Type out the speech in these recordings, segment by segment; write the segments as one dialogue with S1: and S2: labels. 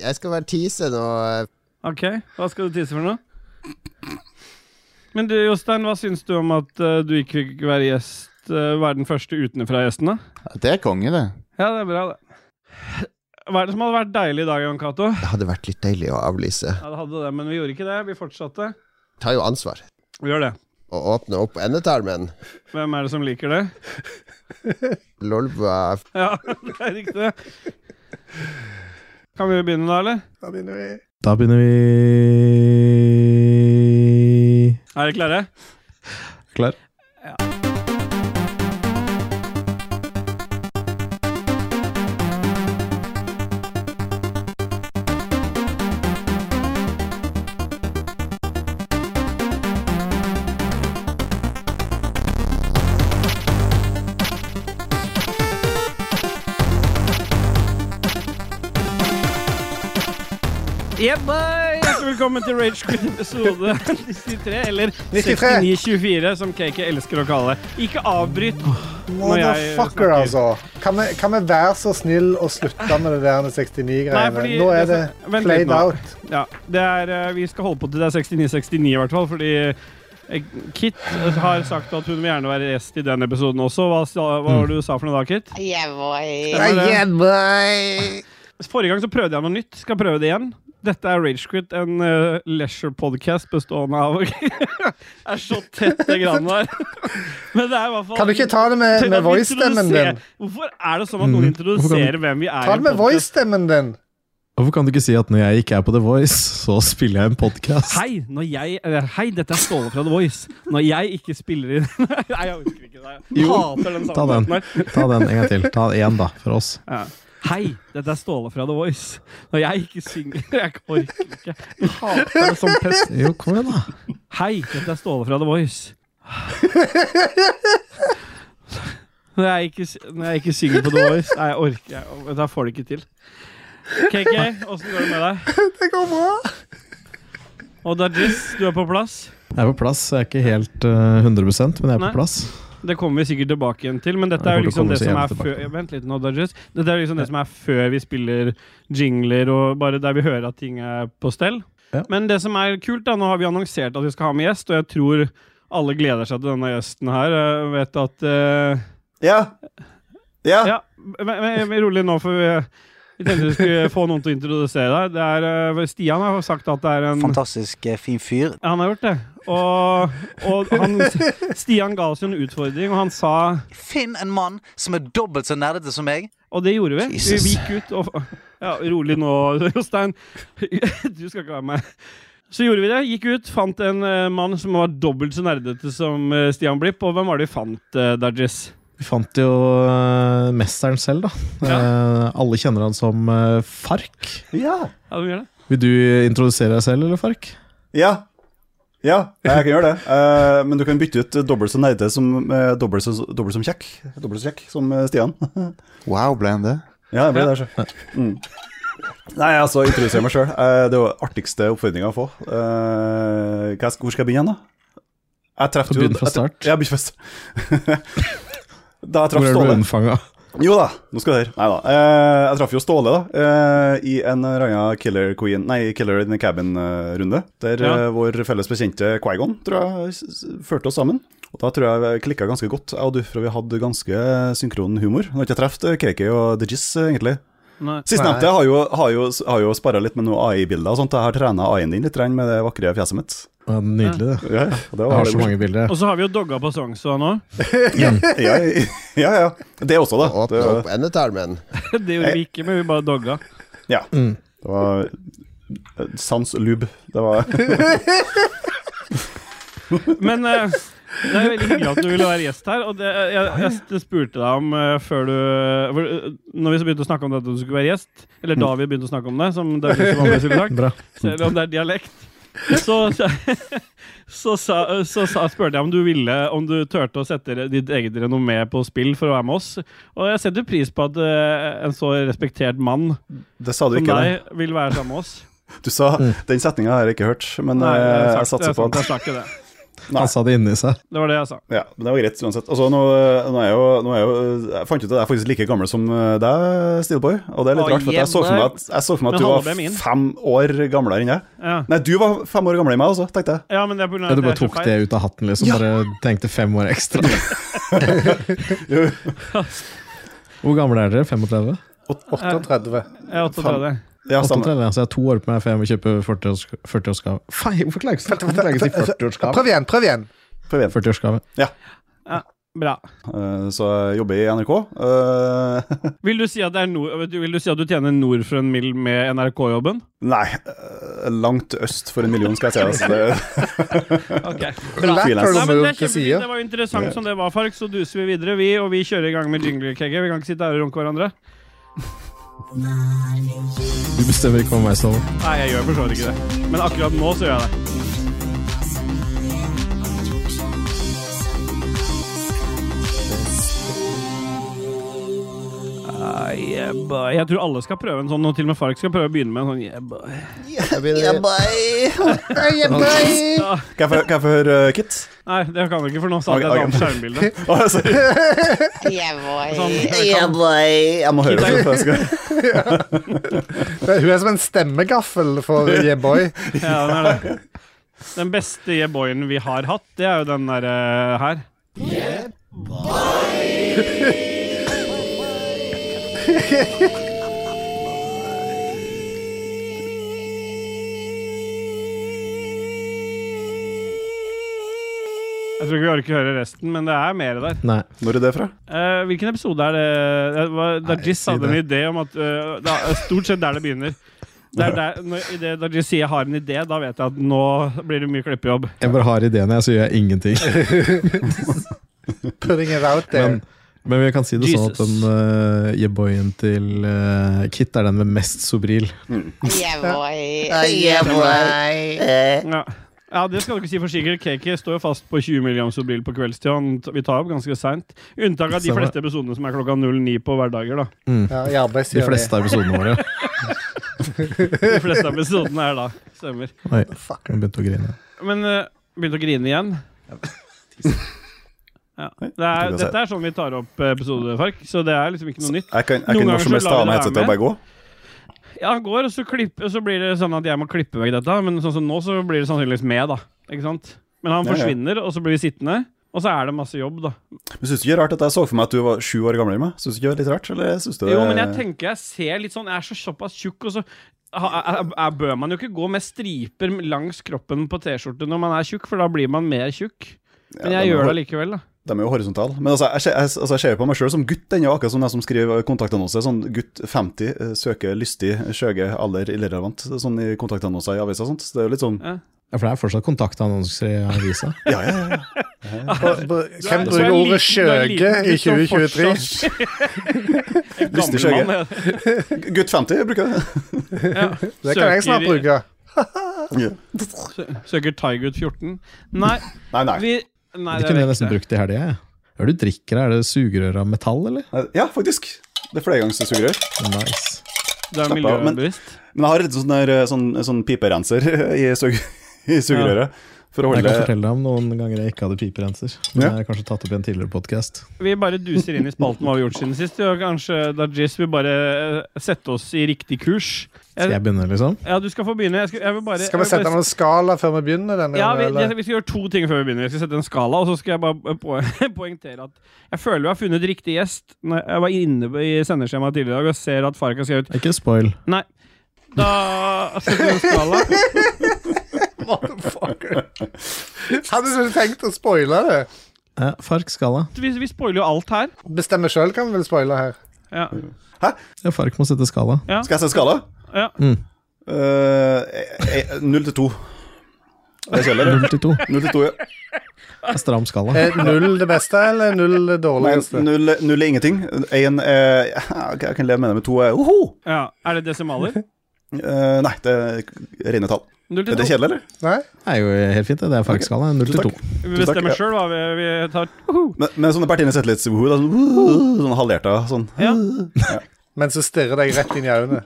S1: Jeg skal være tease nå.
S2: Ok, hva skal du tisse for noe? Men du, Jostein, hva syns du om at eh, du ikke fikk være gjest, eh, være den første utenfra-gjesten, da?
S3: Det er konge, det.
S2: Ja, det er bra, det. Hva er det som hadde vært deilig i dag, Jan Cato?
S1: Det hadde vært litt deilig å avlyse.
S2: Ja, det hadde det, men vi gjorde ikke det. Vi fortsatte.
S1: Ta jo ansvar
S2: Vi gjør det.
S1: og åpne opp endetarmen.
S2: Hvem er det som liker det?
S1: Lolva
S2: Ja, det er riktig. Kan vi begynne da, eller?
S1: Da begynner vi.
S4: Da begynner vi
S2: Er dere klare?
S4: Klar.
S2: Yeah, bye! Hjertelig velkommen til Ragequit episode 93, eller
S3: 93.
S2: 6924, som KK elsker å kalle det. Ikke avbryt når jeg
S5: Motherfucker, altså. Kan vi, kan vi være så snill å slutte med det der 69-greiene?
S2: fordi-
S5: Nå er det
S2: Vent litt
S5: played
S2: nå.
S5: out.
S2: Ja, det er, eh, vi skal holde på til det er 69-69 i hvert fall, fordi eh, Kit har sagt at hun vil gjerne være gjest i den episoden også. Hva, sa- hva
S5: Mm.
S2: var det du sa for noe da, Kit?
S6: Yeah, boy.
S2: Stemmer
S1: boy!
S2: det? Forrige gang så prøvde jeg noe nytt. Skal prøve det igjen. Dette er Ragequit, en eh, leisure podcast bestående av Det er så tett det grann der. Men det er i hvert fall
S5: Kan du ikke ta det med,
S2: Tenk at
S5: med
S2: vi
S5: voice-stemmen
S2: introduserer-
S5: din? Mm.
S2: Hvorfor er det sånn at noen introduserer hvem vi er?
S5: Ta
S2: i
S5: det med
S2: en podcast?
S5: voice-stemmen din.
S4: Hvorfor kan du ikke si at når jeg ikke er på The Voice, så spiller jeg en podkast?
S2: Hei, når jeg, eller, hei, dette er Ståle fra The Voice. Når jeg ikke spiller inn Nei, jeg orker ikke det. Jeg hater den
S4: ta den.
S2: sammenhengen her.
S4: Ta den en gang til. Ta én, da, for oss.
S2: Ja. Hei, dette er Ståle fra The Voice. Når jeg ikke synger Jeg orker ikke. Jeg hater det som pest.
S4: Jo, kom igjen, da.
S2: Hei, dette er Ståle fra The Voice. Når jeg ikke, s- når jeg ikke synger på The Voice Nei, jeg orker jeg, Da får det ikke til. KK, åssen går det med deg?
S5: Det går bra.
S2: Og Dajis, du er på plass?
S4: Jeg er på plass. Jeg er ikke helt eh, 100 men jeg er
S2: Nei.
S4: på plass.
S2: Det kommer vi sikkert tilbake igjen til, men dette
S4: Ja,
S2: er
S4: vi
S2: jo liksom
S4: kommer
S2: det
S4: så
S2: som
S4: jævlig
S2: er før
S4: tilbake.
S2: ja, Vent litt nå, Dodgers. Dette er liksom det som er før vi spiller jingler, og bare der vi hører at ting er på stell.
S4: Ja.
S2: Men det som er kult, da, nå har vi annonsert at vi skal ha med gjest, og jeg tror alle gleder seg til denne gjesten her. Jeg vet at eh,
S3: Ja. Ja.
S2: Ja, men, men, men rolig nå, for vi, vi tenkte vi skulle få noen til å introdusere deg. Det er, eh, Stian har jo sagt at det er en
S7: Fantastisk eh, fin fyr.
S2: Han har gjort det. Og, og han, Stian ga oss jo en utfordring, og han sa
S7: Finn en mann som er dobbelt så nerdete som meg.
S2: Og det gjorde vi.
S7: Jesus.
S2: Vi gikk ut og Ja, rolig nå, Jostein. Du skal ikke være med. Så gjorde vi det. Gikk ut, fant en eh, mann som var dobbelt så nerdete som eh, Stian Blipp. Og hvem var det vi fant, uh, Dajis?
S4: Vi fant jo eh, mesteren selv, da. Eh, alle kjenner han som eh, Fark.
S3: Ja.
S2: Ja, hvem gjør det?
S4: Vil du introdusere deg selv, eller Fark?
S3: Ja. ja. Jeg kan gjøre det. Eh, men du kan bytte ut dobbelt så nerdete som eh, dobbelt, så, dobbelt som kjekk. Dobbelt så kjekk som eh, Stian.
S8: Wow, ble han det?
S3: Ja, jeg ble der, sjøl. Mm. Nei, altså, introdusere meg sjøl. Det er jo artigste oppfordringa å få. Eh, hva skal- hvor skal jeg begynne, da? Jeg traff
S4: Få begynne fra start.
S3: Jeg, jeg begynner fra start. da
S4: Hvor
S3: jeg traff
S4: er du
S3: Ståle
S4: unnfanga?
S3: Jo da, nå skal du høre. Nei da. Eh, jeg traff jo Ståle, da. eh, I en eller annen Killer Queen Nei, Killer in the Cabin-runde. Der
S2: Ja.
S3: eh, vår felles bekjente Quaigon, tror jeg, s- s- førte oss sammen. Og Da tror jeg vi klikka ganske godt, jeg og du, for vi hadde ganske synkron humor. Nå har ikke jeg truffet KK og The Jizz, eh, egentlig.
S2: Nei.
S3: Sistnevnte har jo, har jo, har jo sparra litt med noe AI-bilder og sånt. Jeg har trena AI-en din litt grann med det vakre fjeset mitt.
S4: Ja, Nydelig, det.
S3: Ja, ja, det
S4: Jeg
S3: var
S4: har så mange bilder.
S2: Og så har vi jo dogga på Songsa nå.
S3: Ja, ja, ja, ja. Det også, da.
S1: Åpne
S3: Det,
S1: opp endetarmen.
S2: Det gjorde vi ikke, men vi bare dogga.
S4: Mm.
S3: det var eh, sans lub. Det var
S2: Men eh, det er veldig hyggelig at du ville være gjest her. Og det, eh, jeg, jeg, jeg spurte deg om eh, før du for, eh, Når vi så begynte å snakke om det at du skulle være gjest, eller da vi begynte å snakke om det, som det er som vanlig skulle sagt,
S4: Mm. Bra.
S2: selv om det er dialekt, så, så, så, sa- så, sa- spurte jeg om du ville Om du turte å sette re- ditt eget renommé på spill for å være med oss. Og jeg setter pris på at eh, en så respektert mann
S3: Det sa du
S2: som
S3: ikke, da.
S2: deg vil være sammen med oss.
S3: Du sa Den setninga har jeg ikke hørt, men
S2: Nei,
S3: eh,
S2: jeg
S3: jeg
S2: sa-
S3: satser på
S2: jeg
S3: at
S2: sa ikke det.
S3: Nei.
S4: Han sa det inni seg.
S2: Det var det jeg sa.
S3: Ja, men det var greit uansett. Altså, nå, nå er jeg jo, nå er jeg jo eh, Jeg fant ut at jeg er faktisk like gammel som eh, deg, Steelboy. Og det er litt
S2: Å,
S3: rart, for at jeg så for meg at, jeg så for
S2: Men
S3: meg at du
S2: han ble
S3: var
S2: min.
S3: fem år gamlere enn jeg.
S2: Ja,
S3: Nei, du var fem år gamlere enn meg, altså, tenkte jeg.
S2: ja men det er på grunn av
S4: Ja, du
S2: at
S4: bare
S2: jeg er så
S4: tok
S2: feil.
S4: det ut av hatten, liksom. Bare tenkte fem år ekstra. Hvor gamle er dere? 35?
S5: 38.
S2: Jeg er 38.
S3: Ja, stemmer.
S4: 38, så jeg er to år på meg før jeg må kjøpe 40-årsgave. 40 Feil, hvorfor klarer jeg ikke å si 40-årsgave?
S5: Prøv igjen, prøv igjen.
S3: Prøv igjen.
S4: 40-årsgave.
S2: Bra.
S3: Eh, Så jeg jobber i NRK. Eh,
S2: Vil du si at, det er nord, vil du, si at du tjener nord for en mil med NRK-jobben?
S3: Nei, eh, langt øst for en million, skal jeg si. Altså. Det-
S2: Okay.
S3: Freelance.
S2: Nei, men
S5: Latter, må
S2: det,
S5: jo
S2: er
S5: ikke si.
S2: kjempefint. det var jo interessant som det var, Fark, så duser vi videre, vi, og vi kjører i gang med jinglekegget. Vi kan ikke sitte her og runke hverandre.
S4: Du bestemmer ikke hva meg står over.
S2: Nei, jeg gjør for så vidt ikke det. Men akkurat nå så gjør jeg det. Ah, yeah, boy. Jeg tror alle skal prøve en sånn, og til og med Fark skal prøve å begynne med en sånn. Yeah, boy.
S1: Jeg begynner
S3: Kan jeg få- kan jeg få høre eh, Kit?
S2: Nei, det kan du ikke, for nå sa jeg et
S3: Ok, ok.
S2: annet skjermbilde.
S3: Å, sorry.
S6: Yeah, boy.
S2: Sånn,
S3: Jeg må høre det. for jeg skal-
S5: Det, hun er som en stemmegaffel for Yeah Boy.
S2: ja, den, er det. den beste yeah boyen vi har hatt, det er jo den der eh, her. Jeg tror ikke vi orker å høre resten, men det er mer der.
S4: Nei.
S3: Hvor er det fra?
S2: Eh, hvilken episode er det? det var, da
S4: Nei,
S2: Jizz
S4: si
S2: hadde en
S4: det.
S2: idé om at eh, Det er stort sett der det begynner. Det er der, når, i det, da Jizz sier 'jeg har en idé', da vet jeg at nå blir det mye klippejobb.
S4: Jeg bare har ideene, jeg, så gjør jeg ingenting.
S5: Putting it out there.
S4: Men, men vi kan si det sånn at den
S2: Jesus.
S4: uh, jeboyen til eh, Kit er den med mest sobril.
S6: Yeah, boy.
S2: Ja. ja, det skal du ikke si for sikkert. Cakey står jo fast på 20 mg sobril på kveldstid. Han t- Vi tar opp ganske seint. Unntak av de
S4: Stemmer.
S2: fleste episodene som er klokka 09 på hverdager, da.
S5: Ja, I
S4: Mm. De
S5: arbeidstida
S4: fleste av episodene våre.
S2: De fleste episodene er da. Stemmer.
S4: Oi, jeg begynte å grine.
S2: Men eh, begynte å grine igjen. Ja. Det er, dette er sånn vi tar opp episoder, Fark, så det er liksom ikke noe nytt.
S3: Jeg kan,
S2: Noen
S3: jeg
S2: ganger
S3: kan når som
S2: så
S3: helst
S2: lar
S3: ta
S2: vi
S3: av
S2: det
S3: meg
S2: være
S3: headsetet og bare gå.
S2: Ja, han går, og så, klipp- og så blir det sånn at jeg må klippe vekk dette. Men sånn som nå, så blir det sannsynligvis med, da. Ikke sant? Men han
S3: Ja, ja.
S2: forsvinner, og så blir vi sittende. Og så er det masse jobb, da.
S3: Men Syns du ikke det er rart at jeg så for meg at du var sju år gamlere enn meg? Syns du ikke det er litt rart? Eller syns du det
S2: Jo, men jeg tenker jeg ser litt sånn Jeg er så såpass tjukk, og så ha- er- er- er- bør man jo ikke gå med striper langs kroppen på T-skjorte når man er tjukk, for da blir man mer tjukk. Men
S3: Ja,
S2: jeg
S3: den er
S2: gjør
S3: hor-
S2: det likevel, da.
S3: De er jo horisontale. Men altså, jeg ser- jeg, altså, jeg ser jo på meg sjøl som gutt ennå, akkurat som de som skriver kontaktannonser. Sånn gutt 50, eh, søker lystig, skjøge, alder irrelevant. Sånn i kontaktannonser i aviser og sånt. Så det er jo litt sånn
S4: Ja, for det er fortsatt kontaktannonser i avisa.
S3: Ja, ja, ja.
S5: Hvem
S2: Du er- du er
S5: bruker ordet
S2: liten- du er liten
S5: skjøge i
S2: gutt som
S5: 2023?
S2: fortsatt- En
S3: Lystig
S2: gammel
S3: skjegge.
S2: mann,
S3: G- Gutt 50 bruker jeg det.
S2: ja.
S5: Det kan jeg snart
S2: Søker-
S5: bruke.
S2: Søker Tigergood 14. Nei,
S3: Nei, nei.
S2: vi Nei, er
S4: Det kunne jeg
S2: vekk,
S4: nesten
S2: det.
S4: brukt i helga, jeg. Hva er det du drikker? Er det sugerør av metall, eller?
S3: Ja, faktisk. Det er flergangssugerør.
S4: Nice.
S2: Det er
S3: Slapp av, men-
S2: miljøbevisst.
S3: Men jeg har litt sånn, der, eh, sånn, sånn piperenser i, sug i sugerøret. For å
S4: Jeg kan
S3: holde
S4: fortelle deg om noen ganger jeg ikke hadde piperenser. Men
S3: Ja.
S4: jeg har kanskje tatt opp i en tidligere podcast
S2: Vi bare duser inn i spalten hva vi har gjort siden sist. Og kanskje Dajis vil bare eh, sette oss i riktig kurs.
S4: Skal
S2: Jeg,
S4: jeg begynne, liksom?
S2: ja, du skal få begynne. Jeg, skal, jeg vil bare
S5: Skal vi
S2: jeg vil
S5: sette
S2: bare-
S5: noen skala før vi begynner? denne
S2: ja, vi, jeg-
S5: gangen, eller?
S2: vi skal gjøre to ting før vi begynner. Vi skal sette en skala, og så skal jeg bare po poengtere at jeg føler vi har funnet riktig gjest. Når jeg var inne i sendeskjemaet tidligere i dag og ser at Fark har skrevet
S4: Ikke spoil.
S2: Nei. Da setter vi en skala.
S5: Motherfucker. Hadde du tenkt å spoile det?
S4: Eh, Fark-skala.
S2: Vi, vi spoiler jo alt her.
S5: Bestemme sjøl hva vi vil spoile her.
S2: Ja.
S4: Ja, Fark må sette skala.
S3: Skal jeg sette skala?
S2: Ja.
S4: Mm.
S3: Eh, eh, Null til to. Det er kjedelig.
S4: 0 til 2.
S3: Null til to, ja.
S4: Stram skala.
S3: Eh.
S5: Er null det beste, eller null det dårligste?
S3: Nei, null, null er ingenting. En er ja, Jeg kan leve med det med to er oho!
S2: ja. Er det desimaler?
S3: Eh, nei, det er rene tall.
S2: Null til
S3: Er det
S2: to.
S3: kjedelig, eller?
S5: Nei?
S4: Det er jo helt fint, det. Det er Fark-skala. 0 til
S2: Vi
S4: 2.
S3: Tusen takk,
S2: bestemmer
S3: ja.
S2: sjøl hva vi, vi tar.
S3: Men, men sånne Bertine Zetlitz-woho, sånn, woo, sånn halvhjerta sånn.
S2: Ja.
S5: men så stirrer deg rett inn i øynene.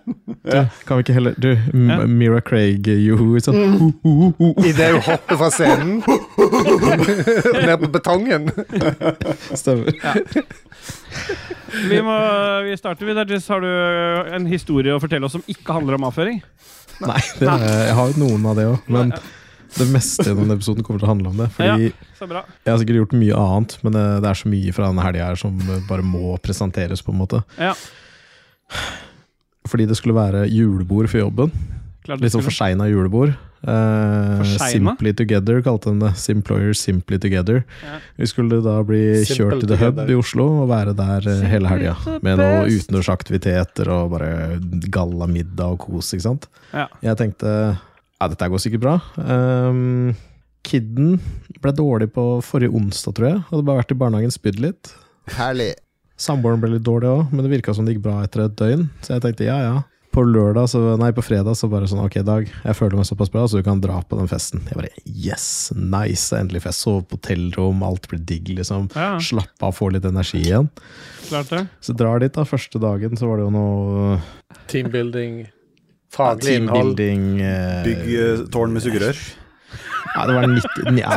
S4: Kan vi ikke heller Du, M-
S2: Ja.
S4: Mira Craig, joho, sånn.
S3: Mm.
S5: Idet hun hopper fra scenen og ned på betongen.
S4: Stemmer.
S2: Vi, må, vi starter videre. Jess, har du eh, en historie å fortelle oss som ikke handler om avføring?
S4: Nei, det, jeg har jo noen av det òg, men det meste i denne episoden kommer til å handle om det. Fordi
S2: Så bra.
S4: jeg har sikkert gjort mye annet, men eh, det er så mye fra denne helga her som eh, bare må presenteres, på en måte.
S2: Ja,
S4: Fordi det skulle være julebord for jobben.
S2: klart
S4: Litt
S2: du
S4: sånn
S2: skulle.
S4: forseina julebord. Eh,
S2: Forseina?
S4: Simply Together kalte de det. Simployer Simply Together.
S2: Ja.
S4: Vi skulle da bli
S5: Simple
S4: kjørt til The Hub
S5: Together.
S4: i Oslo og være der eh, hele helga.
S2: Simply the
S4: Med noen
S2: best.
S4: utendørsaktiviteter og bare gallamiddag og kos, ikke sant.
S2: Ja.
S4: Jeg tenkte ja, dette går sikkert bra. Ehm, kidden ble dårlig på forrige onsdag, tror jeg. Hadde bare vært i barnehagen, spydd litt.
S1: Herlig.
S4: Samboeren ble litt dårlig òg, men det virka som det gikk bra etter et døgn. Så jeg tenkte ja, ja. På lørdag, så, nei, på fredag så bare sånn Ok, Dag, jeg føler meg såpass bra, så du kan dra på den festen. Jeg bare yes, nice, det er endelig fest. Sove på hotellrom, alt blir digg, liksom.
S2: Ja,
S4: Slappe av, få litt energi igjen.
S2: klart det.
S4: Så drar dit, da. Første dagen så var det jo noe
S5: Teambuilding, faglig innhold.
S4: teambuilding eh,
S3: Bygg eh, tårn med sugerør.
S4: Nei, det var 90, ja,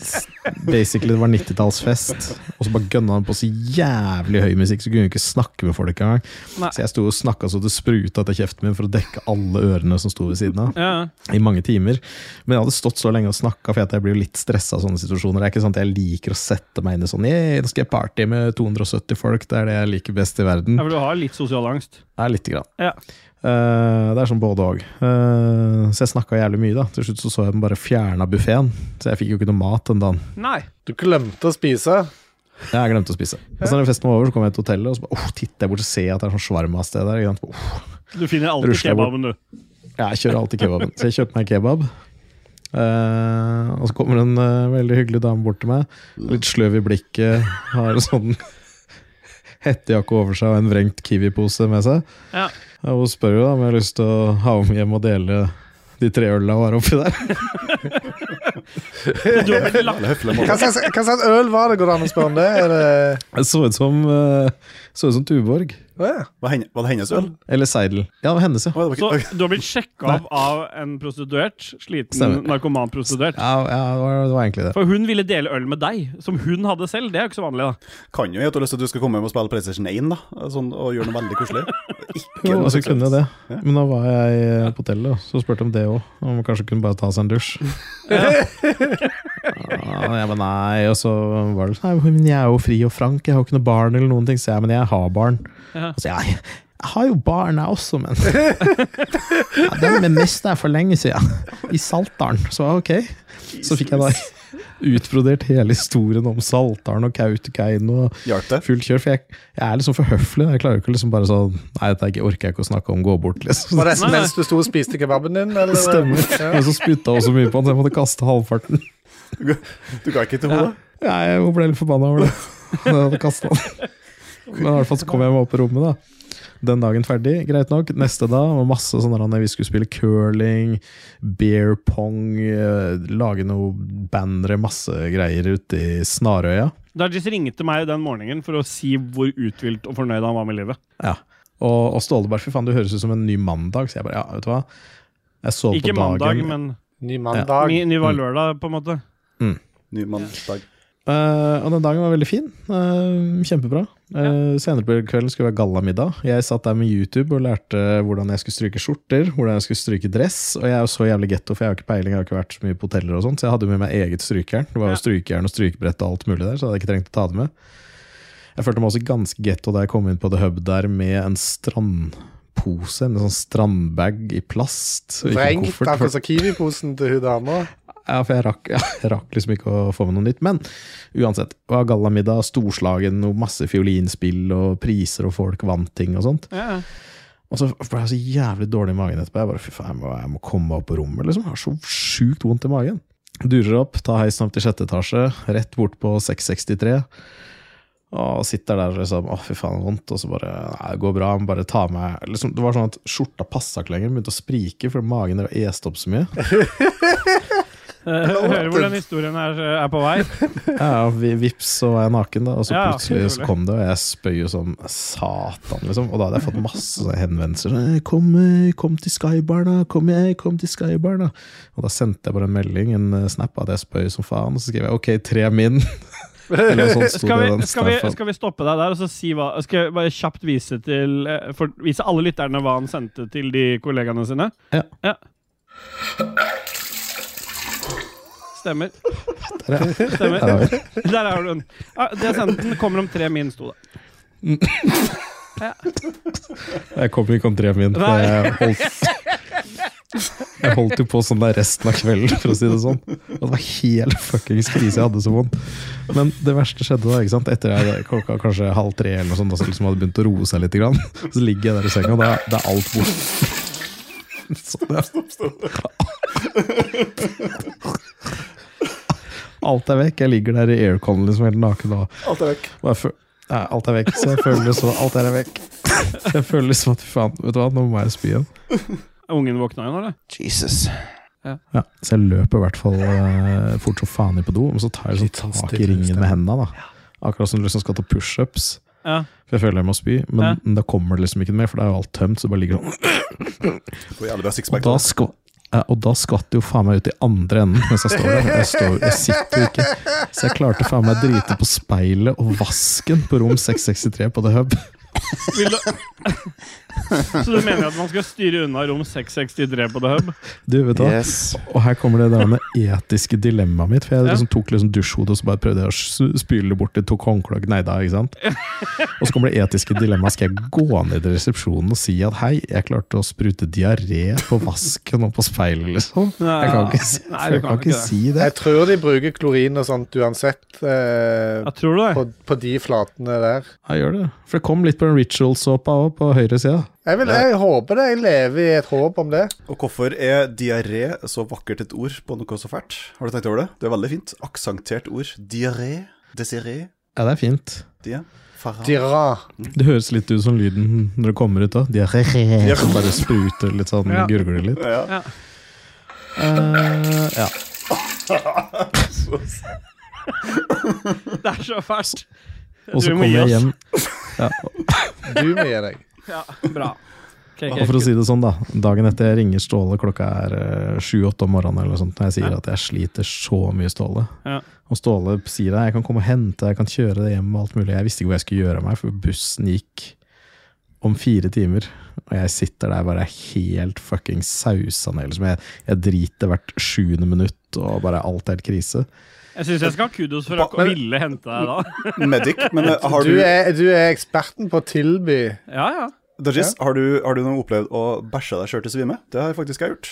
S4: s- Basically, det var 90-tallsfest. Og så bare gønna han på så jævlig høy musikk, så kunne jeg ikke snakke med folk engang.
S2: Nei.
S4: Så jeg sto og snakka så det spruta etter kjeften min for å dekke alle ørene som sto ved siden av.
S2: Ja.
S4: I mange timer. Men jeg hadde stått så lenge og snakka, for jeg blir jo litt stressa av sånne situasjoner. Det er ikke sant at Jeg liker å sette meg inn i sånn «Yeah, Nå skal jeg party med 270 folk, det er det jeg liker best i verden.
S2: ja, for du har litt sosial angst.
S4: Ja, lite grann.
S2: Ja.
S4: Eh, det er sånn både òg. så jeg snakka jævlig mye, da. Til slutt så, så jeg dem bare fjerna buffeen. Så jeg fikk jo ikke noe mat den dagen.
S2: Nei.
S5: Du glemte å spise.
S4: Jeg glemte å spise. Og så når festen var over, så kom jeg til hotellet, og så bare, oh, titter jeg bort og ser jeg at det er sånn shawarma-sted der. Ikke sant? Oh,
S2: Du finner alltid
S4: Rusler bort.
S2: kebaben, du.
S4: jeg kjører alltid kebaben. Så jeg kjøpte meg kebab. Eh, og så kommer en eh, veldig hyggelig dame bort til meg. Litt sløv i blikket. Har en sånn hettejakke over seg og en vrengt Kiwi-pose med seg.
S2: Ja.
S4: Ja, Hun spør jo da om jeg har lyst til å ha med hjem og dele de tre ølene hun har oppi der.
S2: Du har blitt lagt
S5: Hva slags, hva slags øl var det? Går det an å spørre om det? Er det
S4: Det så ut som, eh, så ut som Tuborg.
S5: Å ja.
S3: Var, hen, var det hennes øl?
S4: Eller Seidel. Ja, det var hennes, ja.
S3: Å, det var
S2: Så
S3: ikke,
S2: du har blitt sjekka av av en prostituert? Sliten
S4: Stemmer.
S2: narkoman-prostituert?
S4: Ja, ja det, var, det var egentlig det.
S2: For hun ville dele øl med deg, som hun hadde selv. Det er jo ikke så vanlig, da.
S3: kan jo hete at du har lyst til at du skal komme hjem og spille PlayStation 1 da, sånn, og gjøre noe veldig koselig. Ikke
S4: Jo,
S3: noe
S4: altså, kunne
S3: seksuelt.
S4: det. Men da var jeg eh, på hotellet, da, så spurte de det òg. Om man kanskje kunne bare ta seg en dusj. Ja, jeg bare nei, og så var det sånn Nei, men jeg er jo fri og frank, jeg har jo ikke noe barn eller noen ting. Så jeg, men jeg har barn.
S2: Ja.
S4: Og så jeg, jeg har jo barn, jeg også, men ja, Den vi mista jeg for lenge siden. I Saltdalen. Så ok. Så fikk jeg da utbrodert hele historien om Saltdalen og Kautokeino. og
S3: Hjalp det?
S4: fullt kjør, for jeg, jeg er liksom for høflig. Jeg klarer jo ikke liksom bare sånn Nei, dette ikke- orker jeg ikke å snakke om, gå bort, liksom.
S5: Var det mens du sto og spiste kebaben din? Eller?
S4: Stemmer.
S5: Ja.
S4: Og så spytta hun så mye på han, så jeg måtte kaste halvparten.
S3: Du ga ikke til henne?
S4: Nei, Hun ble litt forbanna over det. Jeg hadde kastet han. Men i hvert fall så kom jeg meg opp på rommet, da. Den dagen ferdig, greit nok. Neste da var masse sånne der, når vi skulle spille curling, beer pong, eh, lage noe bannere, masse greier ute i Snarøya.
S2: Dajis ringte meg den morgenen for å si hvor uthvilt og fornøyd han var med livet.
S4: Ja. Og, og Ståle bare Fy faen, du høres ut som en ny mandag. Så jeg bare Ja, vet du hva. Jeg så
S2: Ikke
S4: på
S2: mandag,
S4: dagen.
S2: men
S5: Ny mandag.
S2: ny, ny var lørdag, på en måte.
S3: Ny mandag.
S4: Eh, og den dagen var veldig fin. Eh, kjempebra. Eh, senere på kvelden skulle det være gallamiddag. Jeg satt der med YouTube og lærte hvordan jeg skulle stryke skjorter, hvordan jeg skulle stryke dress. Og jeg er jo så jævlig getto, for jeg har jo ikke peiling, jeg har ikke vært så mye på hoteller og sånt, så jeg hadde jo med meg eget strykejern. Det var jo strykejern og strykebrett og alt mulig der, så jeg hadde ikke trengt å ta det med. Jeg følte meg også ganske getto da jeg kom inn på The Hub der med en strandpose, en sånn strandbag i plast. og ikke en
S5: Vrengt,
S4: koffert, for-
S5: akkurat som Kiwi-posen til hun dama.
S4: ja, for jeg rakk, ja, jeg rakk liksom ikke å få med noe nytt. Men uansett, det var gallamiddag, storslagen, og masse fiolinspill og priser, og folk vant ting og sånt.
S2: Ja.
S4: Og så ble jeg så jævlig dårlig i magen etterpå. Jeg bare fy faen, jeg må, jeg må komme meg opp på rommet, liksom. Jeg har så sjukt vondt i magen. Durer opp, tar heisen opp til sjette etasje, rett bort på 663. Og sitter der og liksom Å, fy faen, det er vondt. Og så bare Nei, det går bra. Men bare ta meg liksom, Det var sånn at skjorta passa ikke lenger. Den begynte å sprike fordi magen drev og este opp så mye.
S2: Eh, Hører hvor den historien er, er på vei.
S4: Ja, ja, vi- vips, så var jeg naken, da. Og så
S2: Ja,
S4: plutselig så
S2: selvfølgelig.
S4: kom det, og jeg spøy jo som satan, liksom. Og da hadde jeg fått masse sånne henvendelser. «Eh, Kom, eh, kom til Skybarna, kom jeg, kom til Skybarna. Og da sendte jeg bare en melding, en eh, snap, at jeg spøy som faen. Og så skrev jeg ok, tre min. Eller noe sånt sto
S2: Skal
S4: det i
S2: vi,
S4: den
S2: skal, vi,
S4: snappen.
S2: skal vi stoppe deg der og så si hva Skal jeg bare kjapt vise til eh, for, Vise alle lytterne hva han sendte til de kollegaene sine?
S4: Ja.
S2: ja. Stemmer.
S4: Der, ja.
S2: Stemmer.
S4: Der har vi.
S2: Der har du den. Ja, det jeg sendte den, kommer om tre min, sto det.
S4: Jeg kom ikke om tre min. for
S2: Nei.
S4: Jeg holdt, jeg holdt jo på sånn der resten av kvelden, for å si det sånn. Og det var helt fuckings krise. Jeg hadde så vondt. Men det verste skjedde da, ikke sant? etter jeg, klokka kanskje halv tre eller noe sånt, da, så liksom hadde begynt å roe seg litt. Grann. Så ligger jeg der i senga, og da, da er alt borte. Sånn, ja. Alt er vekk. Jeg ligger der i aircon liksom helt naken. og
S3: Alt er vekk.
S4: Bare fø- Nei, alt er vekk, så jeg føler så Alt er vekk. Jeg føler som at faen, vet du hva, nå må jeg spy igjen.
S2: Ungen våkna jo nå, eller?
S7: Jesus.
S4: Ja, så jeg løper i hvert fall eh, fort som faen inn på do, men så tar jeg liksom tak i ringen med hendene. da Akkurat som du liksom skal ta pushups.
S2: Ja.
S4: For jeg føler jeg må spy, men
S2: Ja.
S4: da kommer det liksom ikke mer, for det er jo alt tømt. Så det bare ligger det
S3: Får jævlig bra
S4: Og
S3: sixpack.
S4: da, skva, ja, og da skvatt det jo faen meg ut i andre enden mens jeg står der. Jeg, står, jeg sitter jo ikke. Så jeg klarte faen meg å drite på speilet og vasken på rom 663 på The Hub.
S2: Vil du... Så du mener at man skal styre unna rom 663 på The Hub?
S4: Du, vet du hva?
S7: Yes.
S4: Og her kommer det der med etiske dilemmaet mitt. For jeg
S2: Ja.
S4: liksom tok liksom dusjhodet og så bare prøvde jeg å s- spyle det bort i to håndklær. Nei da, ikke sant? Og så kommer det etiske dilemmaet. Skal jeg gå ned i resepsjonen og si at hei, jeg klarte å sprute diaré på vasken og på speilet, liksom?
S2: Nei.
S4: Jeg kan ikke si,
S2: Nei, du
S4: jeg kan ikke
S2: det.
S4: si det.
S5: Jeg tror de bruker klorin og sånt uansett eh,
S2: Ja, tror du det?
S5: på, på de flatene der.
S4: Jeg gjør det. For det kom litt på den ritual-såpa òg, på høyre sida.
S5: Jeg, vil, jeg håper det. Jeg lever i et håp om det.
S3: Og hvorfor er diaré så vakkert et ord på noe så fælt? Har du tenkt over det? Det er veldig fint. Aksentert ord. Diaré. Desiré.
S4: Ja, det er fint.
S3: Dia. Farah.
S5: Dira.
S4: Det høres litt ut som lyden når det kommer ut òg. Diaré. Som bare spruter litt sånn,
S2: Ja.
S4: gurgler litt.
S3: Ja.
S4: Eh, ja.
S2: Det er så fælt.
S4: Og så
S2: Du må
S4: kommer
S2: gi
S4: jeg
S2: oss.
S4: hjem
S5: Du må gi deg.
S2: Ja, bra. Okay,
S4: Og for å si det sånn, da. Dagen etter jeg ringer Ståle, klokka er eh, 7-8 om morgenen, eller noe sånt, når jeg sier
S2: Ja.
S4: at jeg sliter så mye, Ståle.
S2: Ja.
S4: Og Ståle sier at jeg kan komme og hente, jeg kan kjøre deg hjem og alt mulig. Jeg visste ikke hva jeg skulle gjøre av meg, for bussen gikk om fire timer. Og jeg sitter der bare helt fucking sausa ned. Liksom. Jeg, jeg driter hvert sjuende minutt, og bare alt er helt krise.
S2: Jeg syns jeg skal ha kudos for å
S3: Men-
S2: ville hente deg da.
S3: Medic. Men eh, har
S5: Du
S3: du,
S5: er, du er eksperten på å tilby.
S2: Ja, ja.
S3: Dodges, har, du, har du noen opplevd å bæsje deg sjøl til svime? Det har jeg faktisk jeg gjort.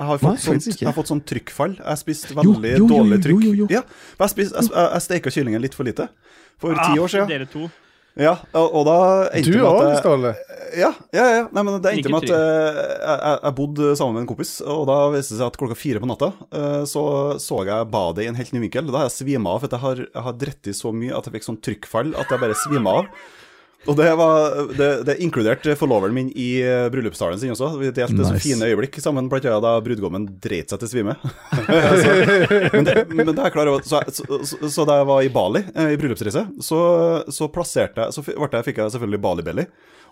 S3: Jeg har
S4: Nei,
S3: fått, sånt,
S4: faktisk ikke.
S3: jeg har fått sånn trykkfall. Jeg har spist
S4: Jo,
S3: veldig
S4: jo, jo,
S3: dårlig
S4: jo,
S3: trykk.
S4: jo, jo.
S3: Ja, men jeg, spist, jeg, jeg, jeg steka kyllingen litt for lite. For
S2: Ah,
S3: ti år siden.
S2: Dere to.
S3: Ja, og, og da endte
S5: Du
S3: det med at
S5: òg,
S3: jeg-
S5: Ståle.
S3: Ja, ja, ja. Nei, men det endte
S2: Like
S3: med at
S2: trygg.
S3: eh, jeg, jeg- jeg bodde sammen med en kompis, og da viste det seg at klokka fire på natta eh, så så jeg badet i en helt ny vinkel. Da har jeg svima av, for at jeg har, jeg har drett i så mye at jeg fikk sånn trykkfall at jeg bare svima av. Og det, var, det, det inkluderte forloveren min i eh, bryllupsdalen sin også. Vi delte så
S4: Nice.
S3: fine øyeblikk sammen, blant annet da brudgommen dreit seg til svime. så, men, det, men det er jeg klar over. Så, så, så, så da jeg var i Bali, eh, i bryllupsreise, så, så plasserte jeg Så f- ble jeg, fikk jeg selvfølgelig Bali-belly.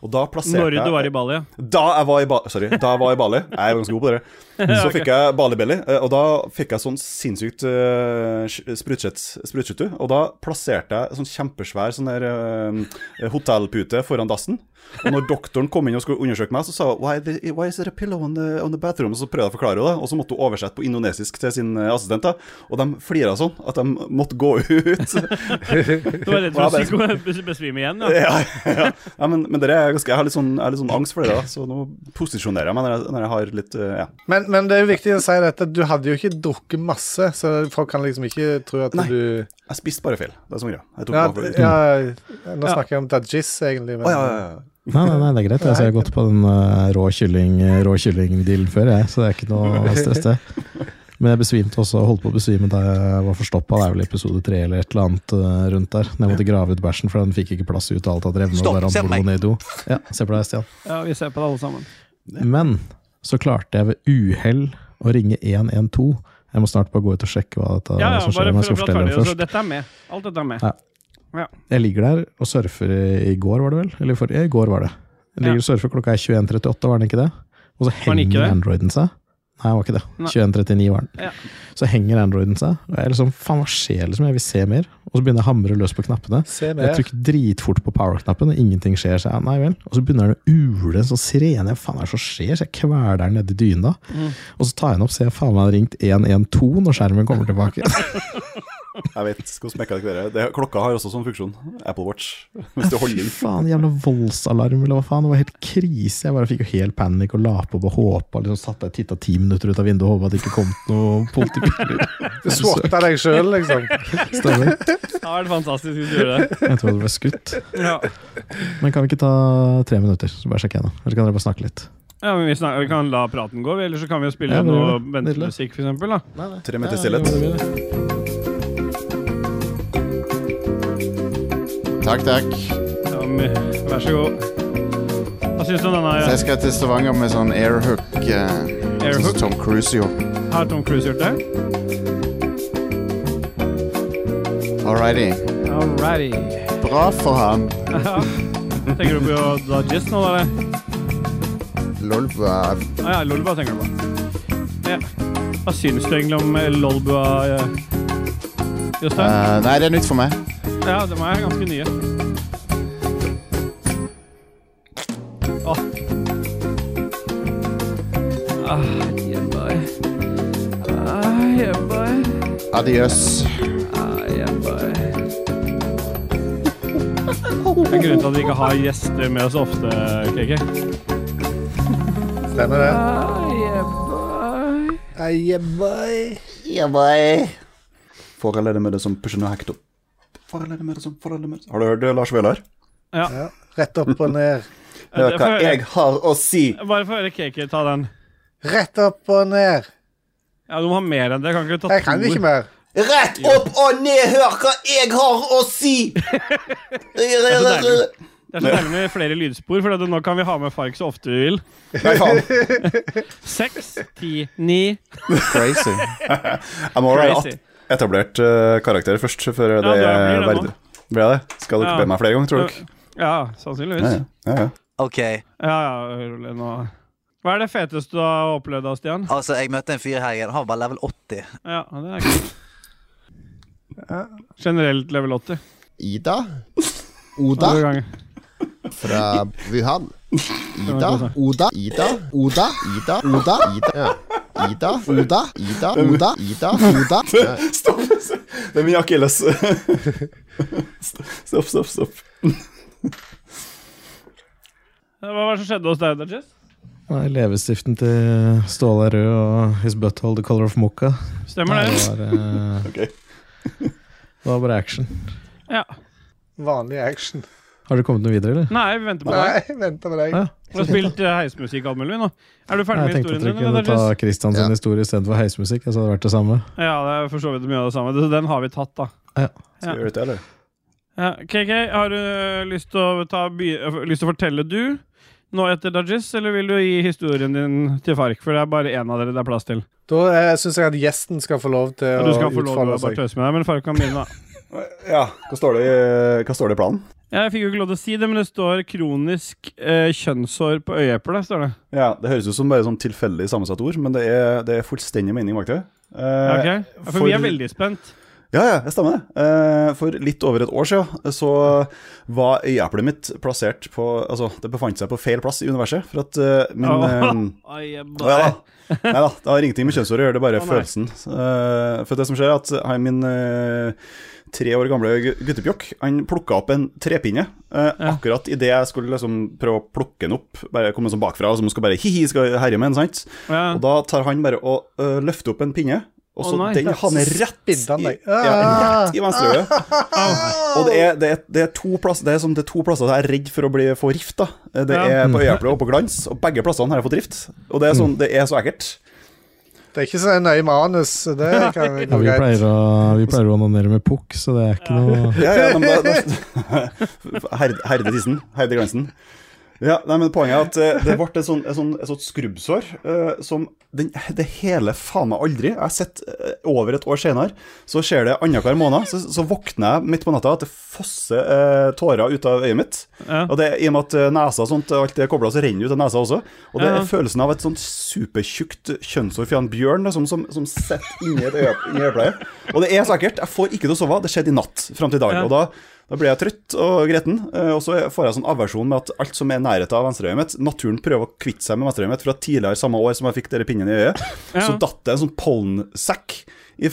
S3: Og da plasserte
S2: Når
S3: jeg
S2: du var i Bali, ja.
S3: da jeg var i Bali Sorry, da jeg var i Bali Jeg er ganske god på dere. Så fikk jeg balibelly, eh, og da fikk jeg sånn sinnssykt uh, sprutskjøttu. Og da plasserte jeg sånn kjempesvær sånn der eh, hotellpute foran dassen. Og når doktoren kom inn og skulle undersøke meg, så sa hun Why, the, why is there a pillow on the, on the bathroom? Og så prøvde jeg å forklare henne det, og så måtte hun oversette på indonesisk til sin eh, assistent. da Og de flira sånn at de måtte gå ut.
S2: Du var redd for å psyko- besvime igjen, ja.
S3: Ja, ja. ja men, men dere er ganske, jeg, har litt sånn, jeg har litt sånn angst for det, da, så nå posisjonerer jeg meg når jeg, når jeg har litt eh, ja.
S5: Men, men det er jo viktig å si dette. Du hadde jo ikke drukket masse, så folk kan liksom ikke tro at
S3: Nei.
S5: du
S3: Jeg spiste bare feil. Det er som greia. Jeg tok
S5: ja,
S3: meg for litt.
S5: ja, Nå snakker jeg om Dajis, egentlig. Men,
S3: Å, ja, ja, ja.
S4: Nei, nei, nei, det er greit. Altså, jeg har gått på den eh, rå kylling rå kyllingdealen før, jeg, så det er ikke noe stress, det. Men jeg besvimte også, holdt på å besvime da jeg var forstoppa. Det er vel episode tre eller et eller annet eh, rundt der. Når jeg måtte grave ut bæsjen, for den fikk ikke plass ut av alt av revne.
S7: Stopp,
S4: og bare
S7: se på meg.
S4: blod ned i do. Ja, se på deg, Stian.
S2: ja. Vi ser på det alle sammen.
S4: Men så klarte jeg ved uhell å ringe 112. Jeg må snart bare gå ut og sjekke hva dette
S2: Ja, ja,
S4: som skjer.
S2: bare
S4: men
S2: for
S4: jeg skal
S2: å prate
S4: fortelle
S2: ferdig.
S4: det
S2: Altså,
S4: først.
S2: dette er med. Alt dette er med.
S4: Ja. Jeg ligger der og surfer i går, var det vel? Eller for, ja, i går var det. Jeg ligger og surfer, klokka er 21.38, var den ikke det? Og så
S2: Var den ikke
S4: henger
S2: det?
S4: Androiden seg. Nei, det var ikke det.
S2: Nei.
S4: 21.39 var den.
S2: Ja.
S4: Så henger Androiden seg, og jeg er liksom Faen, hva skjer, liksom? Jeg vil se mer. Og så begynner jeg å hamre løs på knappene.
S5: Se
S4: Jeg
S5: mer.
S4: trykker dritfort på power-knappen, og ingenting skjer. Så jeg, nei vel. Og så begynner den å ule en sånn sirene. Faen, hva er det som skjer? Så jeg kveler den nedi dyna.
S2: Mm.
S4: Og så tar jeg den opp, ser jeg faen meg har ringt 112 når skjermen kommer tilbake.
S3: Jeg vet hvordan mekka det kan være. Det, klokka har også sånn funksjon. Apple Watch. Hvis du holder inn.
S4: faen, jævla voldsalarm, eller hva faen. Det var helt krise. Jeg bare fikk jo helt panikk og la på og håpa. Liksom satt der og titta ti minutter ut av vinduet og håpa at det ikke kom noe politibil.
S5: Du swatta deg sjøl, liksom.
S4: Stemmer.
S2: Ja, det er fantastisk hvis du gjør det.
S4: Jeg tror det ble skutt.
S2: Ja,
S4: Men kan vi ikke ta tre minutter, så bare sjekke igjen? Eller kan dere bare snakke litt?
S2: ja men vi, snak- vi kan la praten gå, eller så kan vi jo spille
S4: Ja, det gjør
S2: noe
S4: det.
S2: ventemusikk, for eksempel. Da.
S3: Tre minutter stillhet.
S8: Takk, takk.
S2: Ja, men, vær så god. Hva syns du
S8: Så
S2: om denne?
S8: jeg skal til Stavanger med sånn airhook. eh, sånn
S2: Airhook?
S8: som Tom Cruise gjorde.
S2: Har Tom Cruise gjort det?
S8: Alrighty.
S2: Alrighty.
S8: Bra for han.
S2: Ja. Tenker du på Dodges nå, eller?
S1: Lolba
S2: Å ja, Lolba tenker du på. Ja. Hva syns du egentlig om eh, Lolba, eh, Jostein?
S8: Eh, nei, det er nytt for meg.
S2: Ja, de er ganske nye. Åh. Ah, jebbai. Ah, jebbai.
S8: Adiøs.
S2: Ah, jebbai. Det er grunnen til at vi ikke har gjester med oss ofte, KK.
S5: Stemmer det.
S2: Ah, jebbai.
S3: For eller det med det som pusher noe hekto. For eller det med det som for eller det med det som Har du hørt det, Lars Vøler?
S5: Ja. Rett opp og ned.
S3: Hør hva
S2: Eh, får jeg-
S3: jeg har å si.
S2: Bare få høre Kaker ta den.
S5: Rett opp og ned.
S2: Ja, Du må ha mer enn det. Kan ikke du ta
S5: Jeg kan
S2: to?
S5: ikke mer.
S9: Rett opp og ned, hør hva jeg har å si!
S2: Det er så deilig med flere lydspor, for at nå kan vi ha med Fark så ofte vi vil.
S3: Nei, faen.
S2: Seks, ti, ni
S8: Crazy.
S3: Jeg må være
S2: Crazy.
S3: etablert eh, karakter først, før det
S2: det
S3: er
S2: blir det nå.
S3: verdig. Blir det? Skal dere
S2: Ja.
S3: be meg flere ganger, tror dere?
S2: Ja, sannsynligvis.
S3: Ja, ja. ja, ja.
S7: OK.
S2: Ja, ja, rolig nå. Hva er det feteste du har opplevd da, Stian?
S7: Altså, jeg møtte en fyr her igjen. Han var level 80.
S2: Ja, det er kult. Generelt level 80.
S1: Ida?
S2: Andre
S1: Oda
S2: gang.
S1: fra Wuhan. Ida, Oda, Ida, Oda, Ida, Oda, Ida. Ja. Ida, Oda, Ida, Oda, Ida, Oda. Ja.
S3: Stopp! Det er min akilles. Stopp, stopp, stopp.
S2: Hva var det som skjedde hos deg, Dodges?
S4: Nei, Leppestiften til Ståle er rød, og his butthole the color of mocha.
S2: Stemmer det?
S4: var, eh,
S3: Ok.
S4: det var bare action.
S2: Ja.
S5: Vanlig action.
S4: Har dere kommet noe videre, eller?
S2: Nei, vi venter på deg.
S5: Nei, venter på deg.
S4: Ja.
S2: Du har spilt eh, heismusikk alt mulig nå. Er du
S4: Nei,
S2: ferdig
S4: jeg
S2: med
S4: tenkte at
S2: historien
S4: dere
S2: din?
S4: kunne
S2: eller,
S4: ta
S2: Dodges?
S4: Christians
S1: Ja.
S4: historie istedenfor heismusikk. Altså, det hadde vært det samme.
S2: Ja, det er for så vidt mye av det samme. Så Den har vi tatt, da.
S3: Skal vi gjøre dette, eller?
S2: Ja, KK, har du øh, lyst til å, ta, by, øh, lyst til å fortelle du nå etter Dodges, eller vil du gi historien din til Fark? For det er bare én av dere det er plass til.
S5: Da eh, syns jeg at gjesten skal få lov til
S2: Og
S5: å
S2: du skal få lov til
S5: utfolde
S2: å bare
S5: seg.
S2: tøse med deg, men Fark kan begynne, da.
S3: Ja, hva står det i, hva står det i planen?
S2: Ja, Jeg fikk jo ikke lov til å si det, men det står 'kronisk eh, kjønnshår på øyeeplet'. står det.
S3: Ja, Det høres ut som bare sånn tilfeldig sammensatt ord, men det er, det er fullstendig mening bak det. Eh,
S2: Ok? Ja, for, vi er veldig spent.
S3: Ja, ja, det stemmer. det. Eh, for litt over et år siden eh, så var øyeeplet mitt plassert på Altså, det befant seg på feil plass i universet, for at eh, min eh,
S2: Ai, jeg
S3: Nei da.
S2: bare-
S3: Nei da, det har ingenting med kjønnsår å gjøre, det er bare
S2: Å, nei.
S3: følelsen. Eh, for det som skjer, er at han min eh, tre år gamle gu- guttepjokk Han plukka opp en trepinne eh, akkurat idet jeg skulle liksom prøve å plukke den opp. Bare komme sånn bakfra, som skal bare hi-hi, skal herje med den, sant?
S2: ja.
S3: Og da tar han bare og eh, løfter opp en pinne, og
S2: Å,
S3: så
S2: nei.
S3: den havner rett i,
S5: Spidde han deg. Ah.
S3: ja, rett i venstreøyet. Og det er, det, er, det, er to plasser, det er som det er to plasser der jeg er redd for å bli, få rift. da Det
S2: Ja. Mm.
S3: er på øyeeplet og på glans, og begge plassene har jeg fått rift. Og det er, sånn, det er så ekkelt.
S5: Det er ikke så nøye manus. så Det kan
S4: Ja,
S5: gå
S4: vi,
S5: greit.
S4: pleier å, vi pleier å onanere med pukk, så det er ikke noe
S3: Ja, ja, men da, da, herde, herde tissen, herde glansen. Ja, nei, men Poenget er at eh, det ble et sånt, et sånt, et sånt skrubbsår eh, som den, det hele faen meg aldri Jeg har sett eh, over et år senere, så skjer det annenhver måned. Så, så våkner jeg midt på natta at det fosser eh, tårer ut av øyet mitt.
S2: Ja.
S3: Og det, I og med at eh, nesa og sånt, alt det er kobla, så renner det ut av nesa også. Og det
S2: Ja.
S3: er følelsen av et sånt supertjukt kjønnsår fra en bjørn liksom, som, som sitter inni et øye- inni øyepleie. Og det er så ekkelt. Jeg får ikke til å sove. Det skjedde i natt fram til i dag.
S2: Ja.
S3: Og da da blir jeg trøtt og gretten, eh, og så får jeg sånn aversjon med at alt som er i nærheten av venstreøyet mitt Naturen prøver å kvitte seg med venstreøyet mitt fra tidligere samme år som jeg fikk denne pinnen i øyet. Så datt det en sånn pollensekk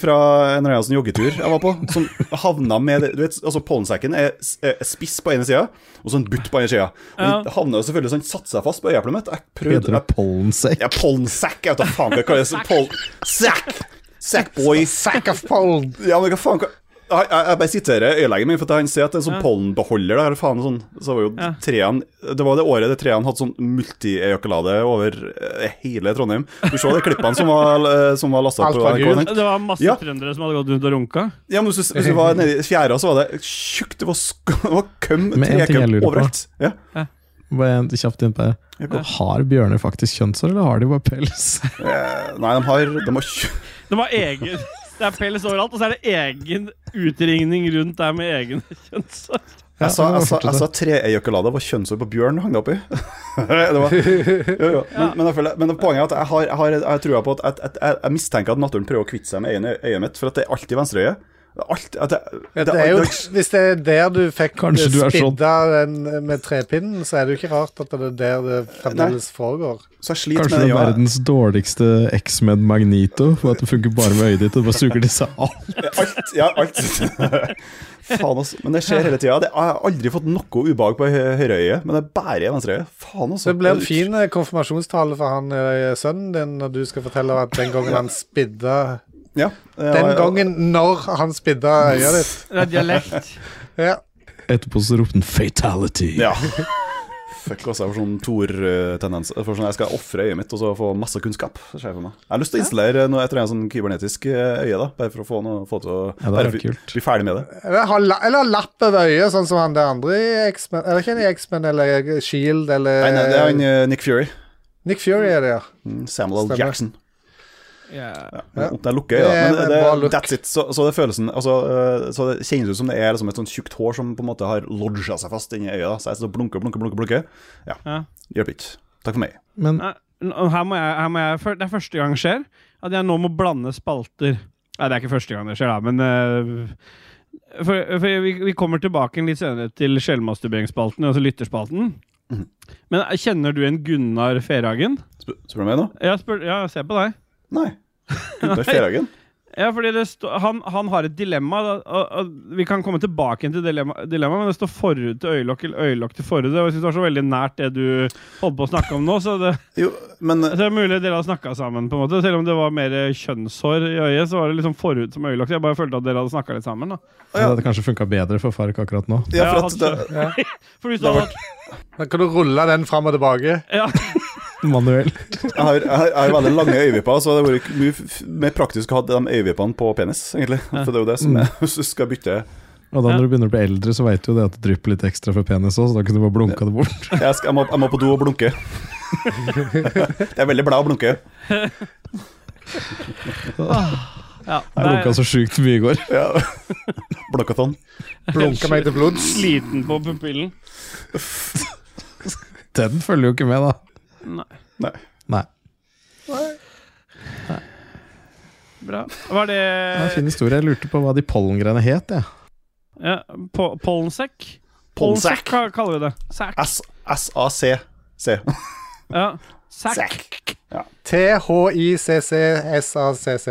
S3: fra en eller annen sånn joggetur jeg var på, som havna med det- Du vet, altså pollensekken er s- er spiss på ene sida, og så en butt på andre sida. Og den havna jo selvfølgelig sånn, satte seg fast på øyeeplet mitt. Jeg prøvde
S4: Heter det pollensekk?
S3: ja, pollensekk, jeg vet da faen hva det kalles. Pollen... Sekk! Sackboy. Sack of pollen. Ja, men hva faen hva... Jeg, jeg, jeg bare siterer øyelegen min, for at han sier at det er en sånn pollenbeholder der. Faen, sånn, så var jo
S2: Ja.
S3: treen Det var det året det treen hadde sånn multiejakulade over eh, hele Trondheim. Du så de klippene som var, eh, som var lasta
S5: Alt
S3: på
S5: var
S3: NRK.
S5: gult.
S3: tenk.
S2: Det var masse
S3: Ja.
S2: trøndere som hadde gått rundt og runka.
S3: Ja, men hvis du, hvis du var nede i fjæra, så var det tjukt. Det var, sk det var køm,
S4: Men en ting jeg
S3: trekøm
S4: lurer på.
S3: overalt. Ja.
S4: Bare en kjapt inn på det. Har bjørner faktisk kjønnsår, eller har de bare pels?
S3: Eh, Nei, de har, de har tj-
S2: Det var egen Det er pels overalt, og så er det egen utringning rundt der med egen kjønnsår.
S3: Jeg sa,
S4: Ja,
S3: jeg sa,
S4: fortsett
S3: jeg sa treejakulade var kjønnsår på bjørn hang det oppi. det var, jo, jo. Men, men, jeg føler, men poenget er at jeg har, jeg har, jeg har trua på at at- at jeg, jeg mistenker at naturen prøver å kvitte seg med øyene, øyet mitt, for at det er alltid venstreøyet. Det er Alt, at det, det,
S5: Det er jo, hvis det er der du fikk
S4: Kanskje du er sånn.
S5: spidda den med trepinnen, så er det jo ikke rart at det er der det fremdeles foregår.
S3: Så jeg sliter
S4: Kanskje
S3: med
S4: det
S3: det
S4: er
S3: øyet.
S4: verdens dårligste X-Men Magnito, for at det funker bare med øyet ditt, og det bare suger til seg alt.
S3: Alt, ja, alt. Faen, altså. Men det skjer hele tida. Jeg har aldri fått noe ubehag på hø- høyreøyet, men det er bare i venstreøyet. Faen, altså.
S5: Så det blir en fin eh, konfirmasjonstale for han eh, sønnen din når du skal fortelle at den gangen han spidda
S3: Ja.
S5: Den gangen når han spidda øyet ditt.
S2: Det er dialekt.
S5: Ja.
S4: Etterpå så ropte han 'fatality'.
S3: Ja. Fuck også, jeg får sånn Tor-tendens. Jeg får sånn, Jeg skal ofre øyet mitt og så få masse kunnskap. Det skjer for meg. Jeg har lyst til å installere noe etter en sånn kybernetisk eh, øye, da. Bare for å få, noe, få til å
S4: Ja, det
S3: bare
S4: er
S3: bli-
S4: kult.
S3: bli ferdig med det.
S5: Eller ha la- eller ha lapp over øyet, sånn som han der andre i X-Men Eller ikke han i X-Men, eller Shield, eller
S3: Nei, nei, det er han eh, Nick Fury.
S5: Nick Fury er det, ja.
S3: Mm, Samuel L.
S5: Stemmer.
S3: Jackson.
S2: Ja.
S3: Ja. Det er lukket øyet,
S5: Det er
S3: men det,
S5: en
S3: det,
S5: bra look.
S3: that's it. Så, så det følelsen altså, eh, Så det kjennes ut som det er liksom et sånt tjukt hår som på en måte har lodga seg fast inni øyet. da. Så jeg sitter og blunker, blunker, blunker. blunker. Ja.
S2: Ja.
S3: Hjelper ikke. Takk for meg.
S4: Men
S2: Nei, og Her må jeg, her må jeg, for- det er første gang det skjer at jeg nå må blande spalter. Nei, det er ikke første gang det skjer, da, men eh, for, for vi, vi kommer tilbake litt senere til selvmasturberingsspalten, altså lytterspalten. Men eh, kjenner du en Gunnar Ferhagen?
S3: Spør, spør du meg nå?
S2: Ja, spør, ja, jeg ser på deg.
S3: Nei. Gunnar Ferhagen.
S2: Ja, fordi det stå, han, han har et dilemma. da, Og, og vi kan komme tilbake igjen til dilemma, dilemma, men det står forhud til øyelokk eller øyelokk til forhud. Og jeg synes det var så veldig nært det du holdt på å snakke om nå. Så det,
S3: Jo, men eh,
S2: så det er mulig dere har snakka sammen. på en måte Selv om det var mer kjønnshår i øyet, så var det liksom forhud som øyelokk. Jeg bare følte at dere hadde snakka litt sammen. da
S4: det hadde kanskje funka bedre for Fark akkurat nå.
S3: ja, for at
S2: hadde
S3: det,
S2: skjønt. For hvis du hadde hatt
S5: Da kan du rulle den fram og tilbake.
S2: ja,
S4: Manuel.
S3: Jeg har, jeg, har, jeg har veldig lange øyevipper, så det hadde vært mye f- mer praktisk å ha de øyevippene på penis, egentlig. For det er jo det som er Hvis du skal bytte
S4: Og da når du begynner å bli eldre, så veit du jo det at det drypper litt ekstra fra penis òg, så da kunne du bare blunka det bort.
S3: Jeg, skal, jeg, må, jeg må på do og blunke. Det er veldig blæ å blunke.
S4: Jeg blunka så sjukt mye i går.
S3: Ja. Blunkathon.
S5: Blunke meg til blods.
S2: sliten på pupillen.
S4: Den følger jo ikke med, da.
S3: Nei.
S4: Nei.
S2: Bra. Var det
S4: Det er en fin historie. Jeg lurte på hva de pollengreiene het, jeg.
S2: ja, po pollensekk? Pollensekk
S3: Pollensekk.
S2: hva kaller vi det. Sekk.
S3: S- S-A-C-C.
S2: Ja. Sekk.
S3: Sekk.
S5: T-H-I-C-C-S-A-C-C.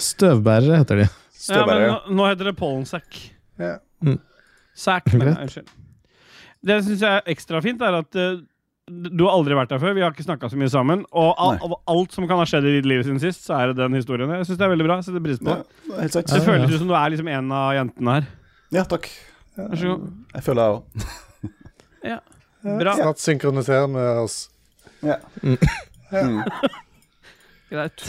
S4: Støvbærere heter de.
S2: Ja, men
S3: Støvbærer.
S2: nå, nå heter det pollensekk.
S5: Ja.
S4: Mm.
S2: Sekk, nei,
S4: Greit.
S2: unnskyld. Det jeg syns er ekstra fint, er at eh, du har aldri vært der før. Vi har ikke snakka så mye sammen. Og al
S3: Nei.
S2: av alt som kan ha skjedd i ditt liv siden sist, så er det den historien. Jeg syns det er veldig bra. Jeg setter pris på
S3: Ja,
S2: det.
S3: det er Helt sant.
S2: Det føles ut som du er liksom en av jentene her.
S3: Ja, takk.
S2: Vær så god.
S3: Jeg føler jeg òg.
S2: Ja. Bra.
S5: Snart synkroniserer vi oss.
S3: Ja.
S2: Greit.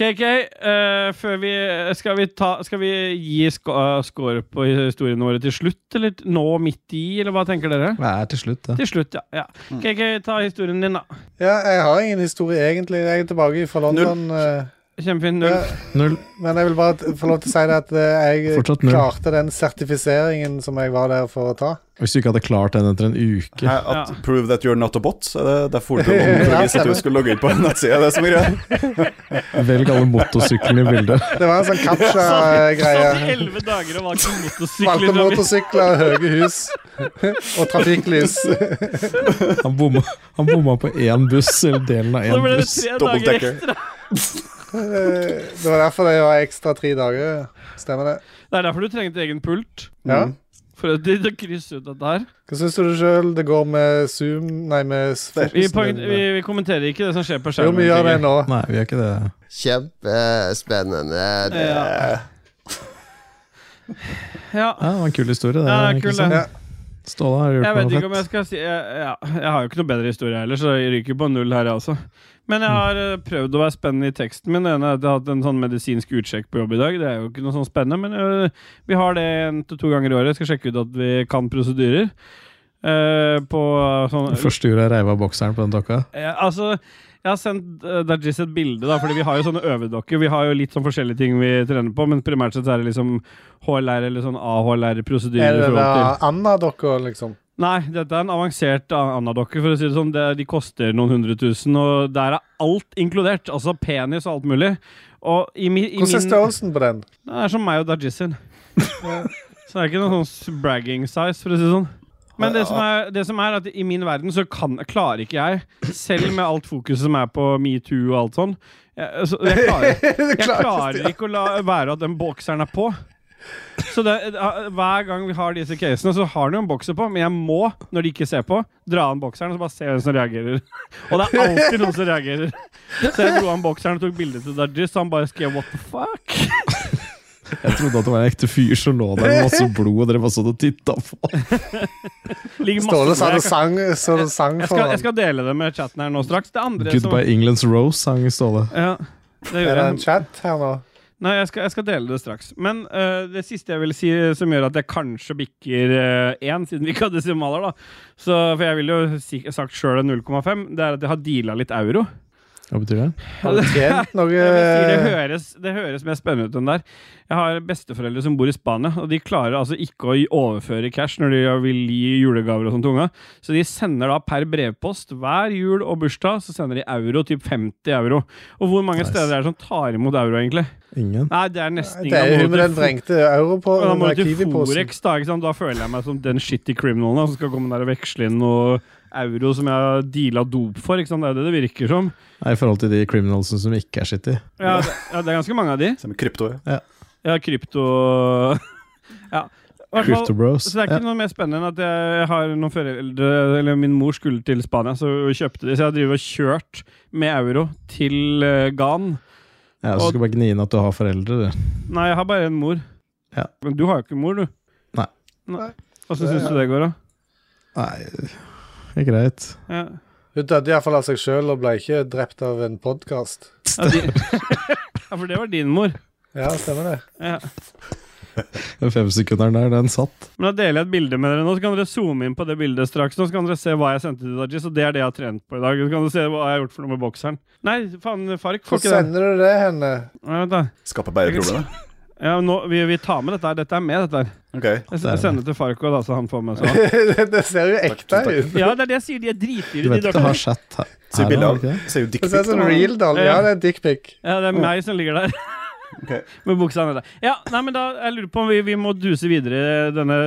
S2: KK, eh, før vi, skal, vi ta, skal vi gi sk score på historiene våre til slutt, eller nå midt i, eller hva tenker dere?
S4: Det er til slutt, det.
S2: Til slutt, ja. ja.
S5: Mm.
S2: KK, ta historien din, da.
S5: Ja, jeg har ingen historie egentlig. Jeg er tilbake fra London. eh,
S2: Kjempefin. Null.
S5: Ja.
S4: Null.
S5: Men jeg vil bare t- få lov til å si det at eh, jeg
S4: Fortsatt null.
S5: klarte den sertifiseringen som jeg var der for å ta.
S4: Hvis du ikke hadde klart den etter en uke
S3: Hæ, at
S2: Ja.
S3: Prove that you're not a bot. Er det derfor du logger for å vise at du skulle logge inn på en nettside? Det er som er greia.
S4: Velg alle motorsyklene i bildet.
S5: Det var en sånn
S2: Satt i
S5: captcha-greie.
S2: elleve dager og valgte motorsykkel.
S5: Valgte
S2: i Drammen.
S5: motorsykler, høye hus og trafikklys.
S4: Han bomma, han bomma på én buss, eller delen av
S2: Så
S4: én
S2: ble det
S4: buss.
S2: tre dager
S3: Dobbeltdekker.
S2: ekstra.
S5: Eh, Det var derfor det var ekstra tre dager. Stemmer det?
S2: Det er derfor du trengte egen pult.
S5: Ja.
S2: For å d- d- krysse ut dette her.
S5: Hva syns du sjøl det går med Zoom Nei, med Sfokusen
S2: Vi, poeng-
S5: din?
S2: vi, vi kommenterer ikke det som skjer på
S5: Jo,
S2: skjermen.
S5: vi gjør det nå.
S4: Nei, vi gjør ikke det.
S1: Kjempespennende. Det
S2: Ja. ja.
S4: Ja, det var en kul historie. Det,
S2: Ja, det er
S4: ikke
S2: kul,
S4: sant?
S5: det.
S4: Ståle har
S2: Jeg
S4: gjort
S2: vet
S4: noe
S2: ikke om jeg
S4: fett.
S2: skal si jeg, ja, jeg har jo ikke noe bedre historie heller, så jeg ryker på null her, jeg også. Men
S4: Mm.
S2: jeg har eh, prøvd å være spennende i teksten min. Det ene er at jeg har hatt en sånn medisinsk utsjekk på jobb i dag. Det er jo ikke noe sånn spennende, men eh, vi har det en til to ganger i året. Jeg skal sjekke ut at vi kan prosedyrer. eh, på sånn
S4: Det første jorda reiv av bokseren på den dokka.
S2: Eh, altså, jeg har sendt uh, Dajis et bilde, da, fordi vi har jo sånne øvedokker. Vi har jo litt sånn forskjellige ting vi trener på, men primært sett er det liksom HLR eller sånn
S5: Er
S2: AHLR-prosedyrer. i
S5: det
S2: forhold til-
S5: Anna-dokka, liksom?
S2: Nei, dette er en avansert a- annadokke, for å si det sånn. Det, de koster noen hundre tusen, og der er alt inkludert. Altså penis og alt mulig. Og i, mi, i
S5: Hvordan er
S2: min
S5: størrelsen på den?
S2: Det er som meg og Dajis sin. Så det er ikke noen sånn s- bragging size, for å si det sånn. Men det som, er, det som er at i min verden så kan, klarer ikke jeg, selv med alt fokuset som er på metoo og alt sånn Jeg, så jeg, klarer,
S5: Du
S2: jeg
S5: klarer
S2: klarer
S5: ikke
S2: ikke å la være at den bokseren er på. Så det, hver gang vi har disse casene, så har den jo en bokser på, men jeg må, når de ikke ser på, dra an bokseren og så bare se hvem som reagerer. Og det er alltid noen som reagerer. Så jeg dro an bokseren og tok bilde til Dajis, og han bare skrev 'what the fuck'.
S4: Jeg trodde at det var en ekte fyr som lå der med masse blod, og dere bare satt og titta på.
S2: Ligger masse
S5: Ståle
S2: blod.
S5: sa
S2: Jeg
S5: det
S2: kan-
S5: sang, så det sang
S2: Jeg
S5: for
S2: skal, jeg
S5: han.
S2: skal dele det med chatten her nå straks. Det andre
S4: Goodbye England's Rose, sang Ståle.
S2: som ja, det
S5: Er
S2: gjør
S5: det en
S2: jeg.
S5: chat her nå?
S2: Nei, jeg skal, jeg skal dele det straks. Men eh, det siste jeg vil si som gjør at jeg kanskje bikker eh, én, siden vi ikke hadde desimaler, da Så, For jeg ville jo si, sagt sjøl en 0,5. Det er at jeg har deala litt euro.
S4: Hva betyr det?
S5: Har du tjent noe eh,
S2: Jeg vil si det, høres, det høres mer spennende ut enn der. Jeg har besteforeldre som bor i Spania, og de klarer altså ikke å gi- overføre cash når de vil gi julegaver og sånt til unga. Så de sender da per brevpost hver jul og bursdag så sender de euro, typ 50 euro. Og hvor mange
S4: Nice.
S2: steder er det som tar imot euro, egentlig?
S4: Ingen.
S2: Nei, det er nesten
S5: Det er jo hun med den vrengte euro på
S2: og da må
S5: under
S2: du til
S5: Kiwi-posen.
S2: Forex, da. Ikke sant? Da føler jeg meg som den shitty criminalen da, som skal komme der og veksle inn noe euro som jeg har deala dop for. Ikke sant? Det er jo det det virker som.
S4: Nei, I forhold til de criminalsene som ikke er shitty.
S2: Ja, det, ja, det er ganske mange av de.
S3: Som krypto.
S2: Ja, krypto Ja. i hvert fall-
S4: Crypto Bros.
S2: Så det er ikke
S4: Ja.
S2: noe mer spennende enn at jeg har noen foreldre Eller min mor skulle til Spania, så hun kjøpte de. Så jeg driver og kjørt med euro til eh, Gan.
S4: Ja, så skal du bare gni inn at du har foreldre, du.
S2: Nei, jeg har bare en mor.
S4: Ja.
S2: Men du har jo ikke mor, du.
S4: Nei.
S2: Nei. Åssen syns du det går, da?
S4: Nei, det er greit.
S2: Ja.
S5: Hun døde iallfall av seg sjøl og ble ikke drept av en podkast.
S2: Ja, de... ja, for det var din mor.
S5: Ja, stemmer det.
S2: Ja.
S4: Den femsekunderen der, den satt.
S2: Men da deler jeg et bilde med dere nå, så kan dere zoome inn på det bildet straks. Nå så kan dere se hva jeg sendte til Dajis, og det er det jeg har trent på i dag. Så kan dere se hva jeg har gjort for noe med bokseren. Nei, faen, Fark
S5: Hvor
S2: får ikke den.
S5: sender du det henne?
S2: Ja, vent da.
S3: Skaper bare problemer.
S2: Ja, nå, vi, vi tar med dette her. Dette er med, dette her.
S3: Ok.
S2: Jeg
S4: er
S2: s-
S4: med.
S2: sender til Fark også, da, så han får med seg.
S5: det, det ser jo ekte ut.
S2: Ja, det er det jeg sier. De er
S4: Du
S2: dritdyre,
S4: vet
S2: de
S4: at du
S2: dokkene.
S4: har chat her.
S3: Sier
S4: her,
S3: bildet
S4: har
S3: av
S4: du ikke det?
S3: Sier jo dick
S5: Det ser
S3: pic,
S5: ut som
S3: da.
S5: real doll. Ja, det er dickpic.
S2: Ja, det er meg som ligger der.
S3: Ok.
S2: Med buksa nede. Ja, nei, men da, jeg lurer på om vi, vi må duse videre i denne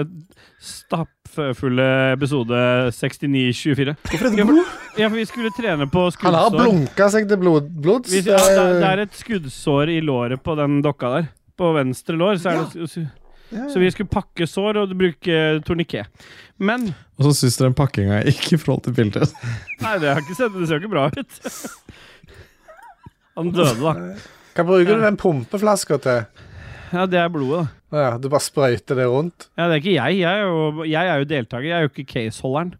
S2: stappfulle episode 69-24. Hvorfor er det blod? Ja, for vi skulle trene på
S5: Han har
S2: skuddsår.
S5: blunka seg til blod, blods. eh,
S2: Vi, ja, det, er- det er et skuddsår i låret på den dokka der. På venstre lår. Så, er det, så, så vi skulle pakke sår og bruke torniké. Men
S4: Og så syns dere den pakkinga ikke i forhold til bildet.
S2: Nei, det har jeg ikke sett. Det ser jo ikke bra ut. Han døde, da.
S5: Hva bruker du den pumpeflaska til?
S2: Ja, det er blodet, da.
S5: Å Ja, du bare sprøyter det rundt?
S2: Ja, det er ikke jeg. Jeg er jo, jeg er jo deltaker. Jeg er jo ikke caseholderen.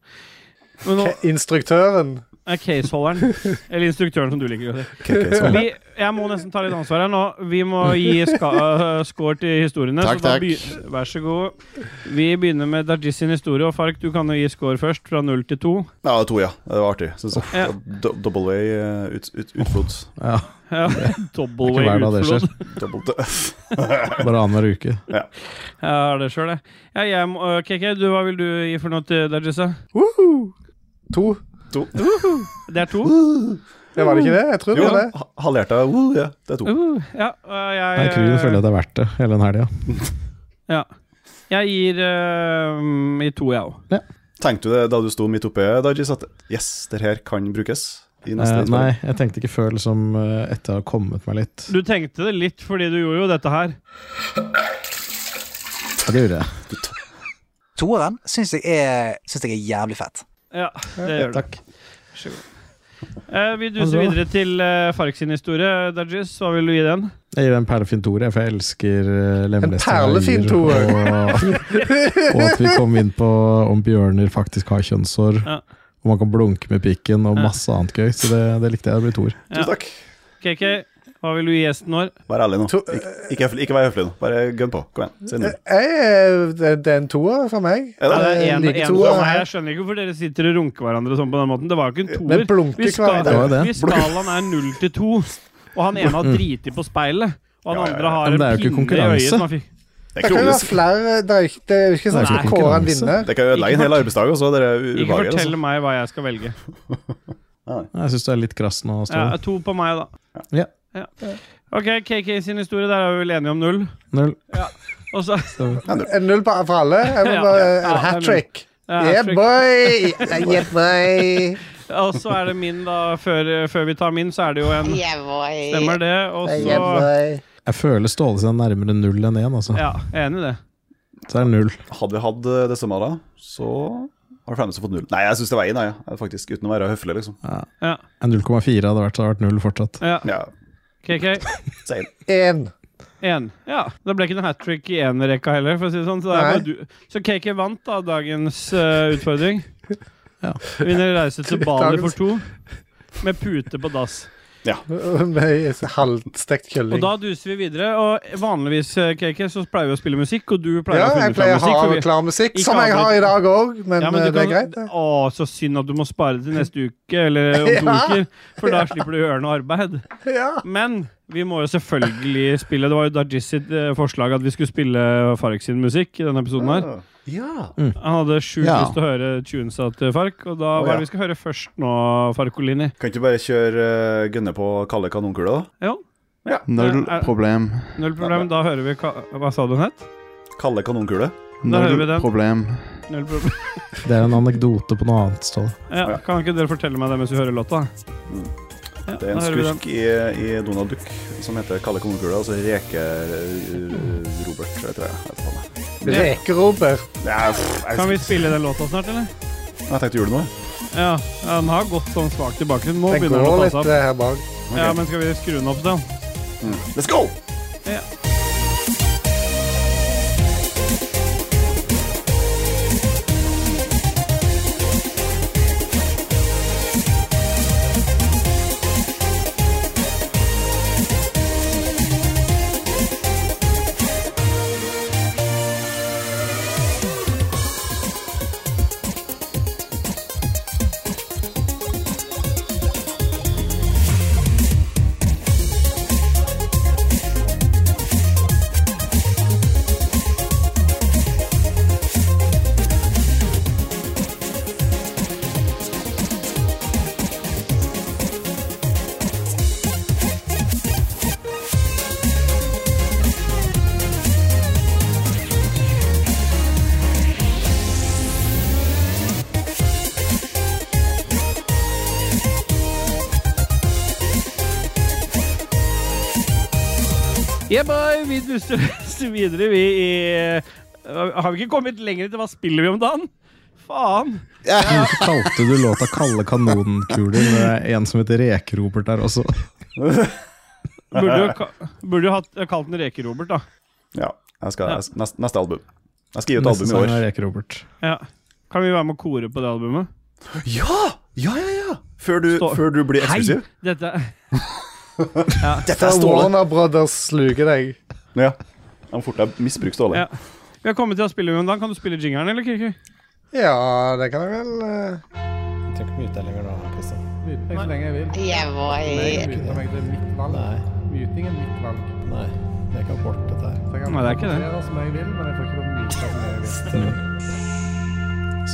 S2: Men nå
S5: Instruktøren.
S2: er caseholderen, eller instruktøren som du liker å si.
S3: KK-song.
S2: Vi, jeg må nesten ta litt ansvar her nå. Vi må gi ska, øh, score til historiene.
S8: Takk,
S2: så da
S8: takk.
S2: begy- Vær så god. Vi begynner med Dajis sin historie. Og Fark, du kan jo gi score først, fra null til to.
S3: Ja, det er to, ja. Det var artig, syns jeg.
S2: Ja.
S3: Do- Double way eh, ut, ut, utflod.
S4: Ja,
S2: Ja,
S4: det
S2: Double
S4: er
S2: way
S4: ikke hver dag det
S2: utflod.
S4: skjer.
S3: Double d-
S4: Bare annenhver uke.
S2: Jeg har det sjøl, jeg. Ja, jeg må, øh, KK, du, hva vil du gi for noe til Dajis? da?
S5: To.
S3: To.
S2: Det er to?
S5: Det var det ikke det? Jeg tror det
S3: Jo,
S5: var det.
S3: ha- halvert av woo, ja. Det er to.
S2: Uh, ja, øh,
S4: Nei,
S2: jeg,
S4: Crew føler jeg
S2: øh,
S4: det er verdt det, hele den helga.
S2: ja. eh, jeg gir øh, i to, jeg òg.
S3: Tenkte du det da du sto midt oppe, Dajis, at yes, det her kan brukes i neste
S4: Eh,
S3: innspilling?
S4: nei, jeg tenkte ikke før liksom, eh, etter å ha kommet meg litt.
S2: Du tenkte det litt, fordi du gjorde jo dette her.
S4: Ja, det gjorde jeg.
S7: Toeren syns jeg, er- syns jeg er jævlig fett.
S2: Ja, det gjør du.
S4: Takk.
S2: Eh, vi duser
S4: Bra.
S2: videre til eh, Fark sin historie. Dajis, hva vil du gi den?
S4: Jeg gir deg en perlefin toer, jeg, for jeg elsker eh, lemlesting. av
S5: perlefin
S4: dyr,
S5: toer.
S4: Og, og at vi kom inn på om bjørner faktisk har kjønnshår.
S2: Ja.
S4: Og man kan blunke med pikken, og
S2: Ja.
S4: masse annet gøy. Så det, det likte jeg. Det blir toer.
S2: Ja.
S3: Tusen takk.
S2: KK, hva vil du gi gjesten vår?
S3: Vær ærlig nå. Ik ikke, ikke vær høflig nå. Bare gønn på. Kom igjen. Si null.
S5: Jeg, er- det, det er en toer for meg.
S4: Eh,
S3: Er det?
S2: Ja, det er
S5: Jeg
S2: en,
S5: liker
S2: en,
S5: toer.
S2: for meg. jeg skjønner ikke hvorfor dere sitter og runker hverandre sånn på den måten. Det var jo ikke en toer.
S5: Men blunker
S2: Hvis,
S5: hverandre.
S4: Det var
S2: skala,
S4: det. Mm.
S2: hvis skalaen er null til to, og han ene har driti på speilet, og han
S3: Ja, ja, ja.
S2: andre har
S4: Men det er
S2: en
S4: jo
S2: pinne i
S4: ikke
S2: øyet
S4: konkurranse.
S2: som han fikk
S3: Det
S5: Det
S3: er
S5: kan jo være
S3: kronisk.
S5: flere Det er ikke, det er jo ikke sånn
S2: Nei.
S5: at Kåren vinner.
S3: Det kan jo ødelegge en hel arbeidsdag også, det er u-
S2: Ikke
S3: ubehaget.
S2: fortell
S3: Altså.
S2: meg hva jeg skal velge.
S4: Jeg syns du er litt krass nå,
S2: Ja,
S4: Ståle.
S2: to på meg, da.
S4: Ja.
S2: Ja. OK, KK sin historie, der er vi vel enige om null.
S4: Null.
S2: Og så
S5: En null på- for alle. Jeg vil
S2: Ja.
S5: bare,
S2: Ja,
S5: en
S2: det er
S5: hat trick.
S2: Ja,
S5: Yeah,
S2: trick.
S5: boy! Yeah, boy!
S2: Og så er det min, da. Før, før vi tar min, så er det jo en
S6: Yeah, boy.
S2: Stemmer det. Og
S5: Yeah,
S2: så
S5: boy.
S4: Jeg føler Ståle seg nærmere null enn én, altså.
S2: Ja, jeg er enig i det.
S4: Så det er null.
S3: Hadde vi hatt eh, det samme da, så har de fleste fått null. Nei, jeg syns det var én, jeg. Ja. Faktisk, uten å være høflig, liksom.
S2: Ja.
S4: En 0,4 hadde vært, så hadde det vært null fortsatt.
S2: ja.
S3: Ja,
S2: KK,
S3: same.
S5: En.
S2: én. Ja. Det ble ikke noe hat trick i enerekka heller, for å si det sånn. Så, det er
S5: Nei.
S2: bare du. så KK vant da dagens eh, utfordring.
S4: Ja.
S2: Vinner reise til Bali
S5: Dagens-
S2: for to. Med pute på dass.
S5: Med halvstekt
S2: Og
S5: kylling.
S2: da duser vi videre. Og vanligvis eh, KK, så pleier vi å spille musikk, og du pleier
S5: Ja,
S2: å
S5: jeg
S2: finne
S5: pleier
S2: fram
S5: å ha
S2: musikk. for vi-
S5: klar musikk,
S2: Ikke
S5: som jeg har i
S2: avbryt.
S5: dag òg, men,
S2: Ja, men du
S5: eh, det er
S2: kan-
S5: greit, det.
S2: Å, så synd at du må spare det til neste uke, eller om to
S5: Ja.
S2: uker. For da slipper du å gjøre noe arbeid.
S5: Ja.
S2: Men vi må jo selvfølgelig spille Det var jo Dajis sitt eh, forslag at vi skulle spille Fark sin musikk i denne episoden her.
S3: Ja.
S2: Han hadde sjukt
S8: Ja.
S2: lyst til å høre tunesa til Fark, og da
S3: Å,
S2: hva
S3: ja.
S2: er det vi skal høre først nå, Farkolini?
S3: Kan ikke bare kjøre eh, gønne på kalde kanonkula, da?
S2: Jo,
S8: Null
S2: Er-
S8: problem.
S2: null problem. Da hører vi ka Hva sa du den het?
S3: Kalde
S2: hører
S3: kanonkule?
S2: vi
S8: Null
S2: den.
S8: problem.
S2: Null problem.
S4: Det er en anekdote på noe annet, Ståle.
S2: Ja, kan ikke dere fortelle meg det mens vi hører låta? Ja,
S3: Det
S2: da
S3: er en
S2: hører vi den.
S3: skurk i, i Donald Duck som heter Kalle Kongekula, og så reker eh, Robert, tror jeg. Jeg vet faen jeg.
S5: Reker-Robert.
S3: Det er- pff, jeg-
S2: Kan vi spille den låta snart, eller?
S3: Jeg tenkte gjorde noe.
S2: Ja, ja, den har gått sånn svakt i bakgrunnen. Nå
S5: Den
S2: begynner den
S5: går
S2: å ta
S5: litt
S2: seg opp.
S5: eh, her bak.
S2: Ja, men skal vi skru den opp, da?
S3: Let's go!
S2: Yeah, boy, vi duster oss videre, vi i eh, Har vi ikke kommet lenger til hva spiller vi om dagen? Faen.
S4: Hvorfor kalte du låta 'Kalde kanonkuler' når det er en som heter Reke-Robert der også?
S2: Burde jo, ka- burde jo hatt, eh, kalt den Reke-Robert, da.
S3: Ja, jeg skal,
S2: Ja.
S3: jeg- neste, neste album. Jeg skal gi ut
S4: Neste
S3: album i
S4: sang
S3: år.
S4: er Reke-Robert.
S2: Ja. Kan vi være med å kore på det albumet?
S3: Ja! Ja, ja, ja! Før du,
S2: Stå-
S3: før du blir eksklusiv.
S2: Dette
S3: Dette
S5: Da
S3: er Ståle.
S5: Warner Brothers sluker deg.
S3: Ja. Jeg må fort deg misbruk Ståle.
S2: Ja. Vi har kommet til å spille men da Kan du spille jingeren, eller, Kirki?
S5: Ja, det kan jeg vel eh,
S4: Jeg trenger ikke mute deg lenger nå, Kristian.
S5: så lenge jeg vil.
S6: Jeg var
S5: Mute meg, det er mitt valg.
S4: Nei,
S5: Muting er mitt valg.
S4: nei. Det er ikke abort, dette her.
S5: Så jeg
S2: Nei, det er ikke det.
S5: kommentere som jeg vil, men jeg får ikke lov å mute som jeg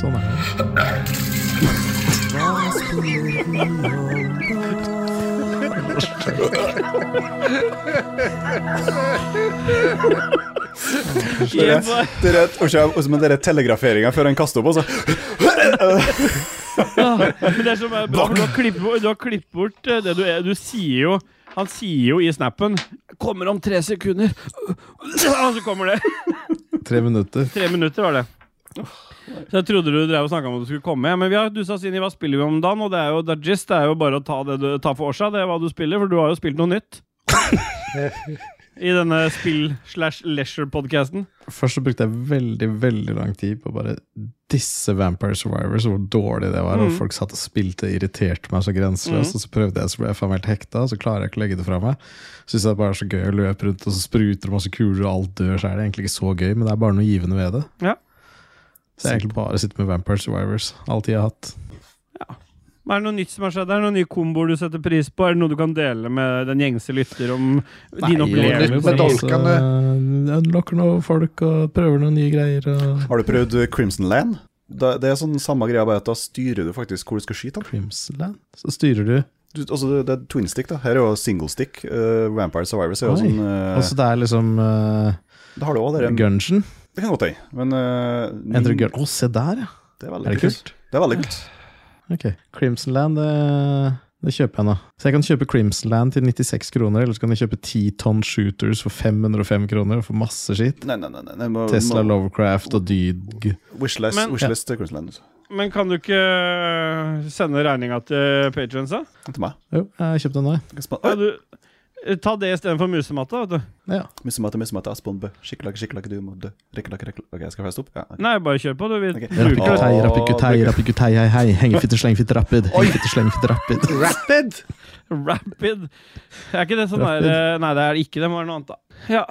S5: vil.
S4: Sånn er det.
S2: Jeg bare-
S3: Dere, unnskyld, jeg- men dere telegraferinga før han kaster opp, altså.
S2: Ja, Men det er som er bra, for du har klippet bort, du har klippet bort eh, det du er. Du sier jo Han sier jo i snappen 'Kommer om tre sekunder'. Og så kommer det.
S4: Tre minutter.
S2: Tre minutter var det. Så jeg trodde du drev og snakka om at du skulle komme. Men vi har dusa oss inn i hva spiller vi om dagen, og det er jo Dajis. Det er jo bare å ta det du tar for seg, det er hva du spiller, for du har jo spilt noe nytt. I denne spill-slash-leisure-podkasten.
S4: Først så brukte jeg veldig veldig lang tid på å bare disse Vampire Survivors, hvor dårlig det var. Og folk satt og spilte og irriterte meg så grenseløst. Og så prøvde jeg, så ble jeg faen meg helt hekta, og så klarer jeg ikke å legge det fra meg. Syns jeg bare er så gøy å løpe rundt, og så spruter det masse kuler, og alt dør, så er det egentlig ikke så gøy, men det er bare noe givende ved det.
S2: Ja.
S4: Så jeg egentlig bare sitter med Vampire Survivors, all tid jeg har hatt.
S2: Hva er det noe nytt som har skjedd? Er det noen nye komboer du setter pris på? Er det noe du kan dele med den gjengse lytter om din
S5: nytt
S2: opplevelse?
S5: med dolkene.
S4: Unlocker noen folk og prøver noen nye greier. Og
S3: Har du prøvd eh, Crimson Land? Da, det er sånn samme greia, bare at da styrer du faktisk hvor du skal skyte. han.
S4: Crimsland. Så styrer du.
S3: Du, altså, det- det er twin stick, da. Her er jo single stick. eh, Vampire Survivors er jo
S4: Oi.
S3: sånn eh,
S4: Altså det er liksom uh,
S3: Det har du òg, det. er-
S4: gungeon.
S3: Det kan godt hende. Men eh, min-
S4: Endre gun. Å, se der, ja.
S3: Det er veldig
S4: Er det kult?
S3: Det er veldig kult.
S4: Ok. Crimson Land, det, det kjøper jeg nå. Så jeg kan kjøpe Crimson Land til 96 kroner, eller så kan jeg kjøpe 10 tonn shooters for 505 kroner og få masse skitt.
S3: Nei, nei, nei. nei, nei må,
S4: Tesla
S3: må,
S4: Lovecraft og Dyg.
S3: wishless
S2: Men-
S3: wishless til Crimson Land.
S2: Men kan du ikke øh, sende regninga til patrions, da?
S3: Til meg.
S4: Jo, jeg kjøpte den nå, jeg.
S3: Jeg kan spa-
S2: Ja,
S3: Oi,
S2: du, øh, ta det istedenfor musematta, vet du.
S4: Ja.
S3: Missemøte, missemøte, Aspen Bø. Skikkelakke, skikkelakke, du må dø. Rekkelakke, rekkelakke. Ok, jeg skal feste opp. Ja, ok.
S2: Nei, bare kjør på, du. Vi
S3: Ok.
S2: bruker
S4: Rappikutei, rappikutei, rappikutei, hei, hei. Hengefitte, slengfitte, rappid. Hengefitte, slengfitte, rappid.
S5: Rapid!
S2: Rapid. Er ikke det sånn
S4: Rapid.
S2: der Nei, det er det ikke det. Må være noe annet, da. Ja.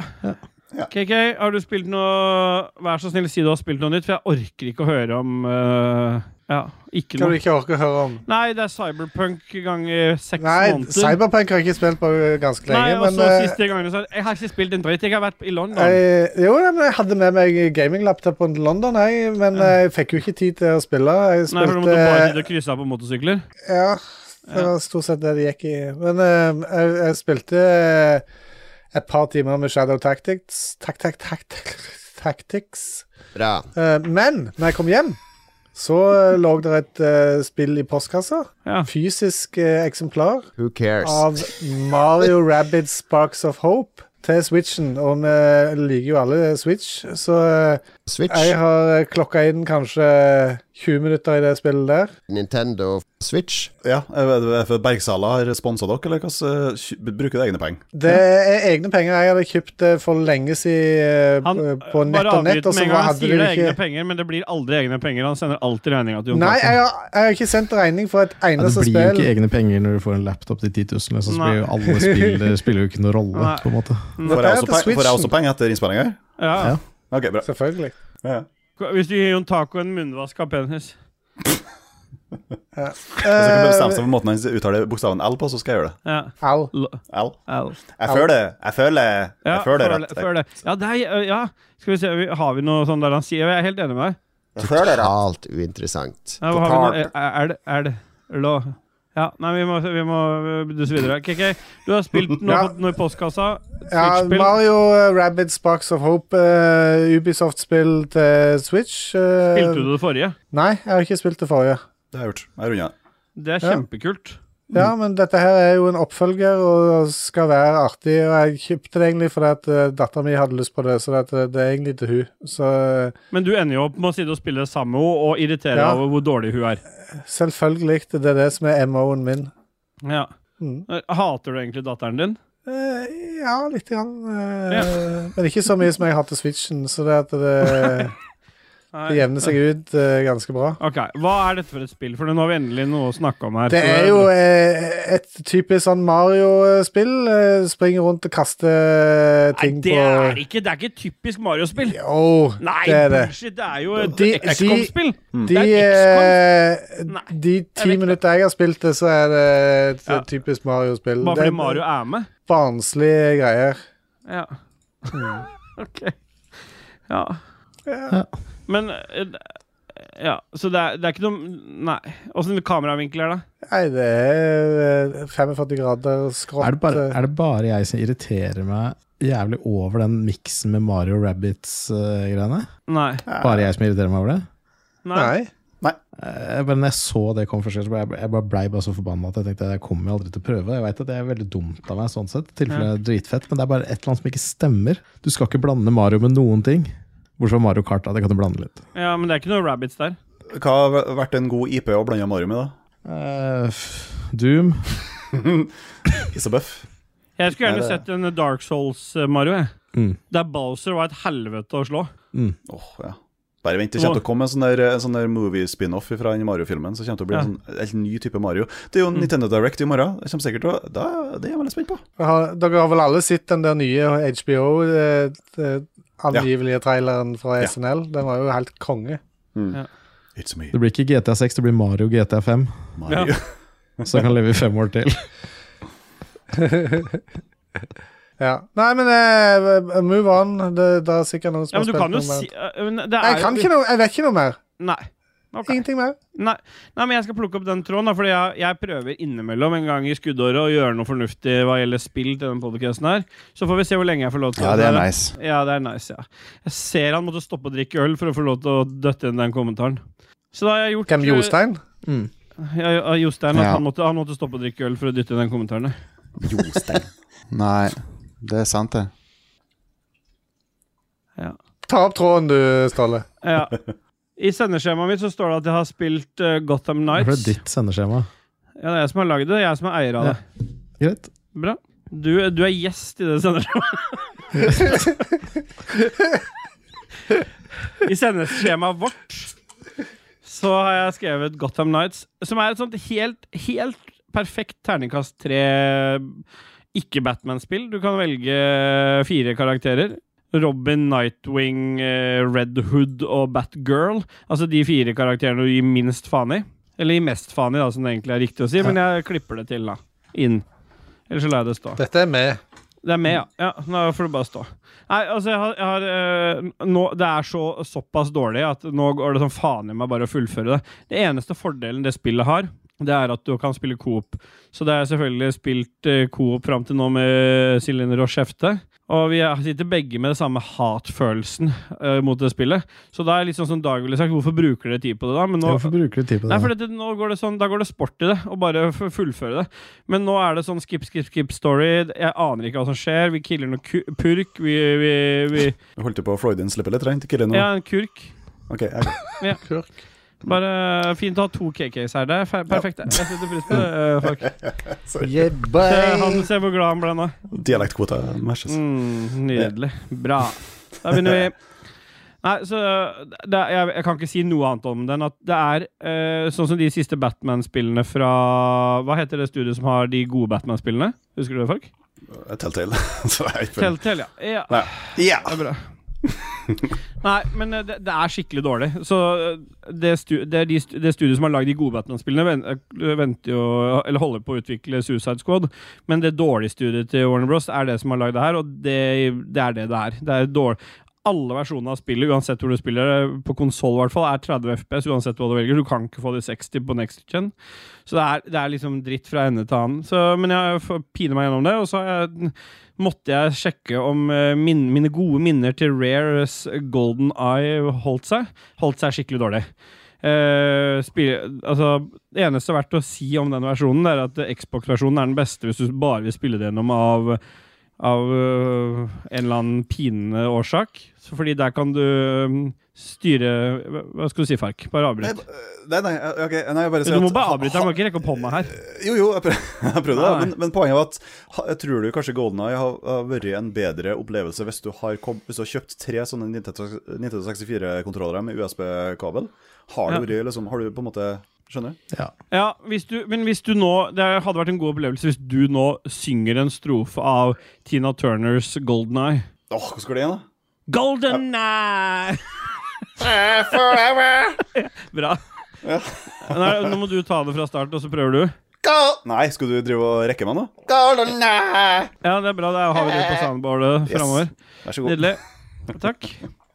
S4: Ja.
S2: KK, har du spilt noe Vær så snill, si du har spilt noe nytt, for jeg orker ikke å høre om eh, Ja, ikke
S5: Hva du
S2: noe.
S5: ikke orker å høre om.
S2: Nei, det er Cyberpunk ganger seks
S5: Nei,
S2: måneder.
S5: Cyberpunk har jeg ikke spilt på ganske
S2: Nei,
S5: lenge,
S2: og
S5: men
S2: så
S5: eh,
S2: siste gangen så Jeg har ikke spilt en dritt. Jeg har vært i London.
S5: jeg, jo, nei, men jeg hadde med meg gaming-laptopen til London, jeg, men eh, jeg fikk jo ikke tid til å spille. Jeg
S2: Nei, for du
S5: spilte eh,
S2: måtte bare sitte og krysse av på motorsykler.
S5: Ja, det var stort sett det det gikk i. Men eh, jeg, jeg spilte eh, et par timer med Shadow Tactics tak, tak, tak, tak, Tactics.
S1: Bra.
S5: Eh, men når jeg kom hjem, så eh, lå det et eh, spill i postkassa.
S2: Ja.
S5: Fysisk eh, eksemplar
S1: Who cares?
S5: av Mario Rabbids Sparks of Hope til Switchen. Og vi liker jo alle Switch, så eh,
S1: Switch.
S5: jeg har eh, klokka inn kanskje 20 minutter i det spillet der.
S1: Nintendo Switch.
S3: Ja, er det for Bergsala har sponsa dere, eller hvordan eh, bruker dere egne penger?
S5: Det er egne penger. Jeg hadde kjøpt det for lenge siden eh,
S2: Han
S5: på- på nett
S2: bare
S5: og nett.
S2: avbryter
S5: Og
S2: med
S5: så
S2: en gang. Han
S5: hadde
S2: sier det
S5: du
S2: er egne
S5: ikke
S2: penger, men det blir aldri egne penger. Han sender alltid regninga til Jon
S5: Nei,
S2: Cato.
S5: jeg
S3: sånn-
S5: har, jeg har ikke sendt regning for et
S4: Ja, det
S5: eneste
S4: blir jo
S5: spill.
S4: ikke egne penger når du får en laptop til 10 000, liksom, så
S2: Nei.
S4: blir jo alle spill spiller jo ikke noen rolle,
S2: Nei.
S4: på en måte.
S3: Får
S5: Dette
S3: jeg
S5: er
S3: også
S5: til
S3: peng- får jeg
S5: Switchen.
S3: også penger etter innspillinga? her?
S2: Ja.
S4: Ja.
S3: Ok, bra.
S5: Selvfølgelig.
S3: Ja, ja.
S2: Hvis du gir Jon Taco en munnvask av penis
S3: Hvis jeg kan bestemme seg for måten han uttaler bokstaven L på, så skal jeg gjøre det.
S2: ja.
S5: Eh, Au.
S2: L-
S3: L.
S2: L.
S3: Jeg føler det. Jeg føler
S2: Ja,
S3: Jeg føler
S2: føl-
S3: rett.
S2: føl det. Ja, det er, eh, ja, skal vi se. vi- Har vi noe sånn der han sier? Jeg er helt enig med deg.
S3: Jeg føler rett.
S1: Alt uinteressant.
S2: Ja, har vi noe? Er det, er det lå. Ja, nei, vi må, vi må duse videre. KK, du har spilt noe,
S5: Ja.
S2: fått noe i postkassa.
S5: Ja,
S2: Switch-spill.
S5: Mario eh, Rabbids Sparks of Hope, eh, Ubisoft-spill til Switch. eh,
S2: Spilte du det forrige?
S5: Nei, jeg har ikke spilt det forrige.
S3: Det har jeg gjort. Jeg runder.
S2: Det er
S5: Ja.
S2: kjempekult.
S5: Ja,
S2: Mm.
S5: men dette her er jo en oppfølger og skal være artig. Og jeg kjøpte det egentlig fordi at eh, datteren min hadde lyst på det, så eh, det, det er egentlig til hun. Så eh,
S2: Men du ender jo opp med å sitte og spille det samme med henne og irritere deg
S5: Ja.
S2: over hvor dårlig hun er.
S5: Selvfølgelig. Det er det som er MO-en min.
S2: Ja.
S5: Mm.
S2: Hater du egentlig datteren din?
S5: Eh, ja, litt. Grann, eh, Men ikke så mye som jeg har til Switchen. Så det at det
S2: Nei.
S5: Det jevner seg ut eh, ganske bra.
S2: Ok, Hva er dette for et spill? For nå har vi endelig noe å snakke om her.
S5: Det er jo eh, et typisk sånn Mario-spill. eh, Springer rundt og kaster eh,
S2: Nei,
S5: ting
S2: det
S5: på
S2: er ikke, det er ikke et typisk Mario-spill.
S5: Jo,
S2: Nei,
S5: det er det.
S2: bullshit! Det er jo et
S5: De-
S2: XCOM-spill.
S5: De,
S2: Det er
S5: eh,
S2: Nei,
S5: de ti
S2: vet
S5: minutter jeg har spilt det, så er det et
S2: Ja.
S5: typisk Mario-spill.
S2: Bare
S5: Det
S2: fordi
S5: er
S2: Mario er med.
S5: Barnslige greier.
S2: Ja.
S5: Mm.
S2: OK. Ja.
S4: Ja.
S2: Men eh, Ja, så det er, det er ikke noe Nei. Åssen kameravinkel er det?
S5: Nei, det er eh, 45 grader skrått.
S4: Er det, bare, er det bare jeg som irriterer meg jævlig over den miksen med Mario Rabbits-greiene?
S2: Nei.
S4: bare jeg som irriterer meg over det?
S2: Nei.
S5: Nei.
S4: Eh, Men når jeg så det kom først, så ble jeg, jeg bare blei bare så forbanna at jeg tenkte jeg kommer jo aldri til å prøve. Jeg vet at det er veldig dumt av meg, sånn sett. I tilfelle det er dritfett, men det er bare et eller annet som ikke stemmer. Du skal ikke blande Mario med noen ting. Bortsett fra Mario Kart, da. Det kan du blande litt.
S2: Ja, men det er ikke noe rabbits der.
S3: Hva har vært en god IP å blande Mario med, da?
S4: Eh, f- Doom.
S3: Isabøff?
S2: Jeg skulle
S3: Nei,
S2: gjerne
S3: det-
S2: sett en Dark Souls-Mario. jeg.
S4: Mm.
S2: Der Bowser var et helvete å slå.
S3: Åh, ja. Bare vent, det kommer til å komme en sånn der, en sånn der movie-spin-off fra den Mario-filmen. Så kommer det til å bli en sånn helt ny type Mario. Det er
S2: Mm.
S3: jo Nintendo Direct i morgen. Jeg kommer sikkert til å da, Det er jeg veldig spent på.
S5: eh, Har, dere har vel alle sett den der nye HBO-angivelige eh, traileren fra
S3: Ja.
S5: SNL? Den var jo helt konge.
S3: It's me,
S4: Det blir ikke GTA6, det blir Mario GTA5.
S3: Mario.
S4: Så jeg kan leve i fem år til.
S5: Ja. Nei, men eh, move on. Det, det er sikkert noen
S2: Ja,
S5: som har
S2: men du
S5: spilt
S2: kan jo
S5: noe mer.
S2: si eh, men det er
S5: Jeg kan
S2: jo-
S5: ikke noe, jeg vet ikke noe mer.
S2: Nei. Ok.
S5: Ingenting mer.
S2: Nei, nei, men jeg skal plukke opp den tråden, da, fordi jeg, jeg prøver innimellom en gang i skuddåret å gjøre noe fornuftig hva gjelder spill til denne podcasten her. Så får vi se hvor lenge jeg får lov til
S8: Ja, det er
S2: gjøre
S8: nice.
S2: Ja, det er nice, ja. Jeg ser han måtte stoppe å drikke øl for å få lov til å døtte inn den kommentaren. Så da har jeg gjort eh,
S5: Hvem Jostein?
S2: Ja, ja, Jostein. At
S8: Ja.
S2: han, måtte, han måtte stoppe å drikke øl for å dytte inn den kommentaren. ja.
S3: Jostein.
S8: Nei, det er sant, det.
S5: Ta opp tråden, du, Ståle.
S2: Ja. I sendeskjemaet mitt så står det at jeg har spilt eh, Gotham
S4: For det
S2: Nights.
S4: er ditt sendeskjema.
S2: Ja, det er jeg som har lagd det. Det er jeg som er eier av det.
S4: Greit.
S2: Bra. Du, du er gjest i det sendeskjemaet. I sendeskjemaet vårt så har jeg skrevet Gotham Nights, som er et sånt helt, helt perfekt terningkast tre ikke-Batman-spill. Du kan velge fire karakterer. Robin, Nightwing, eh, Red Hood og Batgirl. Altså de fire karakterene du gir minst faen i. Eller gir mest faen i, da, som det egentlig er riktig å si, men jeg klipper det til, da. Inn. Eller så lar jeg det stå.
S5: Dette er med.
S2: Det er med, ja. ja. Nå får du bare stå. Nei, altså, jeg har, jeg har eh, nå, Det er så, såpass dårlig at nå går det sånn faen i meg bare å fullføre det. Det eneste fordelen det spillet har, det er at du kan spille coop. Så det har jeg selvfølgelig spilt eh, coop fram til nå med Silinder og Skjefte. Og vi er- sitter begge med den samme hatfølelsen eh, mot det spillet. Så da er det litt sånn som Dag ville sagt, hvorfor bruker dere tid på det da? Men nå,
S4: Hvorfor bruker du tid på det?
S2: Nei, for
S4: da?
S2: dette, nå går det sånn, Da går det sport i det, og bare f- fullføre det. Men nå er det sånn skip, skip, skip story. Jeg aner ikke hva som skjer. Vi killer noe ku purk. Vi, vi, vi
S3: Jeg holdt jo på å Freudian slippe litt reint. Ikke det nå?
S2: Ja, en kurk.
S3: Ok, jeg,
S2: Bare fint å ha to KKs her. Det er fe- perfekt. det. Jeg setter pris på det. eh, folk.
S5: Yeah,
S2: Se,
S5: bye.
S2: han, se hvor glad han ble nå.
S3: dialektkvota matches.
S2: Mm, nydelig. Bra. Da begynner vi. Nei, så det, er- jeg, jeg kan ikke si noe annet om den. At det er eh, sånn som de siste Batman-spillene fra Hva heter det studioet som har de gode Batman-spillene? Husker du det, folk?
S3: Telltale. Så jeg ikke
S2: Telltale, ja. ja.
S3: Nei. Ja!
S2: Det er bra. Nei, men eh, det, det er skikkelig dårlig. Så eh, det, stu, det, er de stu, det studiet som har lagd de gode Batman-spillene, ven- eh, venter jo Eller holder på å utvikle Suicide Squad. Men det dårlige studiet til Warner Bros er det som har lagd det her, og det, det er det det er. Det er dårlig. Alle versjoner av spillet, uansett hvor du spiller, eh, på konsoll i hvert fall, er 30 FPS uansett hva du velger. Du kan ikke få de 60 på next gen. Så det er, det er liksom dritt fra ende til annen. Så, men jeg får pine meg gjennom det, og så har jeg, måtte jeg sjekke om eh, min, mine gode minner til Rares Golden Eye holdt seg. Holdt seg skikkelig dårlig. Eh, spille, altså, det eneste verdt å si om den versjonen, det er at Xbox-versjonen er den beste hvis du bare vil spille det gjennom av av øh, en eller annen pinende årsak. Så fordi der kan du øh, styre Hva- Hva skal du si, Fark? Bare
S3: Nei,
S2: avbryt.
S3: nei, nei, ok, nei, jeg bare sier
S2: Du må
S3: at-
S2: bare avbryte, jeg må ikke rekke opp hånda her.
S3: Jo, jo, jeg prøv- jeg prøvde det,
S2: Nei.
S3: men, men poenget var at ha- jeg tror du kanskje Golden Eye har, har vært en bedre opplevelse hvis du har, kom, hvis du har kjøpt tre sånne Nintendo 64-kontrollere med USB-kabel. Har, du vært, liksom, har du på en måte Skjønner? du?
S4: Ja.
S2: Ja, hvis du, men hvis du nå Det hadde vært en god opplevelse hvis du nå synger en strofe av Tina Turners Golden Eye.
S3: Åh, hvordan går det igjen, da?
S2: Golden Eye! Bra. Nei, nå må du ta det fra start, og så prøver du.
S3: Nei, skal du drive og rekke meg nå?
S2: Ja, det er bra. Da har vi det på soundboardet framover.
S3: Vær så god.
S2: Nydelig. Takk.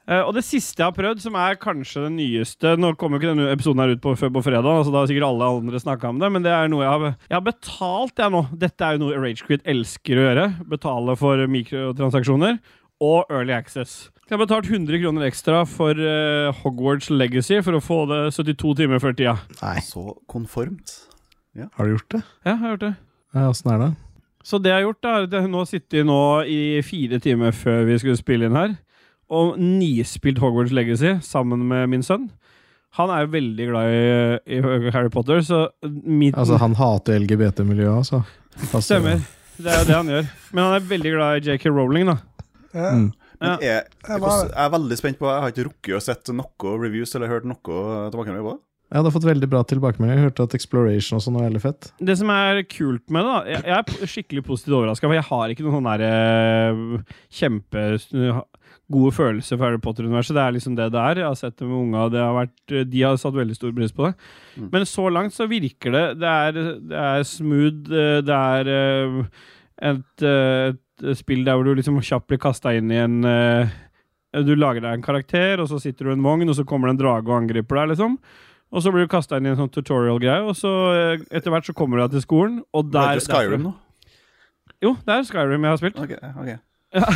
S2: Eh, og det siste jeg har prøvd, som er kanskje det nyeste Nå kommer jo ikke denne episoden her ut på, før på fredag, så da har sikkert alle andre snakka om det, men det er noe jeg har, jeg har betalt, jeg nå. Dette er jo noe Ragequit elsker å gjøre. Betale for mikrotransaksjoner og Early Access. Jeg har betalt 100 kroner ekstra for eh, Hogwarts Legacy for å få det 72 timer før tida.
S4: Nei.
S3: Så konformt.
S4: Har du gjort det?
S2: Ja, jeg har gjort det.
S4: Ja, Åssen er det?
S2: Så det jeg har gjort, er at jeg nå sitter nå i fire timer før vi skulle spille inn her, og nispilt Hogwarts Legacy sammen med min sønn. Han er jo veldig glad i, i Harry Potter, så mitt
S4: Altså, han hater LGBT-miljøet, altså. Passer
S2: stemmer.
S4: det.
S2: Det er jo det han gjør. Men han er veldig glad i JK Rowling, da.
S5: Ja.
S4: Mm.
S2: Ja.
S3: Men jeg,
S5: Jeg
S3: jeg,
S5: var-
S3: jeg er veldig spent på Jeg har ikke rukket å sett noe reviews eller hørt noe tilbakemelding på det.
S4: Ja, det har fått veldig bra tilbakemelding. Jeg hørte at Exploration også nå er veldig fett.
S2: Det som er kult med det, da Jeg, jeg er p- skikkelig positivt overraska, for jeg har ikke noen sånn der eh, kjempe gode følelser for Harry Potter-universet. Det er liksom det det er. Jeg har sett det med unga, det har vært, eh, de har satt veldig stor pris på det.
S3: Mm.
S2: Men så langt så virker det. Det er, det er smooth, eh, det er eh, et, eh, et spill der hvor du liksom kjapt blir kasta inn i en eh, Du lager deg en karakter, og så sitter du i en vogn, og så kommer det en drage og angriper deg, liksom. Og så blir du kasta inn i en sånn tutorial-greie, og så eh, etter hvert så kommer du deg til skolen, og
S3: Det er
S2: der
S3: ikke Skyrim nå.
S2: Jo, det er Skyrim jeg har spilt.
S3: Ok, ok.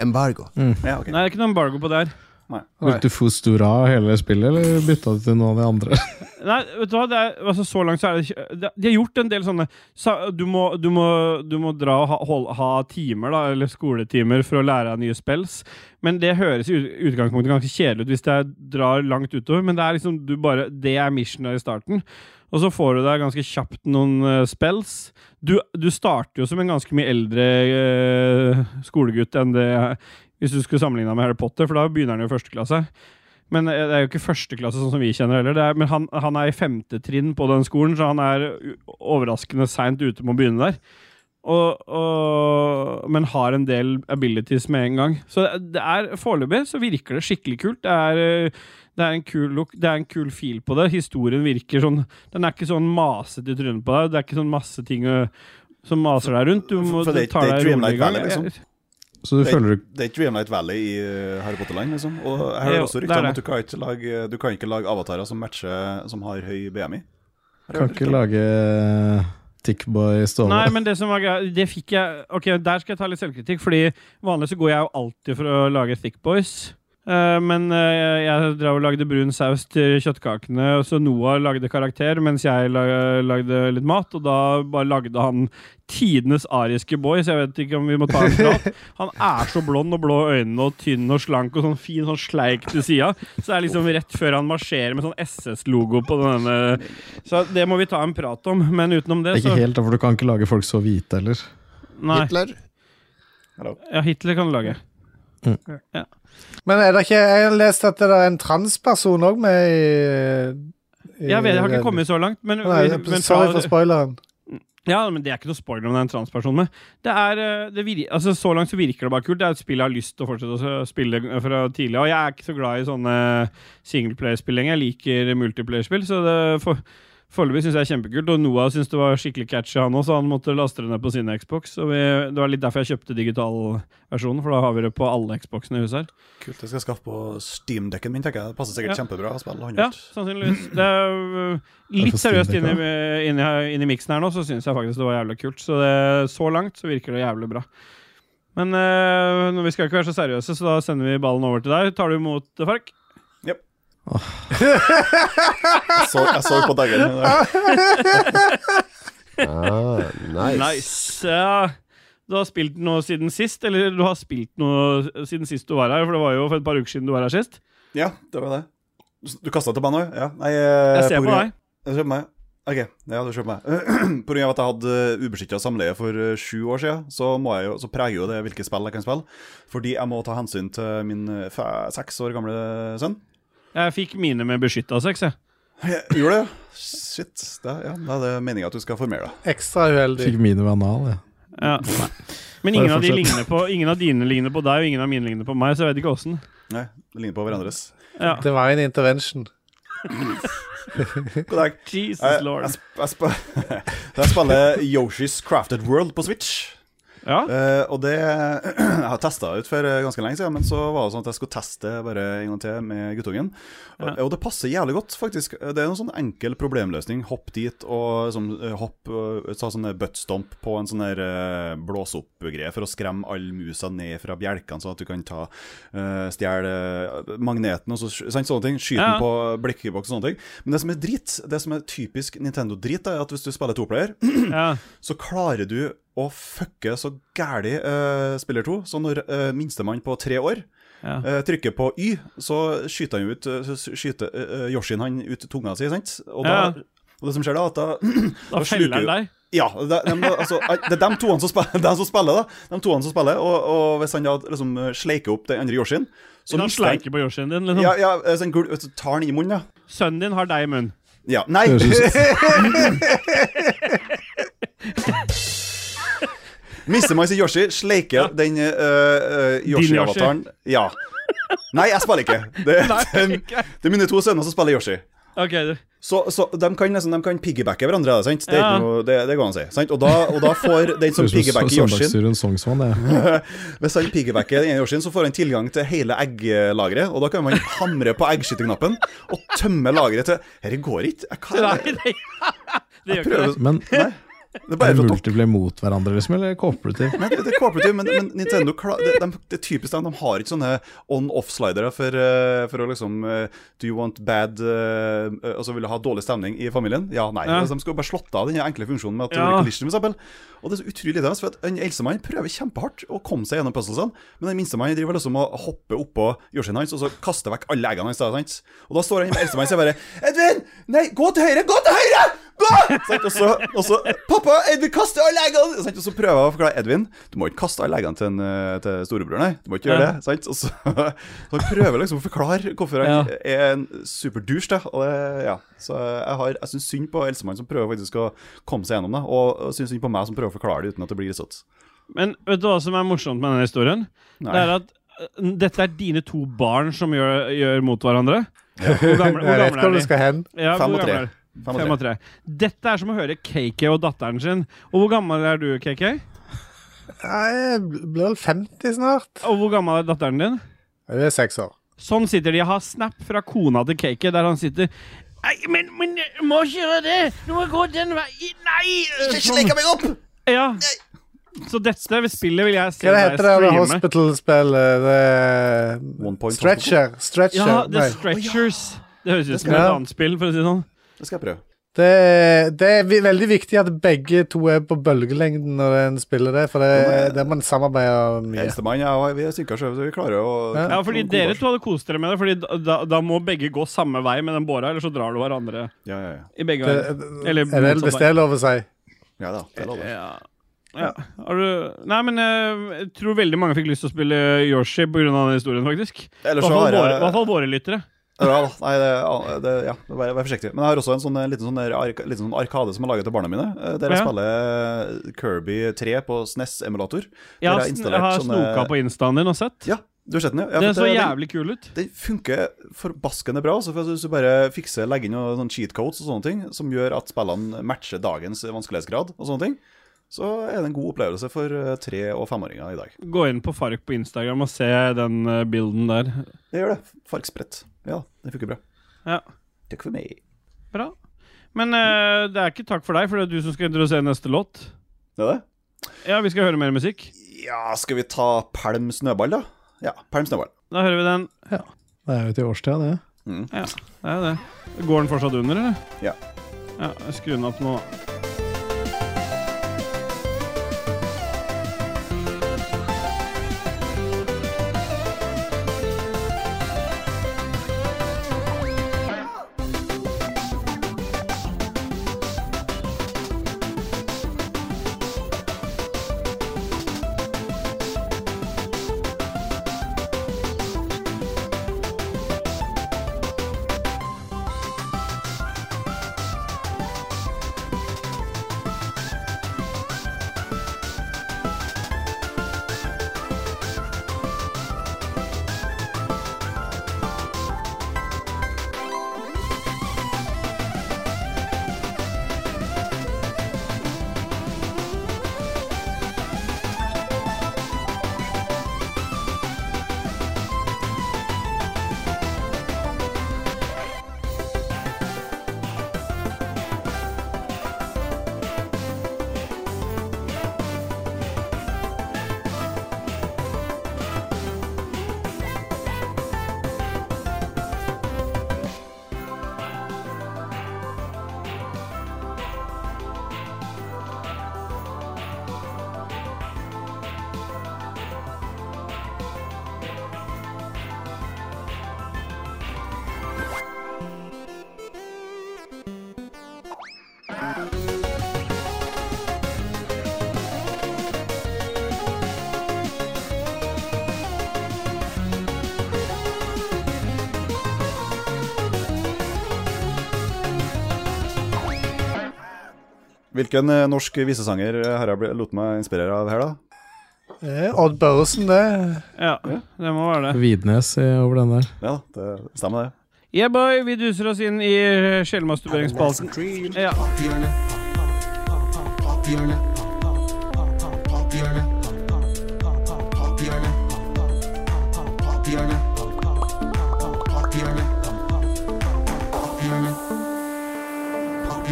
S1: Embargo.
S3: Ja, ok.
S2: Nei, det er ikke noe embargo på det her.
S4: Brukte du Fostora hele spillet, eller bytta du til noen av de andre?
S2: Nei, vet du hva, det er, altså, så langt så er det ikke det- De har gjort en del sånne sa, du, må, du, må, du må dra og ha, hold, ha timer, da, eller skoletimer, for å lære deg nye spells. Men det høres i ut- utgangspunktet ganske kjedelig ut hvis det drar langt utover, men det er liksom du bare Det er missionet i starten. Og så får du deg ganske kjapt noen eh, spells. Du, du starter jo som en ganske mye eldre eh, skolegutt enn det hvis du skulle sammenligna med Harry Potter, for da begynner han jo i første klasse. Men eh, det er jo ikke første klasse sånn som vi kjenner heller. Det er, men han, han er i femte trinn på den skolen, så han er u- overraskende seint ute med å begynne der. Og, og, men har en del abilities med en gang. Så det er foreløpig så virker det skikkelig kult. Det er, eh, det er en kul look, det er en kul feel på det. Historien virker sånn Den er ikke sånn masete i trynet på deg. Det er ikke sånn masse ting eh, som maser deg rundt. Du må
S3: For det er ikke-
S2: ta
S3: det er
S2: deg rolig
S3: Dreamlight
S2: i gang.
S3: Valley, liksom.
S4: Så du
S3: Det-
S4: føler du
S3: Det er ikke Dreamlight Valley i eh, Harry Potter-land, liksom. Og jeg hører
S2: Jo, det
S3: også
S2: er
S3: rykter om
S2: det.
S3: at du kan ikke lage, du kan ikke lage avatarer som matcher som har høy BMI.
S4: kan ikke lage eh, Tickboy Ståle?
S2: Nei, men det som var greia Det fikk jeg Ok, der skal jeg ta litt selvkritikk, fordi vanligvis så går jeg jo alltid for å lage Thick Boys. Eh, men eh, jeg drev og lagde brun saus til kjøttkakene, og så Noah lagde karakter mens jeg la- lagde litt mat, og da bare lagde han tidenes ariske boy, så jeg vet ikke om vi må ta en prat. Han er så blond og blå i øynene og tynn og slank og sånn fin sånn sleik til sida, så det er liksom rett før han marsjerer med sånn SS-logo på denne Så det må vi ta en prat om, men utenom det,
S4: Det er
S2: så
S4: ikke helt, da, for du kan ikke lage folk så hvite heller.
S2: Nei.
S1: Hitler.
S2: Ja, Hitler kan du lage.
S5: Men er det ikke Jeg har lest at det er en transperson òg med i, i
S2: Jeg, vet, jeg har ikke kommet så langt, men,
S5: Nei,
S2: men
S5: Sorry for spoileren.
S2: ja, men det er ikke noe spoiler om det er en transperson med. Det er, eh, det vir altså, så langt så virker det bare kult. Det er et spill jeg har lyst til å fortsette å s- spille eh, fra tidlig Og jeg er ikke så glad i sånne singleplayer-spill lenger. Jeg liker multiplayer-spill, så det for foreløpig syns jeg er kjempekult. Og Noah syns det var skikkelig catchy, han òg, så han måtte laste det ned på sin Xbox. Så vi, det var litt derfor jeg kjøpte digitalversjonen, for da har vi det på alle Xboxene i huset her.
S3: Kult, jeg skal skaffe på steamdekken min, tenker jeg. Det passer sikkert kjempebra å spille
S2: Ja,
S3: håndholdt.
S2: sannsynligvis. Det er øh, litt
S4: Hvorfor Steam
S2: seriøst
S4: Deck,
S2: inni, øh, inni, inni miksen her nå, så syns jeg faktisk det var jævlig kult. Så det, så langt så virker det jævlig bra. Men øh, når vi skal ikke være så seriøse, så da sender vi ballen over til deg. Tar du imot, eh, Fark?
S3: Jeg, så, jeg så på dagen min.
S1: Ah, nice.
S2: Nice. Ja. du har spilt noe siden sist, eller du har spilt noe siden sist du var her, for det var jo for et par uker siden du var her sist.
S3: Ja, det var det. Du kasta til meg nå? Ja. Nei, eh,
S2: Jeg ser på deg.
S3: Jeg kjøper meg. Ok, ja, du kjøper meg. på grunn av at jeg hadde ubeskytta samleie for eh, sju år siden, så, må jeg jo, så preger jo det hvilke spill jeg kan spille. Fordi jeg må ta hensyn til min eh, fe- seks år gamle sønn.
S2: Jeg fikk mine med beskytta sex, jeg.
S3: Jeg gjorde det? Shit. Det, ja, da er det meninga at du skal formere deg.
S5: Ekstra uheldig.
S4: Fikk mine ved anal, jeg.
S2: Ja. Men ingen
S4: Bare
S2: av, de
S4: fortsett.
S2: ligner på, ingen av dine ligner på deg, og ingen av mine ligner på meg, så jeg vet ikke åssen.
S3: Nei, det ligner på hverandres.
S2: Ja.
S5: Det var en intervention.
S3: God dag.
S2: Jesus
S3: Jeg, Eh, jeg,
S2: lord.
S3: sp- jeg, sp- jeg spiller Yoshi's Crafted World på Switch.
S2: Ja.
S3: Eh, og det Jeg har testa ut for eh, ganske lenge siden, men så var det sånn at jeg skulle teste bare en gang til med guttungen. Og, og det passer jævlig godt, faktisk. Det er en sånn enkel problemløsning. Hopp dit og liksom, eh, hopp eh, Ta sånn buttstomp på en sånn der eh, blås opp-greie for å skremme alle musa ned fra bjelkene, sånn at du kan ta eh, stjele eh, magneten og så, sant, sånne ting. Skyte
S2: Ja.
S3: den på blikkboks og sånne ting. Men det som er drit, det som er typisk Nintendo-drit, er at hvis du spiller toplayer
S2: ja.
S3: så klarer du å fucke så gæli eh, spiller to. Så når eh, minstemann på tre år
S2: Ja.
S3: eh, trykker på Y, så skyter han ut eh, så skyter eh, eh, Yoshin han ut tunga si, sant? Og, da,
S2: Ja.
S3: og det som skjer da, at da
S2: Da feller han deg.
S3: ja, det, de, altså, det er de toene som spiller, de som spiller da. De toene som spiller, og, og hvis han da liksom sleiker opp den andre Yoshin, så
S2: Han
S3: mister han
S2: sleiker på Yoshien din. Liksom.
S3: ja, ja, eh, sånn gul, vet du, tar han i munnen, ja.
S2: Sønnen din har deg i munnen.
S3: Ja, nei
S4: Det
S3: Mister man sin Yoshi, sleiker den øh, øh, Yoshi-avataren Ja. Nei, jeg spiller ikke. Det, det, er mine to sønner som spiller Yoshi.
S2: Ok, du.
S3: Så, så de kan nesten de kan piggybacke hverandre, er det sant? Det, er
S2: Ja.
S3: ikke noe, det, det går an å si. Sant? Og, da, og da får den som
S4: Ser ut som
S3: piggybacker Yoshien
S4: Søndagsturen Sognsvann, jeg.
S3: Hvis han piggybacker den ene Yoshien, så får han tilgang til hele egglageret. Og da kan man hamre på eggskytterknappen og tømme lageret til Dette går ikke. Jeg
S2: Nei, det, det gjør ikke
S3: kan
S2: det.
S3: prøve
S4: Men
S3: Nei. Det er
S4: er
S3: bare
S4: det
S3: for å
S4: multiplay mot hverandre, liksom, eller cooperative?
S3: Nei, det, det er cooperative, men, men Nintendo kla- det, de, det er typisk dem, de har ikke sånne on-off-slidere for, eh, for å liksom eh, Do you want bad eh, eh, Altså vil du ha dårlig stemning i familien? Ja, nei.
S2: Ja.
S3: Altså, de skulle bare slått av den enkle funksjonen med at du
S2: Ja.
S3: ja. collision, for eksempel. Og det er så utrolig irriterende, for at en eldstemann prøver kjempehardt å komme seg gjennom puzzlesene, men den minstemann driver liksom og hopper oppå Yoshien hans og så kaster vekk alle eggene hans. da, sant? Og da står han med eldstemann og sier bare Edvin! Nei, gå til høyre! Gå til høyre! Gå! Sant? Og, så, og så Pappa, Edvin kaster alle eggene! Sant? Og så prøver jeg å forklare Edvin Du må ikke kaste alle eggene til, en, eh, til storebror, nei. Du må ikke gjøre
S2: Ja.
S3: det. Sant? Og så, så han prøver liksom å forklare hvorfor han er en superdusj, da. Og det, ja. Så jeg, har- jeg syns synd på eldstemann som prøver faktisk å komme seg gjennom det, og, og syns synd på meg som prøver å forklare det uten at det blir sånn. risete.
S2: Men vet du hva som er morsomt med denne historien?
S3: Nei.
S2: Det er at eh, dette er dine to barn som gjør, gjør mot hverandre. Hvor gamle, hvor
S5: Jeg vet
S2: gamle
S5: hvor
S2: er
S5: du
S2: de?
S5: skal hen.
S2: Ja,
S3: Fem
S2: hvor
S3: og tre.
S2: gamle er de?
S3: Fem og
S2: Fem og tre. Dette er som å høre KK og datteren sin. Og hvor gammel er du, KK?
S5: Jeg blir vel 50 snart.
S2: Og hvor gammel er datteren din?
S5: Det er seks år.
S2: Sånn sitter de. Jeg har snap fra kona til KK, der han sitter Nei, men, men du må ikke gjøre det! Du må gå den veien Nei!
S9: Ikke sleike meg opp!
S2: Ja. Så dette spillet vil jeg se
S5: Hva det
S2: deg
S5: heter det der
S2: streame.
S5: hospital-spillet? Det-
S3: One Point
S5: Stretcher. Stretcher.
S2: Ja, The
S5: Nei.
S2: Stretchers. Det høres ut som
S5: Ja.
S2: et annet spill, for å si det sånn.
S3: Det skal jeg prøve.
S5: Det, det er vi- veldig viktig at begge to er på bølgelengden når en spiller det, for det, det man samarbeider mye.
S3: Eldstemann, ja, og vi er synka sjøl, så vi klarer å
S5: Ja.
S2: Ja, fordi dere to hadde kost dere med det, Fordi da- da, da må begge gå samme vei med den båra, eller så drar du hverandre
S3: Ja, ja, ja.
S2: i begge
S5: Det-
S2: veier. Eller
S5: Er det, Eh, hvis
S2: motsatt
S5: det
S2: vei.
S5: er lov å si.
S3: ja da, det er lov, det.
S2: Ja. Ja. Har du Nei, men eh, jeg tror veldig mange fikk lyst til å spille Yoshi pga. den historien, faktisk. I
S3: Ellers
S2: hvert
S3: så
S2: fall
S3: har
S2: våre- i hvert
S3: jeg
S2: fall våre lyttere.
S3: Ja da, nei, det, det, ja, det er bare vær forsiktig. Men jeg har også en sånn, eh, liten, sånn der ark, liten sånn arkade som er laget til barna mine, eh, der jeg
S2: Ja.
S3: spiller Kirby 3 på E SNES-emulator.
S2: Jeg
S3: Der
S2: har,
S3: jeg
S2: sn-
S3: installert
S2: jeg har
S3: sånne-
S2: snoka på instaen din og sett.
S3: Ja, du har sett den, ja. ja
S2: Den
S3: for
S2: så
S3: det- den-
S2: jævlig kul ut.
S3: Den funker forbaskende bra. Altså, for hvis du bare fikser legger inn noen sånne cheat codes og sånne ting, som gjør at spillene matcher dagens vanskelighetsgrad, og sånne ting, så er det en god opplevelse for eh, tre- og femåringer i dag.
S2: Gå inn på Fark på Instagram og se den eh, bilden der.
S3: Det gjør det. Fargsprett. Ja, det funker bra.
S2: Ja,
S3: Takk for meg.
S2: bra. Men eh, det er ikke takk for deg, for det er du som skal introdusere neste låt.
S3: Det er det.
S2: Ja, vi skal høre mer musikk.
S3: Ja, skal vi ta Pelm snøball, da? Ja, Pelm snøball.
S2: Da hører vi den.
S4: Det er jo til årstida, det.
S2: Det er det. Går den fortsatt under, eller?
S3: Ja.
S2: ja Skru den opp nå, da.
S3: Hvilken eh, norsk visesanger eh, har jeg bl- lot meg inspirere av her, da?
S5: Eh, Odd Børresen, det.
S2: Ja, det må være det.
S4: Vidnes eh, over den der.
S3: Ja, det stemmer, det.
S2: Yeah, boy, vi duser oss inn i eh, sjelmasturberingsspalten. Ja.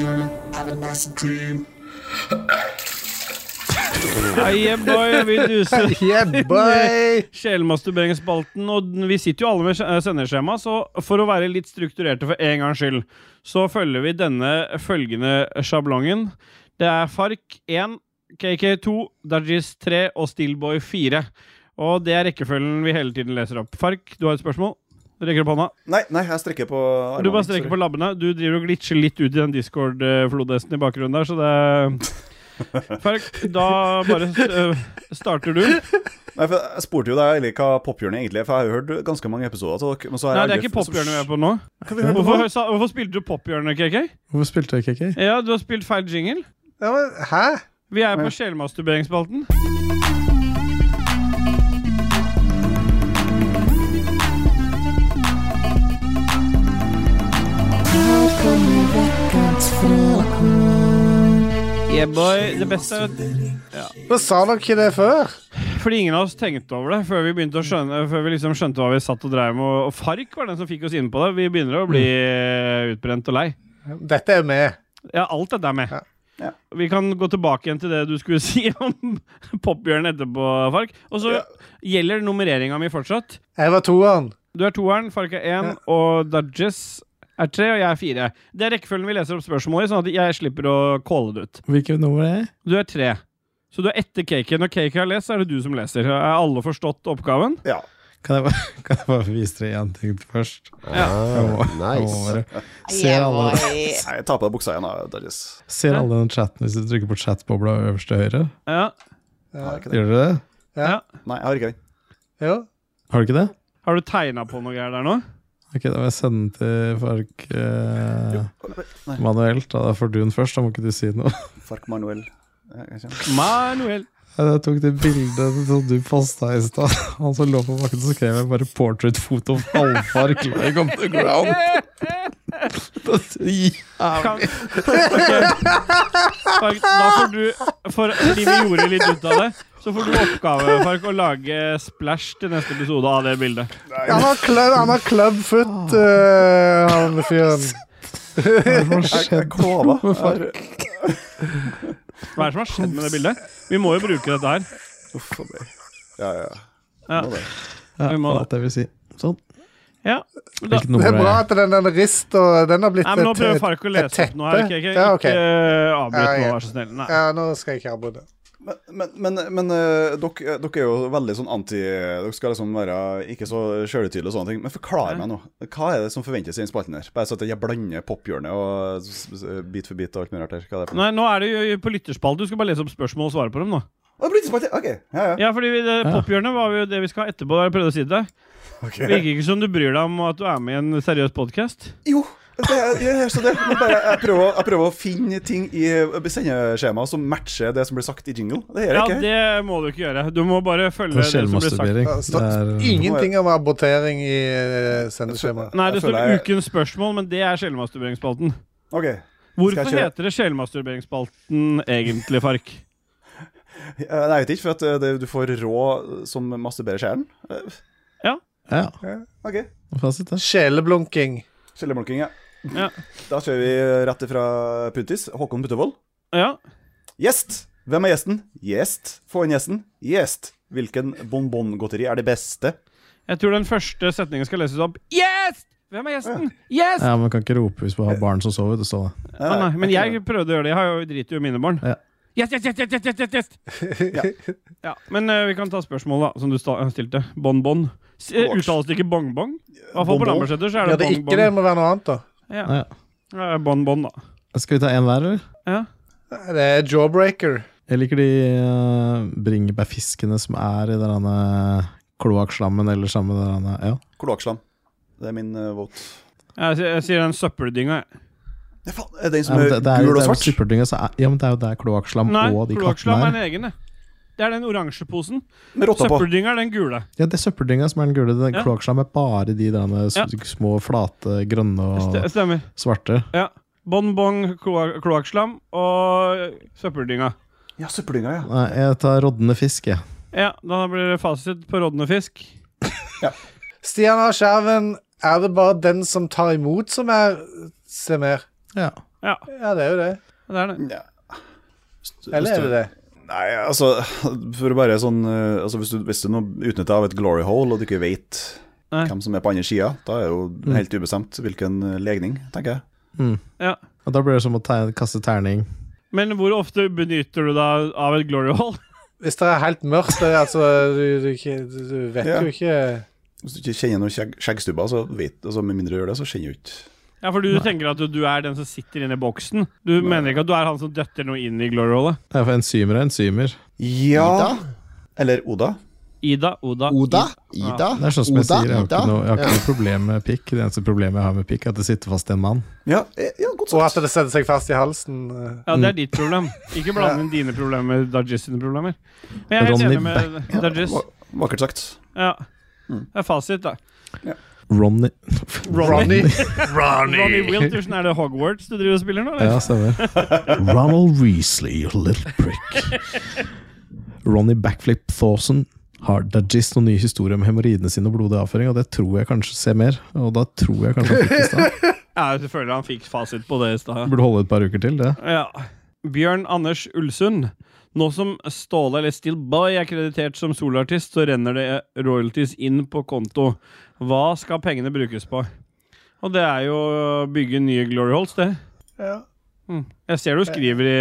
S2: Ja, Ah, Yeah, boy, vi duser
S5: Yeah, boy!
S2: Sjelmasturberingsspalten, og den- vi sitter jo alle med skje- sendeskjema, så for å være litt strukturerte for en gangs skyld, så følger vi denne følgende sjablongen. Det er Fark 1, KK2, Dajis 3 og Steelboy 4. Og det er rekkefølgen vi hele tiden leser opp. Fark, du har et spørsmål? Du rekker opp hånda.
S3: Nei, nei, jeg strekker på armene.
S2: Du bare strekker på
S3: sorry.
S2: labbene. Du driver og glitcher litt ut i den Discord-flodhesten i bakgrunnen der, så det Fark, da bare øh, starter du.
S3: Nei, for Jeg spurte jo deg egentlig hva pophjørnet egentlig er, for jeg har jo hørt ganske mange episoder av dere. men så har
S2: Nei,
S3: jeg
S2: det er
S3: aldri-
S2: ikke pophjørnet vi er på nå.
S3: Hva vi hører på
S2: Hvorfor, sa, hvorfor spilte du pophjørnet, KK?
S4: Hvorfor spilte jeg KK?
S2: Ja, du har spilt feil jingle.
S5: Ja, men, hæ?
S2: Vi er på sjelmasturberingsspalten. Yeah, boy. Det beste er at-
S5: Men sa dere ikke det før?
S2: Fordi ingen av oss tenkte over det før vi begynte å skjønne Før vi liksom skjønte hva vi satt og dreiv med. Og og Fark var den som fikk oss inn på det. Vi begynner å bli
S3: Mm.
S2: eh, utbrent og lei.
S5: Dette er med.
S2: Ja, alt dette er med.
S5: Ja.
S3: Ja.
S2: Vi kan gå tilbake igjen til det du skulle si om Popbjørn etterpå, Fark. Og så gjelder nummereringa mi fortsatt.
S5: Jeg var toeren.
S2: Du er toeren, Fark er én,
S5: Ja.
S2: og Dudges er tre, og jeg er fire. Det er rekkefølgen vi leser opp spørsmål i, sånn at jeg slipper å calle det ut.
S4: Hvilket nummer er jeg?
S2: Du er tre. Så du er etter Cake. Når Cake har lest, så er det du som leser. Er alle forstått oppgaven?
S3: Ja.
S4: Kan jeg bare, kan jeg bare vise dere én ting først?
S1: Ah,
S4: Jeg må
S1: nice.
S4: bare- Ser
S6: Yeah,
S4: alle,
S6: boy.
S3: Nei, jeg tar på deg buksa igjen, da, Dajis.
S4: ser alle den chatten hvis du trykker på chat-bobla øverst til høyre?
S2: Ja.
S3: Har jeg ikke det?
S4: Gjør dere det?
S3: Nei, jeg har ikke den.
S5: Jo.
S4: Har du ikke det?
S2: Har du tegna på noe greier der nå?
S4: Ok, da må jeg sende den til Fark eh,
S3: Nei,
S4: manuelt. Da Da får du den først, da må ikke du si noe.
S3: Fark Manuel. Jeg kan ikke-
S2: Manuel.
S4: Jeg tok det bildet som du posta i stad. Han som lå på bakken, så skrev jeg bare 'portrait photo of Halvfark lying on the ground'. Det er så jævlig.
S2: Kan... Fark, da får du For fordi vi gjorde litt ut av det, så får du oppgave, Fark, å lage splash til neste episode av det bildet.
S5: Han har club, han har clubfoot,
S2: Ah.
S5: eh, han fyren.
S4: Hva
S3: Jeg,
S4: skjedde?
S3: jeg klava.
S2: Hva er det som har skjedd med det bildet? Vi må jo bruke dette her.
S3: Uff a meg. Ja, ja.
S2: Ja.
S3: Nå det.
S4: Ja,
S2: Vi må-
S4: alt jeg vil si. Sånn.
S2: Ja. Da.
S4: Hvilket
S5: Det
S4: nummer
S5: er bra
S4: er jeg?
S5: at den, den rist og den har blitt
S2: Nei, men nå
S5: et-
S2: prøver Fark å
S5: et
S2: lese opp noe her.
S5: teppe.
S2: Ikke, ikke,
S5: Ja, ok.
S2: ikke eh, avbryt
S5: Ja,
S2: nå,
S5: ja.
S2: vær så snill. Nei.
S5: Ja, nå skal jeg ikke avbryte.
S3: Men, men, men, men eh, dere, dere er jo veldig sånn anti Dere skal liksom være ikke så sjølutydelige og sånne ting. Men forklar meg nå. Hva er det som forventes i den spalten her? Bare så at jeg blander pophjørnet og s- s- Bit for bit og alt mulig rart her. Hva er det for noe?
S2: Nei, nå er det jo på lytterspalten. Du skal bare lese opp spørsmål og svare på dem nå.
S3: Å, Blitzerspalte! OK. Ja, ja.
S2: Ja, fordi vi- det
S4: Ja.
S2: Pophjørnet var jo det vi skal ha etterpå. Jeg prøvde å si det. Det
S3: Ok.
S2: virker ikke som du bryr deg om at du er med i en seriøs podkast.
S3: Jo. Det er, jeg, jeg, så det. Men bare, jeg, prøver, å- jeg prøver å finne ting i eh, sendeskjemaet som matcher det som blir sagt i jingle. Det gjør
S2: Ja,
S3: jeg ikke.
S2: det må du ikke gjøre. Du må bare følge
S4: Det
S2: det som
S4: er
S2: blir sagt.
S4: Selvmasturbering.
S5: Ja,
S4: Det
S5: stå-
S3: Mm.
S4: er eh,
S5: Ingenting om abortering i eh, sendeskjemaet.
S2: Nei, det står
S3: Jeg føler jeg-
S2: ukens spørsmål, men det er sjelmasturberingsspalten.
S3: Ok.
S2: Hvorfor
S3: Skal jeg kjøre-
S2: heter det sjelmasturberingsspalten egentlig, Fark?
S3: Eh, Nei, jeg vet ikke, for at eh, det, du får rå som masturberer sjelen. Eh,
S4: Ja,
S3: OK.
S4: fasit, det.
S5: Sjeleblunking.
S3: Skjellemolking, ja.
S2: Ja.
S3: Da kjører vi rett ifra Puntis. Håkon Buttevold.
S2: Ja.
S3: Gjest! Hvem er gjesten? Gjest. Få inn gjesten. Gjest. Hvilken bonbongodteri er det beste?
S2: Jeg tror den første setningen skal leses opp. Yes! Hvem er gjesten? Yes!
S4: Ja, man kan ikke rope hvis man har barn som sover. Det står det.
S3: Eh,
S2: Å Ah, nei, men jeg prøvde å gjøre det. Jeg har jo driter jo i mine barn.
S4: Ja.
S2: Yes, yes, yes, yes, yes, yes, yes, yes. Ja, Men eh, vi kan ta spørsmålet da, som du sta- eh, stilte. Bon-bon. S- eh, Uttales det ikke bong-bong? I hvert fall på
S3: Bonbon.
S2: Lambertseter så er
S5: Gjør
S2: det
S5: det ikke det,
S2: bong-bong.
S5: må være noe annet, da.
S2: Ja,
S4: Ja.
S2: ja, Bon-bon, da.
S4: Skal vi ta én hver, eller?
S2: Ja.
S5: Det er jawbreaker.
S4: Jeg liker de uh, bringebærfiskene som er i den derne kloakkslammen eller sammen med den derne- ja.
S3: Kloakkslam. Det er min eh, vote.
S2: Jeg, s- jeg sier den søppeldynga, jeg.
S3: Ja, faen, er den
S4: Ja,
S3: som
S4: men
S3: er,
S4: det, det er,
S3: gul
S4: det er
S3: og
S4: jo
S3: svart?
S4: superdynga, så er, ja, men det er jo der kloakkslam
S2: Nei,
S4: og de
S2: kloakkslam
S4: klattene
S2: er
S4: er.
S2: den egen, det. Det er den oransje posen.
S3: Med rotta på.
S2: Søppeldynga er den gule.
S4: Ja, det er søppeldynga som er den gule. Den
S2: Ja.
S4: Kloakkslam er bare de derne s-
S2: Ja.
S4: små, flate, grønne
S2: Ste-
S4: og
S2: Stemmer.
S4: svarte.
S2: Ja. Bonbong, kloa- kloakkslam og søppeldynga.
S3: Ja, søppeldynga, ja.
S4: Nei, jeg tar rådne fisk, jeg.
S2: Ja, da blir det fasit på rådne fisk.
S5: Stian har skjerven. Er det bare den som tar imot, som er semer?
S4: Ja.
S2: Ja,
S5: Ja, det er jo det.
S2: det er det.
S3: ja.
S5: Eller er det det?
S3: Nei, altså, for å bare sånn eh, altså, Hvis du, hvis du nå utnytter av et glory hole, og du ikke vet
S2: Nei.
S3: hvem som er på andre sida, da er jo helt ubestemt hvilken eh, legning, tenker jeg.
S2: Ja.
S4: Og da blir det som å te kaste terning.
S2: Men hvor ofte benytter du deg av et glory hall?
S5: Hvis det er helt mørkt, det, er altså Du, du, ikke- du, du vet
S3: Ja.
S5: jo ikke
S3: Hvis du ikke kjenner noen skjegg, skjeggstubber, så vet altså, Med mindre du gjør det, så kjenner du ikke
S2: Ja, for du tenker at du, du er den som sitter inne i boksen. Du mener ikke at du er han som døtter noe inn i glory hallet?
S4: Ja, for enzymer er enzymer.
S3: Ja Eller Oda.
S2: Ida, Oda,
S1: Oda, Ida,
S4: Det er sånn som jeg
S1: Oda,
S4: sier, jeg har
S1: Ida.
S4: ikke noe, jeg har ikke noe problem med pikk. Det eneste problemet jeg har med pikk, er at det sitter fast en mann.
S3: Ja, eh, ja godt
S5: Og
S3: sagt.
S5: at det setter seg fast i halsen. eh.
S2: Ja, det
S4: Mm.
S2: er ditt problem. Ikke blande inn dine problemer med Dajis sine problemer. Men jeg er helt
S4: Ronny
S2: enig med Dajis.
S3: Va- Vakkert sagt.
S2: Ja. Det er fasit, da.
S4: Ronny.
S5: Ronny.
S2: Ronny Wiltersen, er det Hogwarts du driver og spiller nå? Eller?
S4: Ja, stemmer. Ronald Weasley, you little prick. Ronny Backflip Thawson har Dajis noen ny historie om hemoroidene sine og blodig avføring, og det tror jeg kanskje ser mer. Og da tror jeg kanskje han fikk det i stad.
S2: Ja, jeg føler han fikk fasit på det i stad.
S4: Burde holde et par uker til, det.
S2: Ja. Bjørn Anders Ulsund. Nå som Ståle eller Steelboy er kreditert som soloartist, så renner det royalties inn på konto. Hva skal pengene brukes på? Og det er jo å bygge nye Glory Halls, det.
S5: Ja.
S2: Mm. Jeg ser du skriver i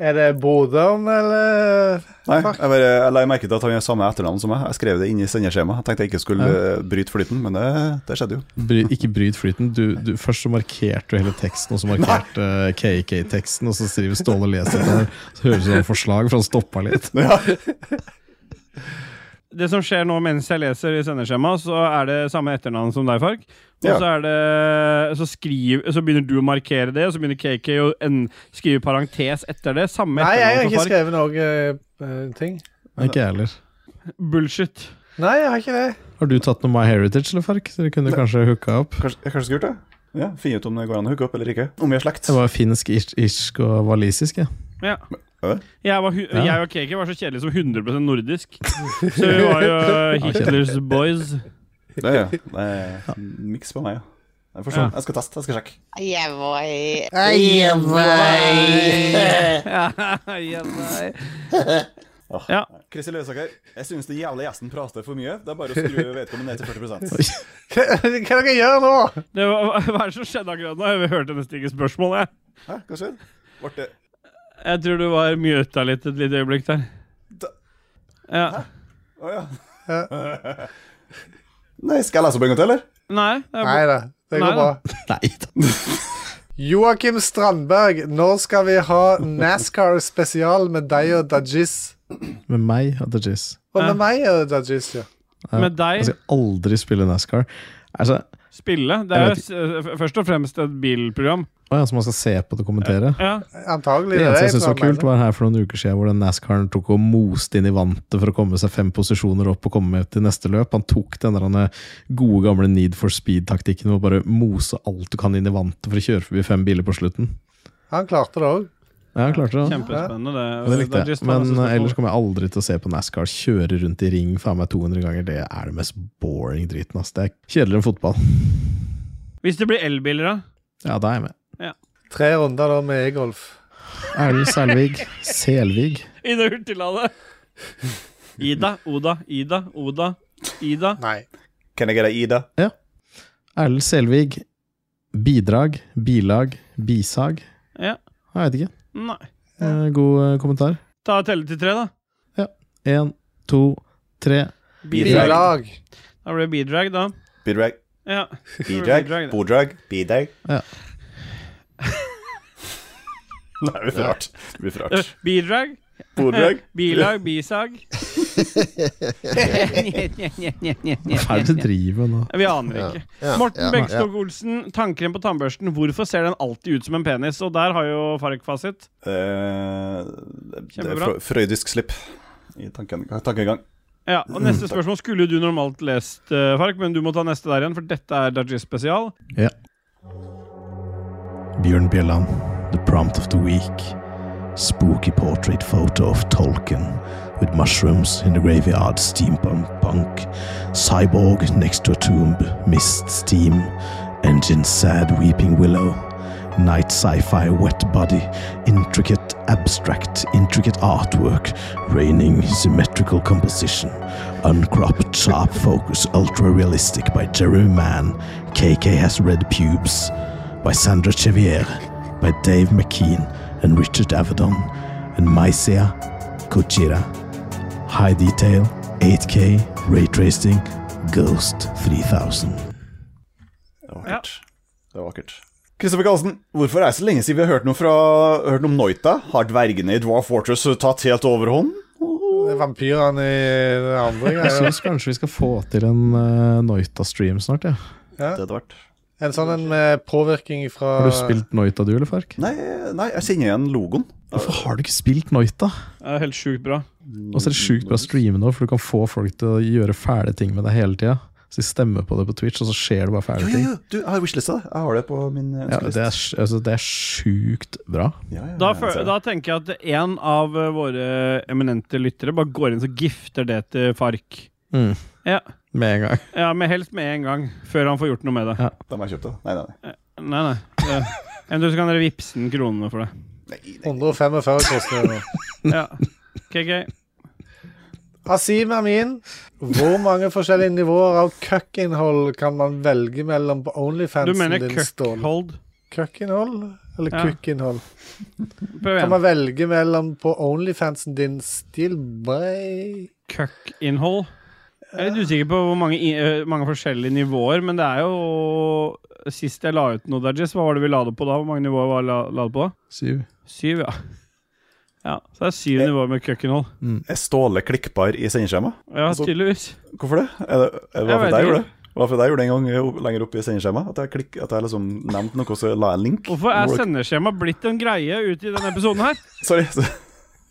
S5: Er det broderen, eller
S3: Nei, jeg, bare, jeg la merke til at han har samme etternavn som meg. Jeg skrev det inn i sendeskjemaet. Jeg tenkte jeg ikke skulle eh, bryte flyten, men det, det skjedde jo.
S4: Bry, ikke bryt flyten. Du, du, først så markerte du hele teksten, og så markerte eh, KK-teksten, og så skriver Ståle og leser det. Så høres det ut som et forslag, for han stoppa litt.
S2: Det som skjer nå mens jeg leser i sendeskjemaet, så er det samme etternavn som deg, Farg. Og
S3: Ja.
S2: så, er det, så, skriv, så begynner du å markere det, og så begynner KK å en, skrive parentes etter det. Samme
S5: Nei, jeg har
S2: etternavn
S5: ikke
S2: som Farg.
S5: skrevet noe eh, ting.
S4: Ikke jeg heller.
S2: Bullshit.
S5: Nei, jeg har ikke det.
S4: Har du tatt noe My Heritage, eller Fark? Så dere kunne kanskje hooka opp?
S3: Kanskje, jeg kanskje skulle gjort det? Ja, Finne ut om det går an å hooke opp eller ikke. Om vi er slekt.
S4: Jeg var finsk, irsk, irsk og walisisk, jeg.
S2: Ja.
S3: Ja.
S2: Jeg, var, hu-
S4: Ja.
S2: jeg og KK var så kjedelige som 100 nordisk. Så vi var jo Hitlers boys.
S3: Det er, det er miks på meg, ja. Jeg, får se. jeg skal teste, jeg skal sjekke.
S6: Yeah, boy.
S2: Ja, nei.
S3: Kristin Løsaker, jeg synes den jævla gjesten prater for mye. Det er bare å skru vedkommende ned til 40
S5: Hva, hva dere gjør nå?
S2: Det var, hva- hva er det som skjedde akkurat nå? Jeg hørte nesten ikke spørsmålet. jeg.
S3: Hæ, hva skjedde? Ble det
S2: Jeg tror du var muta litt et lite øyeblikk der.
S3: Da-
S2: Ja.
S3: Å ja. Nei, skal jeg lese opp en gang til, eller?
S2: Nei, det er
S5: Nei da, det
S2: Nei
S5: går
S2: da.
S5: bra.
S4: Nei da.
S5: Joakim Strandberg, når skal vi ha NASCAR-spesial med deg og Dajis?
S4: Med meg og Dajis.
S5: Og med meg og Dajis, ja.
S4: Ja. Altså,
S2: Med deg?
S4: Jeg skal aldri spille NASCAR. Altså,
S2: Spille? Det
S4: Jeg
S2: er jo
S4: vet
S2: s- eh, f- først og fremst et bilprogram.
S4: å ja, så man skal se på det og kommentere?
S2: Ja.
S5: Antagelig.
S4: Det eneste jeg
S5: jeg
S4: syntes var
S5: tror han
S4: kult, var her for noen uker siden hvor den NASCAR-en tok og moste inn i vantet for å komme seg fem posisjoner opp og komme til neste løp. Han tok den der han, eh, gode gamle Need for speed-taktikken med å bare mose alt du kan inn i vantet for å kjøre forbi fem biler på slutten.
S5: mener. Han klarte det òg.
S4: Ja, han klarte det. altså. han.
S2: Kjempespennende,
S4: Ja,
S2: det.
S4: Det likte jeg.
S2: Dajis tar
S4: Men
S2: neste
S4: eh,
S2: spørsmål.
S4: ellers kommer jeg aldri til å se på NASCAR kjøre rundt i ring faen meg 200 ganger. Det er det mest boring driten. ass. Det er kjedeligere enn fotball.
S2: Hvis det blir elbiler, da?
S4: Ja, da er jeg med.
S5: Tre runder da med e-golf.
S4: Erlend Selvig. Selvig.
S2: Ida Hurtigladet. Ida, Oda, Ida, Oda, Ida.
S5: Nei.
S3: Can I get a Ida?
S4: Erlend Selvig. Bidrag. Bilag. Bisag.
S2: Ja.
S4: Jeg veit ikke.
S2: Nei.
S4: Eh, God eh, kommentar.
S2: Ta og telle til tre, da.
S4: Én, to, tre.
S2: Bidrag.
S5: Bilag.
S2: Da blir det bidrag, da.
S3: Bidrag,
S2: Ja.
S3: bidrag,
S2: Bidrag, da.
S3: bodrag, bidrag.
S4: Ja.
S3: Nei, det blir for rart. Det blir for
S2: Eh,
S3: rart.
S2: Bidrag,
S3: Bodrag.
S2: bilag, bisag.
S4: Hva er det du driver med nå?
S2: Vi aner ikke.
S1: Ja,
S2: Morten
S1: ja,
S2: Bengstok Olsen, tannkrem på tannbørsten. Hvorfor ser den alltid ut som en penis? Og der har jo Fark fasit.
S3: Eh, det er
S2: Kjempebra.
S3: frø- freudisk slipp i tanken, tankegang.
S2: Ja, og Neste
S1: Mm.
S2: spørsmål skulle du normalt lest, eh, Fark, men du må ta neste der igjen, for dette er Dajis spesial.
S4: Ja. Bjørn Bjelland, The Prompt of the Week. Spooky portrait photo of Tolkien with mushrooms in the graveyard, steampunk punk, cyborg next to a tomb, mist steam, engine sad weeping willow, night sci-fi wet body, intricate abstract, intricate artwork, raining symmetrical composition, uncropped sharp focus, ultra realistic by Jeremy Mann, KK has red pubes, by Sandra Chevier, by Dave McKean and Richard Avedon, and Mysia Kochira. High detail, 8K, ray tracing, Ghost 3000.
S3: Det var vakkert. Det var vakkert. Kristoffer Karlsen, hvorfor er det så lenge siden vi har hørt noe, fra, hørt noe om Noita? Har dvergene i Dwarf Fortress tatt helt overhånd?
S5: Det er Vampyrene i det andre greia.
S4: kanskje vi skal få til en eh, Noita-stream snart, ja.
S3: Det hadde vært
S5: En sånn en med påvirkning fra
S4: Har du spilt Noita du, eller Fark?
S3: Nei, nei jeg kjenner igjen logoen.
S4: Hvorfor har du ikke spilt Noita?
S2: Det er helt sjukt bra.
S4: Og så er det sjukt bra å streame nå, for du kan få folk til å gjøre fæle ting med deg hele tida. Så de stemmer på det på Twitch, og så skjer det bare
S3: Jo,
S4: fæle
S3: jo,
S4: ting.
S3: jo, du, jeg har wishlista det. Jeg har det på min eh,
S4: Ja, det
S3: ønskeliste.
S4: er, altså, det er sjukt bra.
S3: Ja, ja,
S2: Da,
S3: jeg
S2: fø-
S3: ser det.
S2: da tenker jeg at en av eh, våre eminente lyttere bare går inn og gifter det til Fark.
S4: Mm.
S2: Ja.
S4: Med en gang.
S2: ja, men helst med en gang, før han får gjort noe med det.
S3: Da må jeg kjøpe det. Nei, nei, nei.
S2: Nei, nei. Det- Eventuelt så kan dere vippse den kronene for det.
S5: 145 koster det.
S2: Ja. KK.
S5: Asim Amin, hvor mange forskjellige nivåer av cuck-innhold kan man velge mellom på
S2: Du
S5: Onlyfansen
S2: mener
S5: din, Ståle?
S2: cuckhold?
S5: Cuck-innhold? Eller
S2: Ja.
S5: kukk-innhold?
S2: Prøv
S5: Kan
S2: igjen.
S5: man velge mellom på Onlyfansen din, Steelbay
S2: Cuck-innhold. Jeg er litt usikker på hvor mange, i- øh, mange forskjellige nivåer, men det er jo Sist jeg la ut noe, Dajis, hva var det vi la det på da? Hvor mange nivåer var la, la det på da?
S4: Syv.
S2: Syv, ja. ja. Så det er syv nivåer med cuck-innhold.
S3: Er Ståle klikkbar i sendeskjema?
S2: Ja,
S3: Altså-
S2: tydeligvis.
S3: Hvorfor det? Er det, er det
S2: Jeg vet
S3: hva for deg
S2: ikke.
S3: gjorde det? Hva for deg gjorde det en gang opp- lenger opp i sendeskjema? At jeg, klikk, at jeg liksom nevnte noe, så la jeg en link?
S2: Hvorfor er
S3: Hvor-
S2: sendeskjema blitt en greie ute i denne episoden her?
S3: Sorry.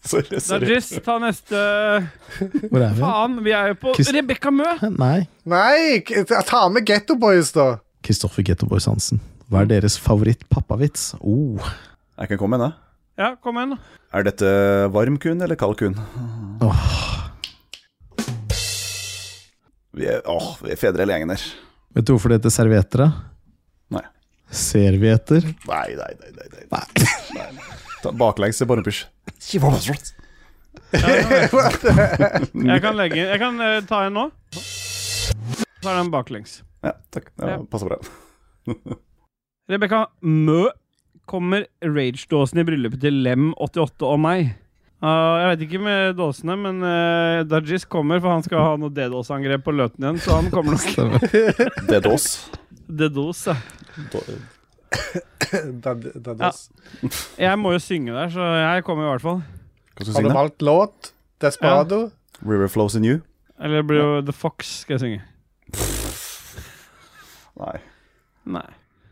S3: sorry, sorry.
S2: Dajis, ta neste
S4: Hvor er vi?
S2: Faen, vi er jo på
S4: Krist-
S2: Rebekka Mø!
S4: Nei.
S5: Nei, k- ta med Getto Boys, da!
S4: Kristoffer Getto Boys Hansen. Hva er deres favoritt-pappavits? Oh.
S3: Jeg kan komme igjen, jeg.
S2: Ja, kom igjen. da.
S3: Er dette varm kun eller kald kun? Vi er, åh, vi er fedre hele gjengen her.
S4: Vet du hvorfor det heter servieter? da?
S3: Nei.
S4: Servieter?
S3: Nei, nei, nei. nei, nei.
S4: Nei.
S3: Ta Baklengs i varmepysj.
S2: Jeg kan, legge, jeg kan eh, ta en nå. Så er den baklengs.
S3: Ja, takk. Ja,
S2: Ja.
S3: passer bra.
S2: Rebekka Mø kommer rage-dåsen i bryllupet til Lem88 og meg. Ah, jeg vet ikke med dåsene, men uh, Dajis kommer, for han skal ha noe D-dåsangrep på Løten igjen. Så han kommer nok.
S4: Stemmer.
S3: Det er dås.
S2: D-dos, ja.
S3: Da- eh,
S5: Dad- Daddos.
S2: Ja. Jeg må jo synge der, så jeg kommer i hvert fall.
S3: Hva skal
S5: Har
S3: du
S5: du
S3: synge?
S5: valgt låt? Desperado?
S3: River flows in you?
S2: Eller det blir jo The Fox skal jeg synge.
S3: Nei.
S2: Nei.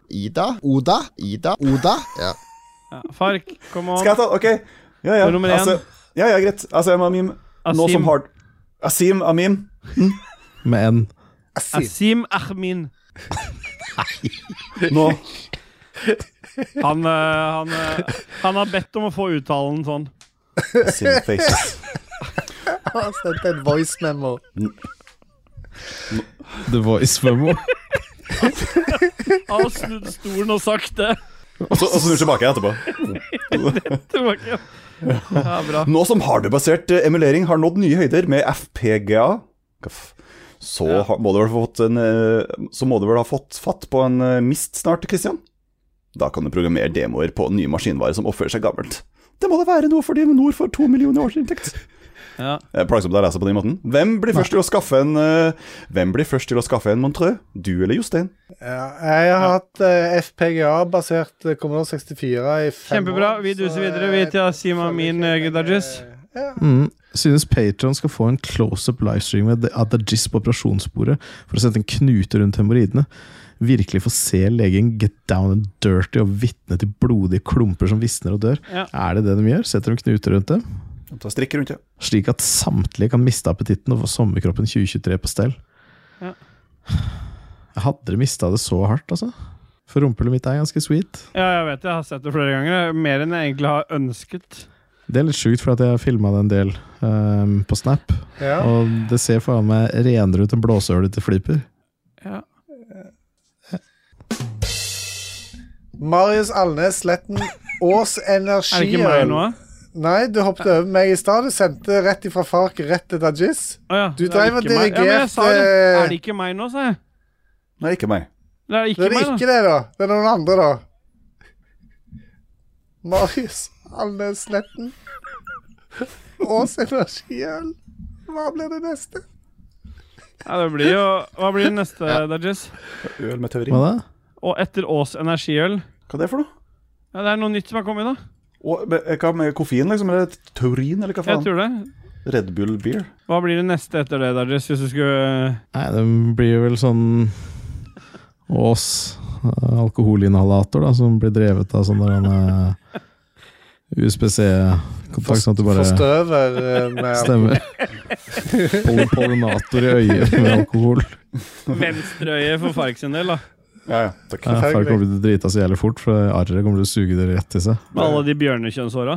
S1: Ida, Oda, Ida, Oda. Ja.
S2: Ja, Fark, kom on.
S3: Skal jeg ta OK. Ja,
S2: Det
S3: ja.
S2: er nummer én.
S3: Altså, ja, ja, greit. Altså, jeg må mime. Nå som har Asim Amim.
S4: Med en
S5: Asim.
S2: Asim Ahmin.
S3: Nå
S2: Han, eh, han, eh, han har bedt om å få uttalen sånn.
S3: Asim Faces.
S5: Han sendte en voice memo.
S4: The Voice Memo.
S2: Han har snudd stolen og sagt det.
S3: Og så og så snur tilbake etterpå.
S2: Tilbake. Ja, bra.
S3: Nå som hardware-basert eh, emulering har nådd nye høyder med FPGA hva f- så, har- må du vel få fått en, eh, så må du vel ha fått fatt på en eh, mist snart, Christian? Da kan du programmere demoer på nye maskinvarer som oppfører seg gammelt. Det må da være noe for de nord for to millioner års inntekt.
S2: Ja.
S3: Det er Plagsomt å lese på den måten. Hvem blir først til å skaffe en eh, Hvem blir først til å skaffe en Montreux? Du eller Jostein?
S5: Ja, jeg har hatt eh, FPGA-basert eh, Commodore 64 i fem
S2: Kjempebra.
S5: år,
S2: Vi
S5: så
S2: duser videre
S5: jeg
S2: vi til Asim
S5: føler
S2: Amin
S5: ikke
S2: eh,
S5: jeg-
S2: Dajis.
S5: Ja.
S4: Mm. synes Patron skal få en close-up livestream av av Dajis på operasjonsbordet for å sette en knute rundt hemoroidene. Virkelig få se legen get down and dirty og vitne til blodige klumper som visner og dør.
S2: Ja.
S4: Er det det de gjør? Setter de knuter rundt dem?
S3: Ta strikk rundt det.
S4: Slik at samtlige kan miste appetitten og få sommerkroppen 2023 på stell.
S2: Ja.
S4: Jeg hadde mista det så hardt, altså. For rumpehullet mitt er ganske sweet.
S2: Ja, jeg vet det. Jeg har sett det flere ganger. Mer enn jeg egentlig har ønsket.
S4: Det er litt sjukt, for at jeg filma det en del ehm, på Snap.
S5: Ja.
S4: Og det ser faen meg renere ut enn blåsehullet til Flipper.
S2: Ja.
S5: Marius Alnes Sletten, Ås
S2: Er det ikke meg
S5: Energiøl.
S2: nå?
S5: Nei, du hoppet over meg i stad. Du sendte rett ifra Fark rett til Dajis.
S2: Å ja, det
S5: Du
S2: er
S5: drev og
S2: ikke meg. Ja, men jeg sa det.
S5: dirigerte-
S2: Er det ikke meg nå, sa jeg?
S3: Nei, ikke meg.
S2: Det er
S5: eh, Det
S2: ikke
S5: er det
S2: meg,
S5: ikke
S2: da.
S5: det, da. Det er noen andre, da. Marius Alnes Sletten. Ås Energiøl. Hva blir det neste?
S2: Ja, det blir jo Hva blir neste, Dajis?
S3: Øl med teori.
S4: Hva
S3: Hva
S4: da?
S2: Og etter Ås energiøl?
S3: er det for noe?
S2: Ja, det er noe nytt som har kommet, da.
S3: Og, men, hva med koffein, liksom? Eller taurin, eller hva
S2: Jeg
S3: faen?
S2: tror det.
S3: Red Bull beer.
S2: Hva blir det neste etter det, Dajis, hvis du skulle eh,
S4: Nei, det blir jo vel sånn Ås eh, alkoholinhalator, da, som blir drevet av sånn der han USBC-kontakt, sånn at du bare
S5: Forstøver eh, med
S4: Stemmer. Pol- Pollinator i øyet med alkohol.
S2: Venstreøyet for Fark sin del, da.
S3: Ja, ja. Takk.
S4: Ja, Far kommer til å drite seg jævlig fort, for det arret kommer til å suge det rett til seg.
S2: Med alle de bjørnekjønnshåra.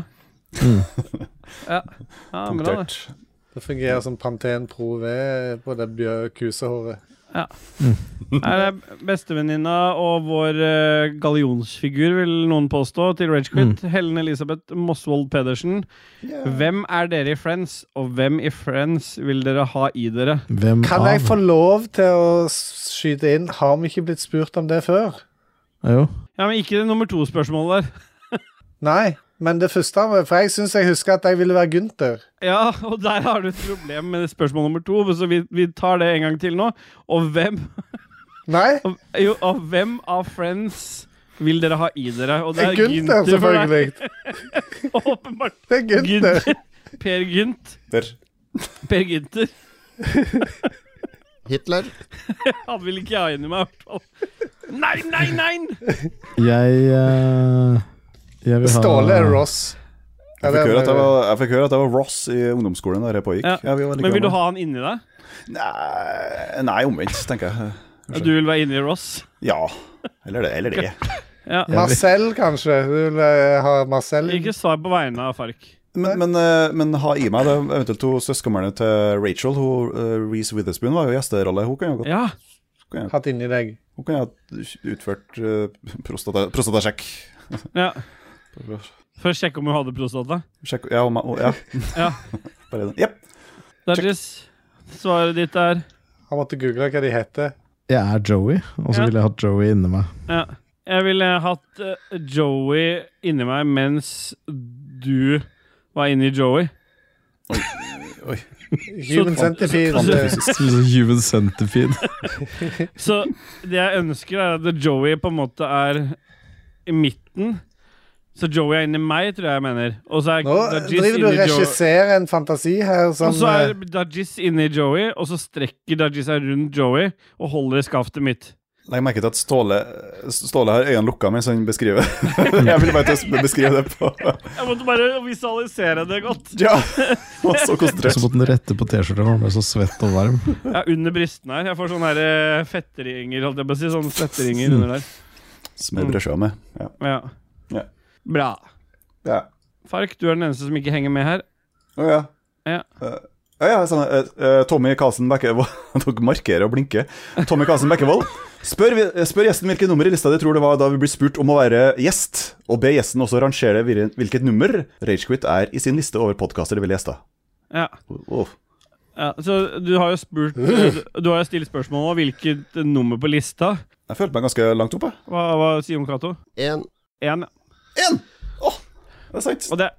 S5: Mm.
S2: Ja. ja, bra det.
S3: Punktert.
S5: Det fungerer som Pantene Pro V på det bjø- kusehåret.
S2: Nei, det er Bestevenninna og vår eh, gallionsfigur, vil noen påstå, til Ragequit. Helen Elisabeth Mosvold Pedersen. Hvem er dere i Friends, og hvem i Friends vil dere ha i dere?
S4: Hvem
S5: Kan
S4: av?
S5: jeg få lov til å s- skyte inn? Har vi ikke blitt spurt om det før?
S4: Ja, Jo.
S2: Ja, men Ikke det nummer to-spørsmålet der.
S5: Nei, men det første For jeg syns jeg husker at jeg ville være Gunther.
S2: Ja, og der har du et problem med spørsmål nummer to, så vi, vi tar det en gang til nå. Og hvem,
S5: Nei?
S2: og, jo, og hvem av Friends vil dere ha i dere? Og det er
S5: Gunther,
S2: Gunther for deg.
S5: selvfølgelig.
S2: Åpenbart.
S5: Det er Gunther.
S2: Gunther. Per Gynt.
S3: Der.
S2: Per Gynter.
S1: Hitler.
S2: Han vil ikke jeg ha inn i meg, i hvert fall. Nei, nei, nei!
S4: Jeg eh, Jeg vil ha
S5: Ståle er Ross. eh,
S3: Jeg fikk, høre at jeg, var, jeg fikk høre at jeg var Ross i ungdomsskolen der jeg pågikk.
S2: Ja.
S3: Ja, vi var like
S2: Men vil du
S3: gamle.
S2: ha han inni deg?
S3: Nei, nei, omvendt, tenker jeg.
S2: Ja, Du vil være inni Ross?
S3: Ja. Eller det. Eller det.
S2: Ja.
S5: Marcel, kanskje. Du vil eh, ha Marcel?
S2: Ikke svar på vegne av Fark.
S3: Men, men, eh, men ha i meg det er eventuelt hun søskenbarnet til Rachel. Hun, eh, Reese Witherspoon var jo gjesterolle. Hun kan jo godt
S2: Ja.
S5: Hatt inni deg.
S3: Hun kan jo ha utført eh, prostata, prostatasjekk.
S2: ja. For å sjekke om hun hadde prostata.
S3: Sjekk Ja. Om, jeg- ja.
S2: Ja.
S3: Bare den. Jepp.
S2: Dajis, svaret ditt er
S5: Han måtte google hva de heter.
S4: Jeg er Joey, og så
S2: Ja.
S4: vil jeg ha Joey inni meg.
S2: ja. Jeg ville hatt eh, Joey inni meg mens du var inni Joey.
S5: Human
S2: Så-
S5: Centipede. eh,
S2: Altså-
S4: Som en sånn Human centipede.
S2: Så det jeg ønsker, er at Joey på en måte er i midten. Så Joey er inni meg, tror jeg jeg mener. Og så er
S5: Nå
S2: Dajis
S5: driver du og
S2: inni Joey.
S5: regisserer en fantasi her som
S2: Og så er
S5: eh,
S2: Dajis inni Joey, og så strekker Dajis seg rundt Joey og holder i skaftet mitt.
S3: Legg merke til at Ståle, Ståle har øynene lukka mens han beskriver. jeg ville bare til å beskrive det på
S2: Jeg måtte bare visualisere det godt.
S3: Ja! Han var så
S4: Og så
S3: konsentrert.
S4: måtte den rette på T-skjorta, for den ble så svett og varm.
S2: Jeg er under brystene her. Jeg får sånne her, eh, fetteringer, holdt jeg på å si. Sånne svetteringer under der.
S3: Smør brødskiva med. Ja.
S2: Ja.
S3: Ja.
S2: Bra.
S3: ja.
S2: Fark, du er den eneste som ikke henger med her.
S3: Å ja.
S2: Ja.
S3: Eh, ja, ja, sånn, eh, eh, Tommy Karlsen Bekkevold Dere markerer og blinker. Tommy Karlsen Bekkevold. Spør, vi- eh, spør gjesten hvilket nummer i lista de tror det var da vi ble spurt om å være gjest, og be gjesten også rangere hvil- hvilket nummer Ragequit er i sin liste over podkaster de vil gjeste.
S2: Ja.
S3: Oh.
S2: ja. Så du har jo spurt eh, Du har jo stilt spørsmål om hvilket eh, nummer på lista.
S3: Jeg følte meg ganske langt oppe.
S2: Hva, hva sier Jon Cato?
S1: En
S2: Én. ja.
S3: Én! Åh, det er sant.
S2: Og det,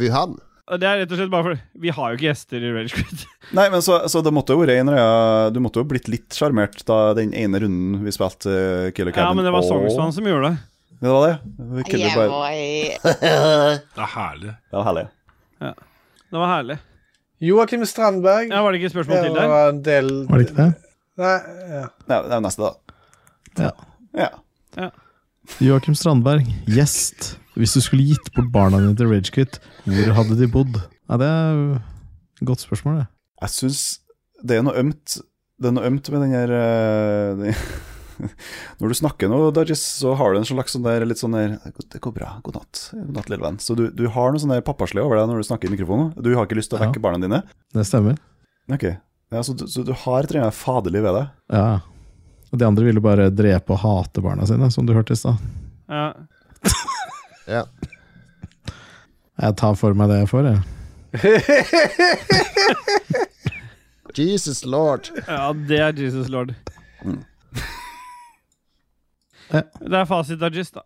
S1: Wuhan.
S2: og det er rett og slett bare fordi vi har jo ikke gjester i Ragequit.
S3: Nei, men så, så det måtte jo være en eller annen- Du måtte jo blitt litt sjarmert da den ene runden vi spilte eh, Killer Cabin.
S2: Ja, men det var
S3: Åh.
S2: Songstad som gjorde det.
S3: Det var det. Vi kunne
S6: Yeah,
S3: bare...
S6: boy.
S10: Det er herlig.
S3: Det var herlig.
S2: Det var herlig.
S5: Joakim Strandberg.
S2: Ja, var det ikke et spørsmål til
S5: det
S2: der?
S5: var en del
S4: Var det ikke det?
S5: Nei, ja.
S3: Det er det er jo neste, da.
S4: Ja.
S3: Ja.
S4: Joakim Strandberg, gjest. Hvis du skulle gitt bort barna dine til Ragequit, hvor hadde de bodd? Ja, det er et godt spørsmål, det.
S3: Jeg syns det er noe ømt Det er noe ømt med den her eh, den- Når du snakker nå, Dodges, så har du en slags sånn der litt sånn der Det går bra, god natt, god natt, lille venn. Så du, du har noe sånn der pappaslig over deg når du snakker i mikrofonen. Du har ikke lyst til å
S4: Ja.
S3: vekke barna dine.
S4: Det stemmer.
S3: Ok, ja, så, du, så du har et eller annet faderlig ved deg.
S4: Ja. Og de andre ville bare drepe og hate barna sine, som du hørte i stad.
S2: Ja.
S1: Ja.
S4: Jeg tar for meg det jeg får, jeg.
S1: Jesus lord.
S2: ja, det er Jesus Lord.
S4: Ja.
S2: Det er fasit av gist, da.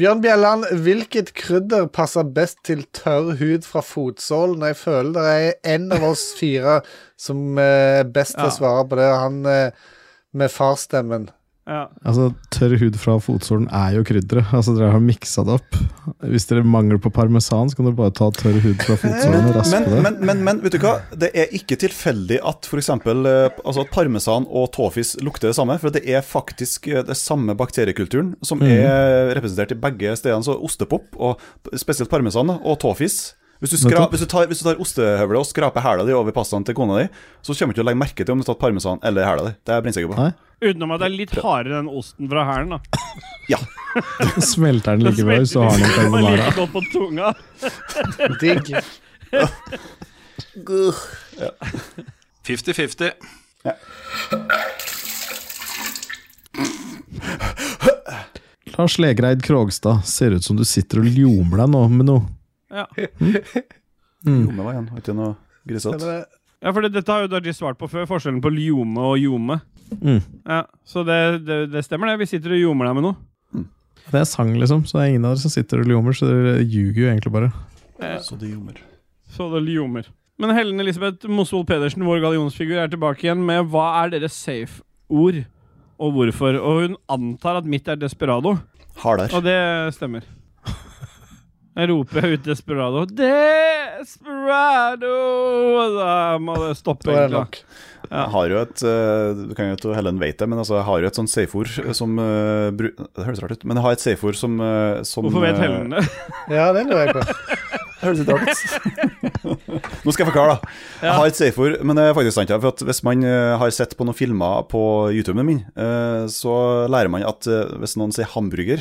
S5: Bjørn Bjelland, hvilket krydder passer best til tørr hud fra fotsålen? Jeg føler det er en av oss fire som eh, er best til å
S2: Ja.
S5: svare på det. Han eh, med farsstemmen.
S2: Ja.
S4: Altså, Tørr hud fra fotsålen er jo krydderet. Altså, dere har miksa det opp. Hvis dere mangler på parmesan, så kan dere bare ta tørr hud fra fotsålen og raspe
S3: Men,
S4: det.
S3: men, men, men vet du hva? Det er ikke tilfeldig at f.eks. Altså at parmesan og tåfis lukter det samme, for det er faktisk eh, det samme bakteriekulturen som
S4: Mhm.
S3: er representert i begge stedene. Så ostepop, og spesielt parmesan da, og tåfis. Hvis du, skra,
S4: Nettopp.
S3: hvis, du tar, hvis du tar ostehøvelet og skraper hæla di over pastaen til kona di, så kommer du ikke til å legge merke til om du har tatt parmesan eller hæla di. Det er jeg blindsikker på.
S4: Nei.
S2: Utenom at det er litt hardere enn osten fra hælen, da.
S4: Smelter den
S2: Den
S4: like bra hvis du har den i
S2: smelter
S4: carbonara.
S2: like godt på tunga.
S5: Digg.
S10: 50-50.
S4: Lars Legreid Krogstad, ser ut som du sitter og ljomer deg nå med noe. Mm.
S2: Ja.
S3: Jo, men hva igjen? Har ikke noe grisete?
S5: Stemmer det?
S2: Ja, for det, dette har jo Dajis svart på før, forskjellen på ljome og ljome.
S4: Mm.
S2: Ja, så det, det, det stemmer, det. Vi sitter og ljomer deg med noe.
S4: Det er sang, liksom, så det er ingen av dere som sitter og ljomer, så dere ljuger jo egentlig bare.
S3: Så det ljomer.
S2: Så det ljomer. Men Helen Elisabeth Mosvold Pedersen, vår gallionsfigur, er tilbake igjen med hva er deres safe-ord, og hvorfor? Og hun antar at mitt er desperado,
S3: Hardere.
S2: og det stemmer. Jeg roper ut desperado. Desperado! Og Da må det stoppe,
S5: Da er det
S2: egentlig.
S5: nok.
S2: Ja.
S3: Jeg har jo et eh, Du kan jo tro Helen vet det, men altså, jeg har jo et sånt safe-ord som eh, bru- Det høres rart ut, men jeg har et safe-ord som, eh, som
S2: Hvorfor vet
S3: eh,
S2: Helen det?
S5: Ja, det lurer jeg på.
S3: Høres litt rart ut. Nå skal jeg forklare, da. Jeg har et safe-ord, men det er faktisk sant. ja, For at hvis man eh, har sett på noen filmer på YouTuben min, eh, så lærer man at eh, hvis noen sier hamburger,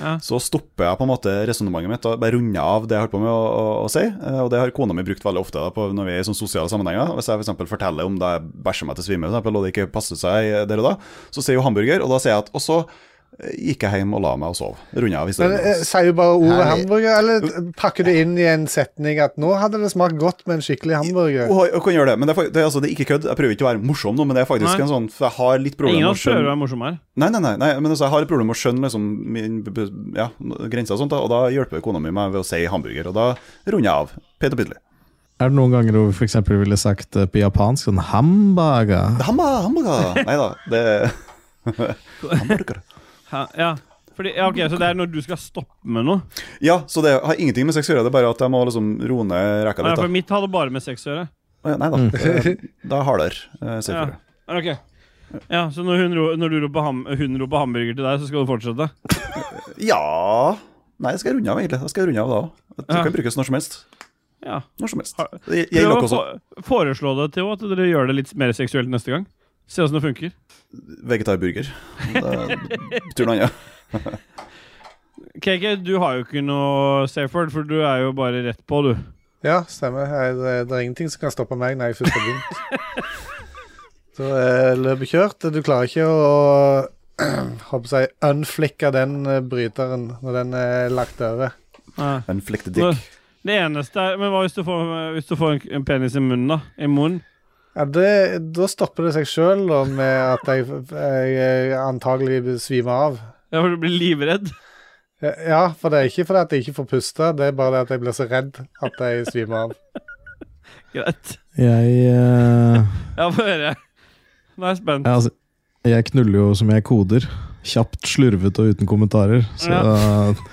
S2: Ja.
S3: så stopper jeg på en måte resonnementet mitt og bare runder av det jeg holder på med å, å, å si. Eh, Og det har kona mi brukt veldig ofte da, på når vi er i sånne sosiale sammenhenger. Hvis jeg f.eks. forteller om da jeg bæsjer meg til svime, for eksempel, og det ikke passer seg eh, der og da, så sier hun hamburger, og da sier jeg at Og så eh, gikk jeg hjem og la meg og sov. Runder av
S5: Men
S3: historien.
S5: eh,
S3: hennes.
S5: Sier du bare ordet
S1: Herlig.
S5: hamburger, eller pakker du inn i en setning at nå hadde det smakt godt med en skikkelig hamburger?
S3: Hun kan gjøre det, men det er, fak- det, er, altså, det er ikke kødd. Jeg prøver ikke å være morsom nå, men det er faktisk
S2: Nei.
S3: en sånn For jeg har litt
S2: Ingen
S3: problemer
S2: av
S3: med å
S2: oss prøver å
S3: skjønne
S2: være morsom her.
S3: Nei, nei, nei, nei men altså, jeg har et problem med å skjønne liksom, min- b- b- ja, grenser og sånt, da, og da hjelper kona mi meg ved å si hamburger, og da runder jeg av. Pent og pyntelig.
S4: Er det noen ganger du f.eks. ville sagt eh, på japansk sånn hambaga?
S3: Hamma, hamburger! Nei da, det Hamburger.
S2: Ja, ja. Fordi, ja, ok, Så det er når du skal stoppe med noe?
S3: Ja, så det har ingenting med sex å gjøre, det er bare at jeg må liksom roe ned rekka
S2: Ja,
S3: litt.
S2: for
S3: Da.
S2: mitt hadde bare med sex å gjøre.
S3: Å ja, Nei da, det, det er hardere. eh, sier
S2: Ja.
S3: jeg.
S2: Ja, Ok. Ja, så når, hun, ro- når du roper, ham, hun roper hamburger til deg, så skal du fortsette?
S3: ja Nei, det skal jeg runde av, egentlig. Det skal jeg runde av da òg. Det
S2: Ja.
S3: kan brukes når som helst.
S2: Ja.
S3: Når som helst.
S2: Har-
S3: Det gjelder
S2: Prøv å
S3: dere også.
S2: få- foreslå det til henne, at dere gjør det litt mer seksuelt neste gang. Se åssen det funker.
S3: vegetarburger. Det betyr noe annet.
S2: KK, du har jo ikke noe safe word, for du er jo bare rett på, du.
S5: Ja, stemmer. Jeg, det, det er ingenting som kan stoppe meg når jeg først har begynt. Så eh, løpet kjørt. Du klarer ikke å håper jeg, unflikke den eh, bryteren når den er lagt over.
S2: Ja.
S3: En flektet
S2: Så,
S3: dick.
S2: det eneste er Men hva hvis du får, hvis du får en, en penis i munnen, da? I munnen?
S5: Ja, det, da stopper det seg sjøl med at jeg, jeg, eh, antagelig svimer av.
S2: Ja, for du blir livredd?
S5: Ja, for det er ikke fordi at jeg ikke får puste, det er bare det at jeg blir så redd at jeg svimer av.
S2: Greit.
S4: Jeg eh,
S2: Ja, få høre. Nå er jeg spent.
S4: Ja, altså, jeg knuller jo som jeg koder. Kjapt, slurvete og uten kommentarer. Så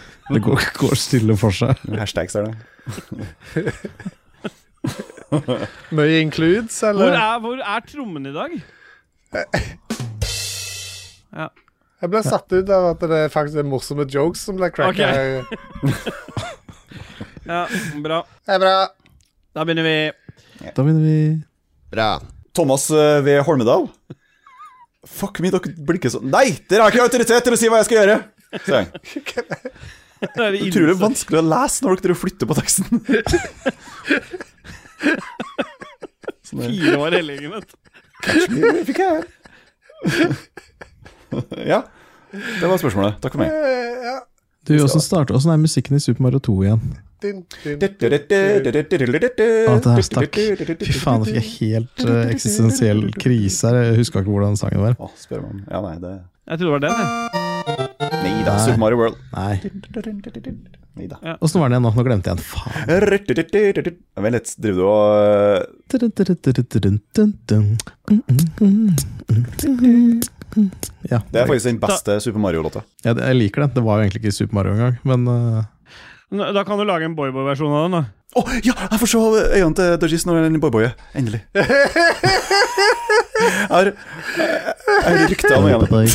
S4: det går, går stille for seg.
S3: Hashtags er det.
S5: Mye includes,
S2: Hvor
S5: eller?
S2: er, hvor er trommen i dag?
S5: Jeg ble satt ut av at det faktisk er morsomme jokes som blir cracka.
S2: Ok.
S5: her.
S2: Ja, bra.
S5: Det er bra.
S2: Da begynner vi.
S4: Da begynner vi
S1: Bra.
S3: Thomas eh, V. Holmedal. Fuck me, dere blinker sånn Nei, dere har ikke autoritet til å si hva jeg skal gjøre! sier jeg.
S2: Da er det
S3: Utrolig
S2: innsatt.
S3: vanskelig å lese når dere flytter på teksten.
S2: Fire år helgen, vet du.
S3: Fikk jeg Ja. Det var spørsmålet. Takk for meg.
S5: Eh, Ja.
S4: Du, åssen starter Åssen er musikken i Super Mario 2 igjen?
S5: Din, din.
S4: Å, det her stakk. Fy faen, jeg fikk jeg helt eh, eksistensiell krise her. Jeg huska ikke hvordan sangen var.
S3: Å, spør meg om Ja, nei, det
S2: Jeg trodde det var den. jeg.
S3: Nei da, Super Mario World.
S4: Nei.
S3: Nei da.
S4: Åssen var den igjen nå? Nå glemte jeg den. Faen.
S3: Vent litt, driver du og eh,
S4: Ja,
S3: Det er faktisk den beste Super Mario-låta.
S4: ja, det- jeg liker den. Det var jo egentlig ikke Super Mario engang, men eh,
S2: Nå- Da kan du lage en boyboy-versjon av den. da.
S3: Å ja, jeg får se øynene til Dodgies når han er boyboyer. Endelig. Jeg har, jeg har rykter om øynene.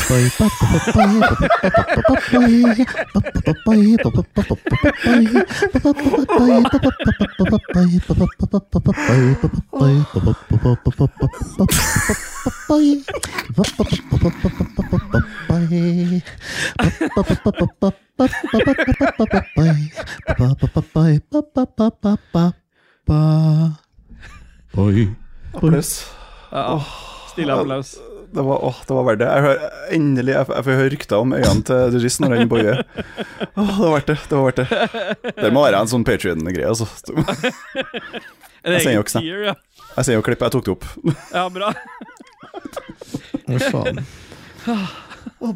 S3: Applaus.
S2: Stille applaus.
S3: Det var, åh, det var verdt det. Jeg hører, endelig jeg, jeg får høre rykter om øynene til Dodgies når han boyer. Åh, det var verdt det. Det var verdt det. Det må være en sånn Patrion-greie, altså.
S2: En
S3: Jeg ser
S2: egen
S3: jo ikke snap.
S2: tier, ja.
S3: Jeg ser jo klippet, jeg tok det opp.
S2: ja, bra.
S4: hva faen?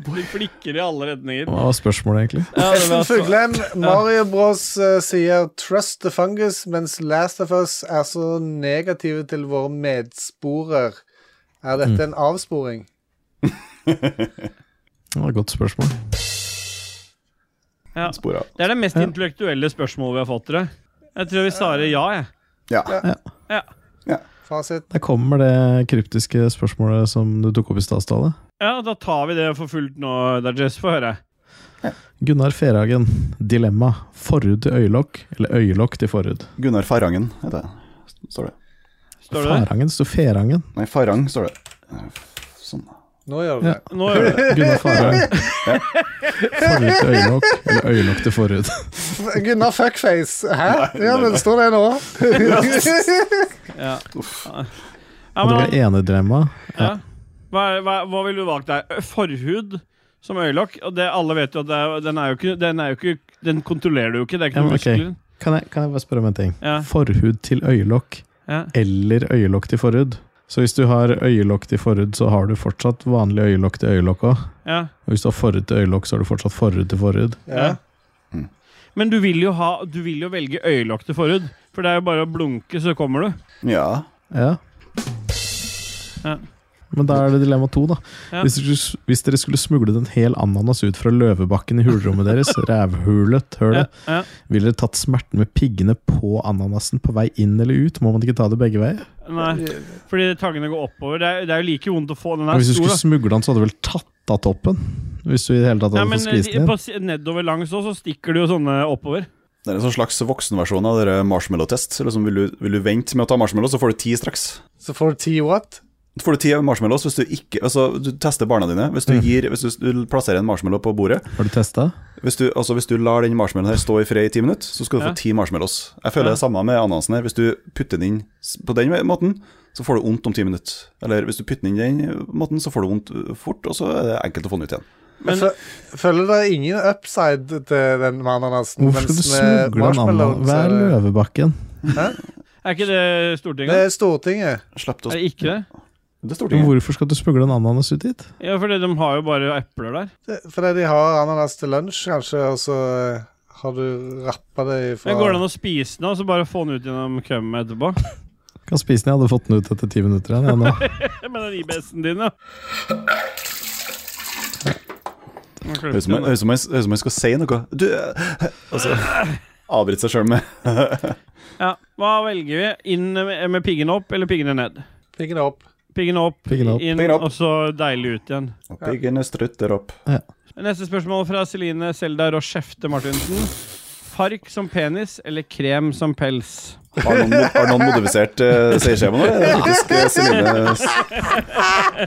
S2: Du flikker i alle redninger.
S4: Hva var spørsmålet, egentlig?
S2: Ja, det var
S5: Espen
S2: så-
S5: Fuglem, Mario Bros eh, sier 'trust the fungus', mens Last of Us er så negative til våre medsporer. Er dette en avsporing?
S4: Det var et godt spørsmål.
S2: ja.
S3: Sporet.
S2: Det er det mest intellektuelle spørsmålet vi har fått, dere. Jeg tror vi svarer ja, jeg.
S3: Ja.
S2: Ja.
S5: Fasit.
S4: Der kommer det kryptiske spørsmålet som du tok opp i stad, Ståle.
S2: ja, da tar vi det for fullt nå, Dajess. Få høre.
S4: Gunnar Ferhagen, dilemma. Forhud til øyelokk eller øyelokk til forhud?
S3: Gunnar Farangen heter jeg. Står det.
S2: Står det det?
S4: Ferhagen, sto Ferhagen.
S3: Nei, Farang står det. Sånn.
S5: Nå gjør du det.
S2: Nå gjør det.
S4: Gunnar Ferhagen. Forhud til øyelokk eller øyelokk til forhud?
S5: Gunnar Fuckface. Hæ? Ja, men det står det nå.
S2: Ja. Ja,
S4: Og det var
S2: men,
S4: enedilemma.
S2: ja. hva, er- hva, hva ville du valgt der? Forhud som øyelokk? Og det alle vet jo at det er, den er jo ikke Den, er jo ikke, den kontrollerer du jo ikke. Det er
S4: Ja,
S2: ikke
S4: men
S2: noen
S4: ok.
S2: muskler.
S4: Kan jeg, kan jeg bare spørre om en ting?
S2: Ja.
S4: Forhud til øyelokk
S2: Ja.
S4: eller øyelokk til forhud? Så hvis du har øyelokk til forhud, så har du fortsatt vanlig øyelokk til øyelokk òg.
S2: Ja.
S4: Og hvis du har forhud til øyelokk, så har du fortsatt forhud til forhud.
S2: Ja. Men du vil jo, ha, du vil jo velge øyelokk til forhud, for det er jo bare å blunke, så kommer du.
S3: Ja.
S4: Ja.
S2: Ja.
S4: Men da er det dilemma to, da.
S2: Ja.
S4: Hvis, dere, skulle- hvis dere skulle smuglet en hel ananas ut fra løvebakken i hulrommet deres, rævhulet, hør
S2: Ja,
S4: det,
S2: ja.
S4: ville dere tatt smerten med piggene på ananasen på vei inn eller ut? Må man ikke ta det begge veier?
S2: Nei, fordi tangene går oppover. Det er, det er jo like vondt å få den
S4: Ja,
S2: her
S4: hvis du
S2: stor.
S4: skulle
S2: da.
S4: smugle den, så hadde du vel tatt av toppen? Hvis du i det hele tatt
S2: Ja,
S4: hadde
S2: men
S4: fått skvist
S2: de-
S4: den
S2: på,
S4: inn?
S2: si- nedover langs òg, så stikker det jo sånne oppover.
S3: Det er en sånn slags voksenversjon av dere marshmallow-test. Liksom, vil, du- vil du vente med å ta marshmallows, så får du ti straks.
S5: Så får du ti what?
S3: Så får du ti marshmallows hvis du ikke Altså, du tester barna dine. Hvis du, gir, hvis du, du plasserer en marshmallow på bordet
S4: Har du testa?
S3: Hvis du, altså, hvis du lar den marshmallowen her stå i fred i ti minutter, så skal du
S2: Ja.
S3: få ti marshmallows. Jeg føler det er samme med ananasen her. Hvis du putter den inn s- på den måten, så får du vondt om ti minutter. Eller hvis du putter den inn den måten, så får du vondt øh, fort, og så er det enkelt å få den ut igjen.
S5: Men, Føler det er ingen upside til den med ananasen?
S4: Hvorfor skal
S5: mens eh,
S4: du
S5: med
S4: smugle en
S5: marshmallow,
S4: ananas? Hva
S5: så
S4: er
S5: det-
S4: løvebakken?
S2: Er ikke det
S5: Det
S2: Stortinget?
S5: er Stortinget.
S3: Slipp
S2: Er
S3: det å
S2: det ikke det?
S3: Det står
S4: Men
S3: det.
S4: Hvorfor skal du smugle en ananas ut dit?
S2: Ja, for de har jo bare epler der.
S5: Det- Fordi de har ananas til lunsj, kanskje, og så eh, har du rappa det fra
S2: Men Går det an å spise den og så bare få den ut gjennom kømmen etterpå?
S4: Kan spise den, jeg hadde fått den ut etter ti minutter igjen. jeg nå.
S2: Med den IBS-en din, ja.
S3: Høres ut som jeg- høres ut som jeg høres ut som jeg skal si noe. Du øh, eh, Altså avbryte seg sjøl med.
S2: Ja, Hva velger vi? Inn med med piggene opp eller piggene ned?
S5: Piggen opp.
S2: Piggene opp,
S4: Piggene opp.
S2: inn,
S3: Piggene opp.
S2: og så deilig ut igjen.
S3: Og Piggene strutter opp.
S2: Neste spørsmål fra Celine Selda Rochefte Martinsen. Fark som penis eller krem som pels?
S3: Har noen, har noen modifisert uh, seieskjema nå? eller? Det er faktisk eh, Celine s-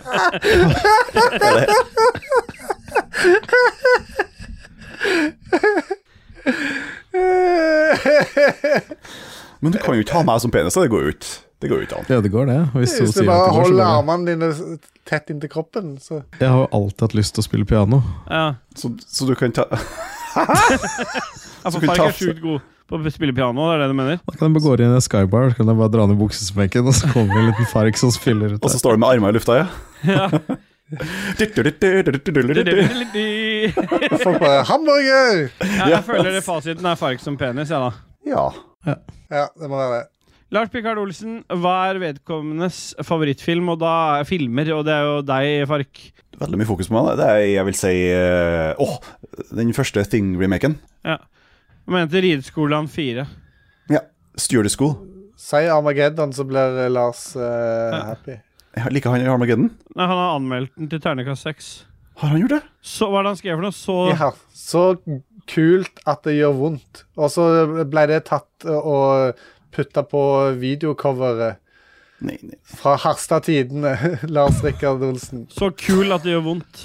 S3: Men du kan jo ikke ha meg som penis, da. det går jo ikke. Det går jo ikke an.
S4: Ja, det går, det. Hvis,
S5: Hvis
S4: du
S5: du bare
S4: går, så går
S5: holder
S4: det.
S5: armene dine s- tett inntil kroppen, så
S4: Jeg har jo alltid hatt lyst til å spille piano.
S2: Ja,
S3: Så, så du kan ta
S2: ja for
S3: vi
S2: Fark
S3: ta-
S2: er sjukt god på å spille piano, det er det du mener?
S4: Da kan jeg bare gå inn i en skybar så kan jeg bare dra ned buksesmenken, og så kommer det en liten fark som spiller ut.
S3: Og så står du med armene i lufta, ja?
S2: Ja.
S3: ja.
S5: folk bare 'Hamburger!'
S2: Ja, jeg føler det fasiten er fark som penis, jeg, da.
S5: Ja, det må være det.
S2: Lars Picard Olsen, hva er vedkommendes favorittfilm? Og da er filmer, og det er jo deg, Fark.
S3: Veldig mye fokus på meg. da. Det er, jeg vil si eh, Åh, den første Thing-remaken.
S2: Ja. Jeg mente Rideskolan 4.
S3: Ja. Stuart School.
S5: Si Armageddon, så blir eh, Lars eh, happy.
S3: Jeg liker han i Armageddon.
S2: Nei, han har anmeldt den til terningkast 6.
S3: Har han gjort det?
S2: Så hva er det han skrev for noe? Så
S5: Ja, så kult at det gjør vondt. Og så ble det tatt og putta på videocoveret
S3: Nei, nei.
S5: fra Harstad Tidende, Lars Rikard Olsen.
S2: Så kul at det gjør vondt.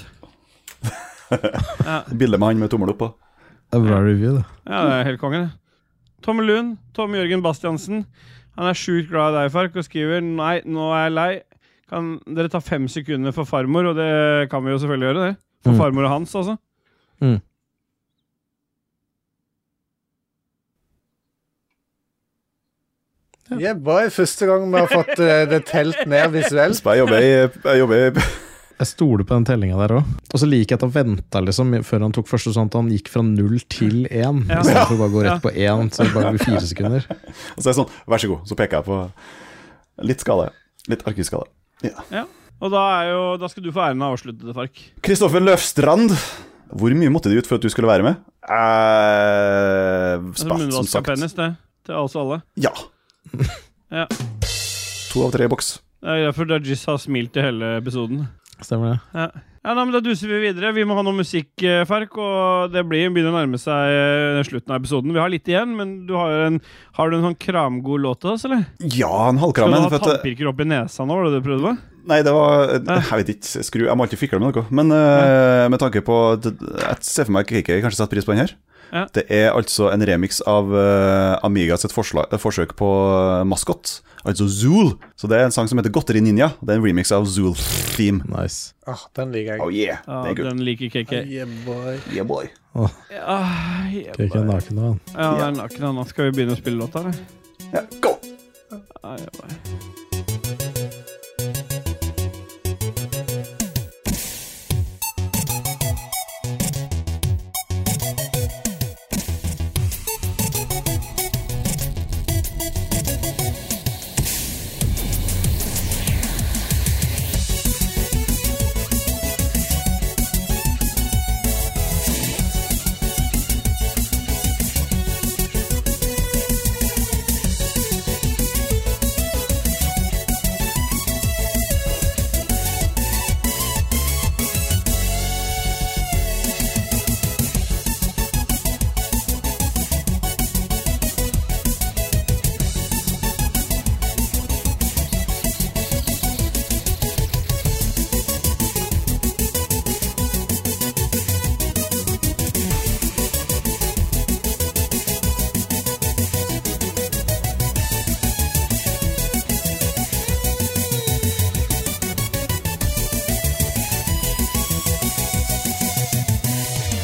S3: Bildet med han med tommel opp på.
S4: Det er bra review, det.
S2: Ja, det er helt konge, det. Tom Lund, Tom Jørgen Bastiansen. Han er sjukt glad i deg, Fark, og skriver Nei, nå er jeg lei. Kan dere ta fem sekunder for farmor? Og det kan vi jo selvfølgelig gjøre, det. For
S4: Mm.
S2: farmor og hans, altså.
S4: Mm.
S5: Yeah, boy. Første gang vi har fått eh, det telt ned visuelt.
S3: Så jeg jobber i, jeg jobber i
S4: Jeg stoler på den tellinga der òg. Og så liker jeg at han venta liksom, før han tok første, sånn at han gikk fra null til én.
S2: Ja.
S4: Istedenfor å bare gå rett på én, så det bare blir fire sekunder.
S3: Og så er jeg sånn, vær så god. Så peker jeg på litt skade. Litt arkivskade. Ja.
S2: Og da, er jo, da skal du få æren av å avslutte det, Fark.
S3: Kristoffer Løfstrand. Hvor mye måtte de ut for at du skulle være med? Eh,
S2: Altså,
S3: spart, som
S2: Munnvask av
S3: sagt.
S2: penis, det. Til oss alle.
S3: Ja.
S2: Ja.
S3: To av tre i boks.
S2: Det er derfor Dajis har smilt i hele episoden.
S4: Stemmer det.
S2: Ja. ja, nei, men Da duser vi videre. Vi må ha noe musikk, eh, Fark. Og det blir, begynner å nærme seg eh, slutten av episoden. Vi har litt igjen, men du har, en, har du en sånn kramgod låt til oss, eller?
S3: Ja, en
S2: Skal
S3: halvkramme.
S2: du ha
S3: for at- eh,
S2: tannpirker opp i nesa nå, var det det du prøvde på?
S3: Nei, det var Jeg vet ikke. Skru Jeg må alltid fikle med noe. Men eh, med tanke på Jeg ser for meg Kiki kanskje setter pris på den her.
S2: Ja.
S3: Det er altså en remix av eh, Amiga sitt forslag, eh, forsøk på eh, maskott, altså Zool. Så det er en sang som heter Godteri Ninja. Det er en remix av Zool Theme.
S4: Nice.
S5: Ah, den liker jeg.
S3: Oh yeah,
S2: Ja,
S3: det er good.
S2: den liker KK.
S5: Yeah, boy.
S3: Yeah, boy.
S2: Ah, ja,
S4: Skal ikke være naken nå, han.
S2: ja, det er naken han. Skal vi begynne å spille låta, eller?
S3: Ja, go!
S2: Ja, ja, bare.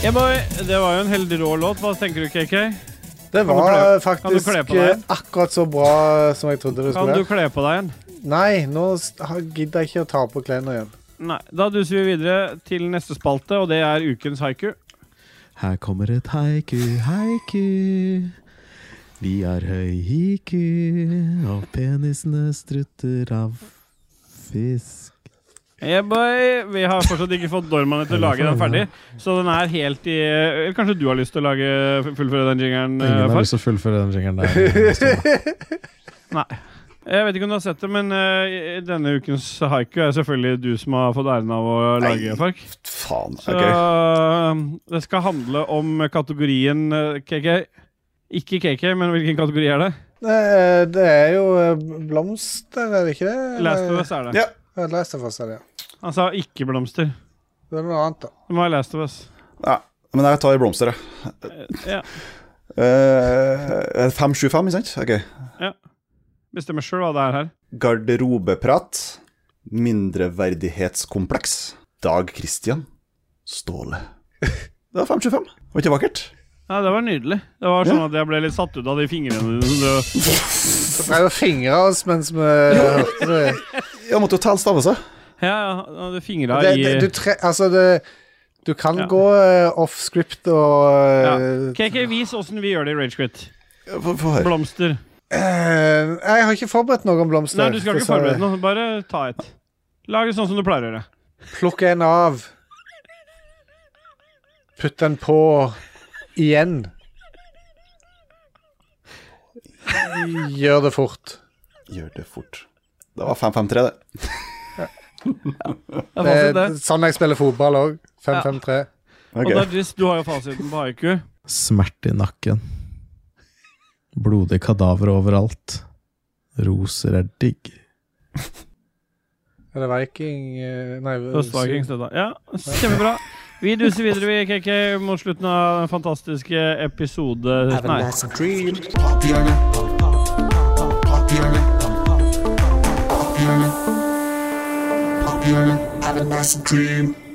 S2: Ja, boy. Det var jo en helt rå låt. Hva tenker du, KK?
S5: Det
S2: du
S5: var
S2: kle-
S5: eh, faktisk
S2: kan du kle på deg?
S5: eh, akkurat så bra som jeg trodde det
S2: Kan
S5: skulle
S2: du
S5: være.
S2: kle på deg en?
S5: Nei, nå s- har- gidder jeg ikke å ta på klærne igjen.
S2: Nei. Da duser vi videre til neste spalte, og det er ukens haiku.
S4: Her kommer et haiku, haiku. Vi har høy hiku, og penisene strutter av fisk.
S2: Yeah, boy. Vi har fortsatt ikke fått Dormanen til å lage den ferdig, så den er helt i Eller kanskje du har lyst til å lage fullføre den jingeren? eh,
S4: Ingen har
S2: Farg?
S4: lyst til å fullføre den jingeren der.
S2: Nei. Jeg vet ikke om du har sett det, men eh, denne ukens haiku er selvfølgelig du som har fått æren av å lage, Fark.
S3: Faen.
S2: Så eh,
S3: ok.
S2: det skal handle om kategorien eh, KK. Ikke KK, men hvilken kategori er det?
S5: Eh, Det er jo eh, blomster, er det ikke det?
S2: Last of Us er det.
S3: Ja.
S5: Ja, Last of Us er det, ja.
S2: Han sa ikke blomster.
S5: Det er noe annet, da.
S2: Det må være Last of Us.
S3: Ja, men jeg tar blomster, jeg.
S2: Ja.
S3: Eh, 575, ikke sant? Ok.
S2: Bestemmer sjøl hva det er her.
S3: Garderobeprat. Mindreverdighetskompleks. Dag Christian. Ståle. Det var 525. Var ikke vakkert?
S2: Ja, Det var nydelig. Det var sånn at jeg ble litt satt ut av de fingrene dine.
S5: Så pleier vi å fingre oss mens vi hørte det.
S3: Jeg måtte jo telle stavelse.
S2: Ja, ja, du fingra
S5: det,
S2: i
S5: det du tre, altså, det, du kan
S2: Ja.
S5: gå eh, off script og
S2: ja.
S5: eh,
S2: KK, vis åssen vi gjør det i Ragequit.
S3: Få få høre.
S2: Blomster.
S5: eh, Jeg har ikke forberedt noe om blomster.
S2: Nei, du skal ikke
S5: dessverre.
S2: forberede noe. Bare ta et. Lag det sånn som du pleier å gjøre.
S5: Plukk en av. Putt den på igjen. Gjør det fort.
S3: Gjør det fort. Det var 553, det.
S2: Det er
S5: Det
S2: fasit,
S5: er
S2: det.
S5: sånn jeg spiller fotball òg. 5-5-3.
S3: Ok.
S2: Og Dargis, du har jo fasiten på haiku.
S4: Smerte i nakken. Blodige kadaver overalt. Roser er digg.
S5: Er det Viking eh, Nei,
S2: Østvikings, dette. Ja, kjempebra. Vi duser videre, vi, KK, mot slutten av den fantastiske episode Nei.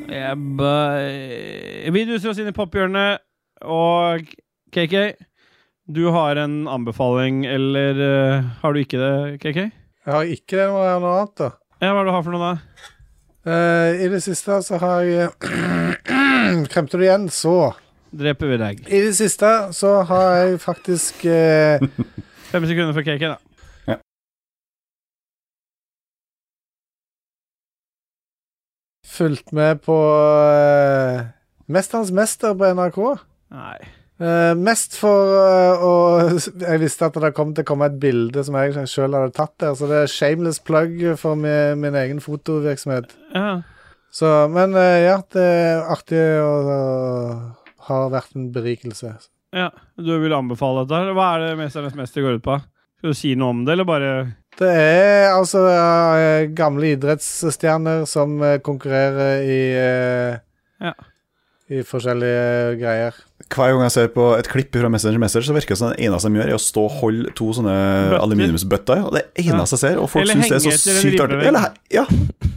S2: Yeah, bye. vi duser oss inn i pophjørnet, og KK, du har en anbefaling, eller eh, har du ikke det, KK?
S5: Jeg har ikke det, må jeg ha noe annet, da.
S2: Ja, hva er det du har for noe, da?
S5: Eh, I det siste så har jeg Kremte du igjen, så
S2: Dreper vi deg.
S5: I det siste så har jeg faktisk eh,
S2: Fem sekunder for KK, da.
S5: fulgt med på eh, Mesterens mester på NRK.
S2: Nei.
S5: Eh, mest for eh, å Jeg visste at det kom til å komme et bilde som jeg sjøl hadde tatt der, så det er shameless plug for min, min egen fotovirksomhet.
S2: Ja.
S5: Så, men eh, ja, det er artig og, og har vært en berikelse.
S2: Ja, du vil anbefale dette her. Hva er det Mesternes mester går ut på? Skal du si noe om det, eller bare
S5: Det er altså eh, gamle idrettsstjerner som eh, konkurrerer i eh,
S2: Ja.
S5: I forskjellige greier.
S3: Hver gang jeg ser på et klipp fra Messenger Messenger, så virker det som det eneste de gjør, er å stå og holde to sånne
S2: Bøtter.
S3: aluminiumsbøtter. Og det er det eneste jeg ser, og folk
S2: Eller
S3: syns det er så
S2: henge etter en
S3: sykt artig.
S2: ribbevegg.
S3: Eller, ja,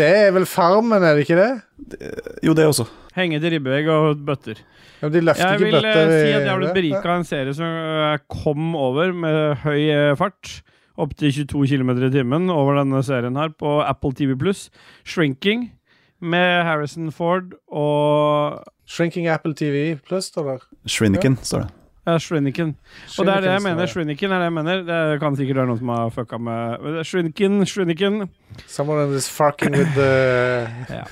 S5: Det er vel Farmen, er det ikke det?
S3: jo, det også.
S2: henge til ribbevegg og bøtter?
S5: Ja, men de løfter
S2: Jeg
S5: ikke
S2: vil eh,
S5: bøtter i-
S2: si at jeg har blitt
S5: Ja.
S2: berika av en serie som jeg kom over med høy eh, fart. Opptil 22 km i timen over denne serien her på Apple TV pluss. 'Shrinking' med Harrison Ford og
S5: Shrinking Apple TV pluss, står det.
S3: Shriniken, står det.
S2: ja, Shriniken. Og det er det jeg mener. Shriniken er det jeg mener. Det kan sikkert være noen som har fucka med Shriniken, Shriniken.
S5: Someone is fucking with the
S2: Ja.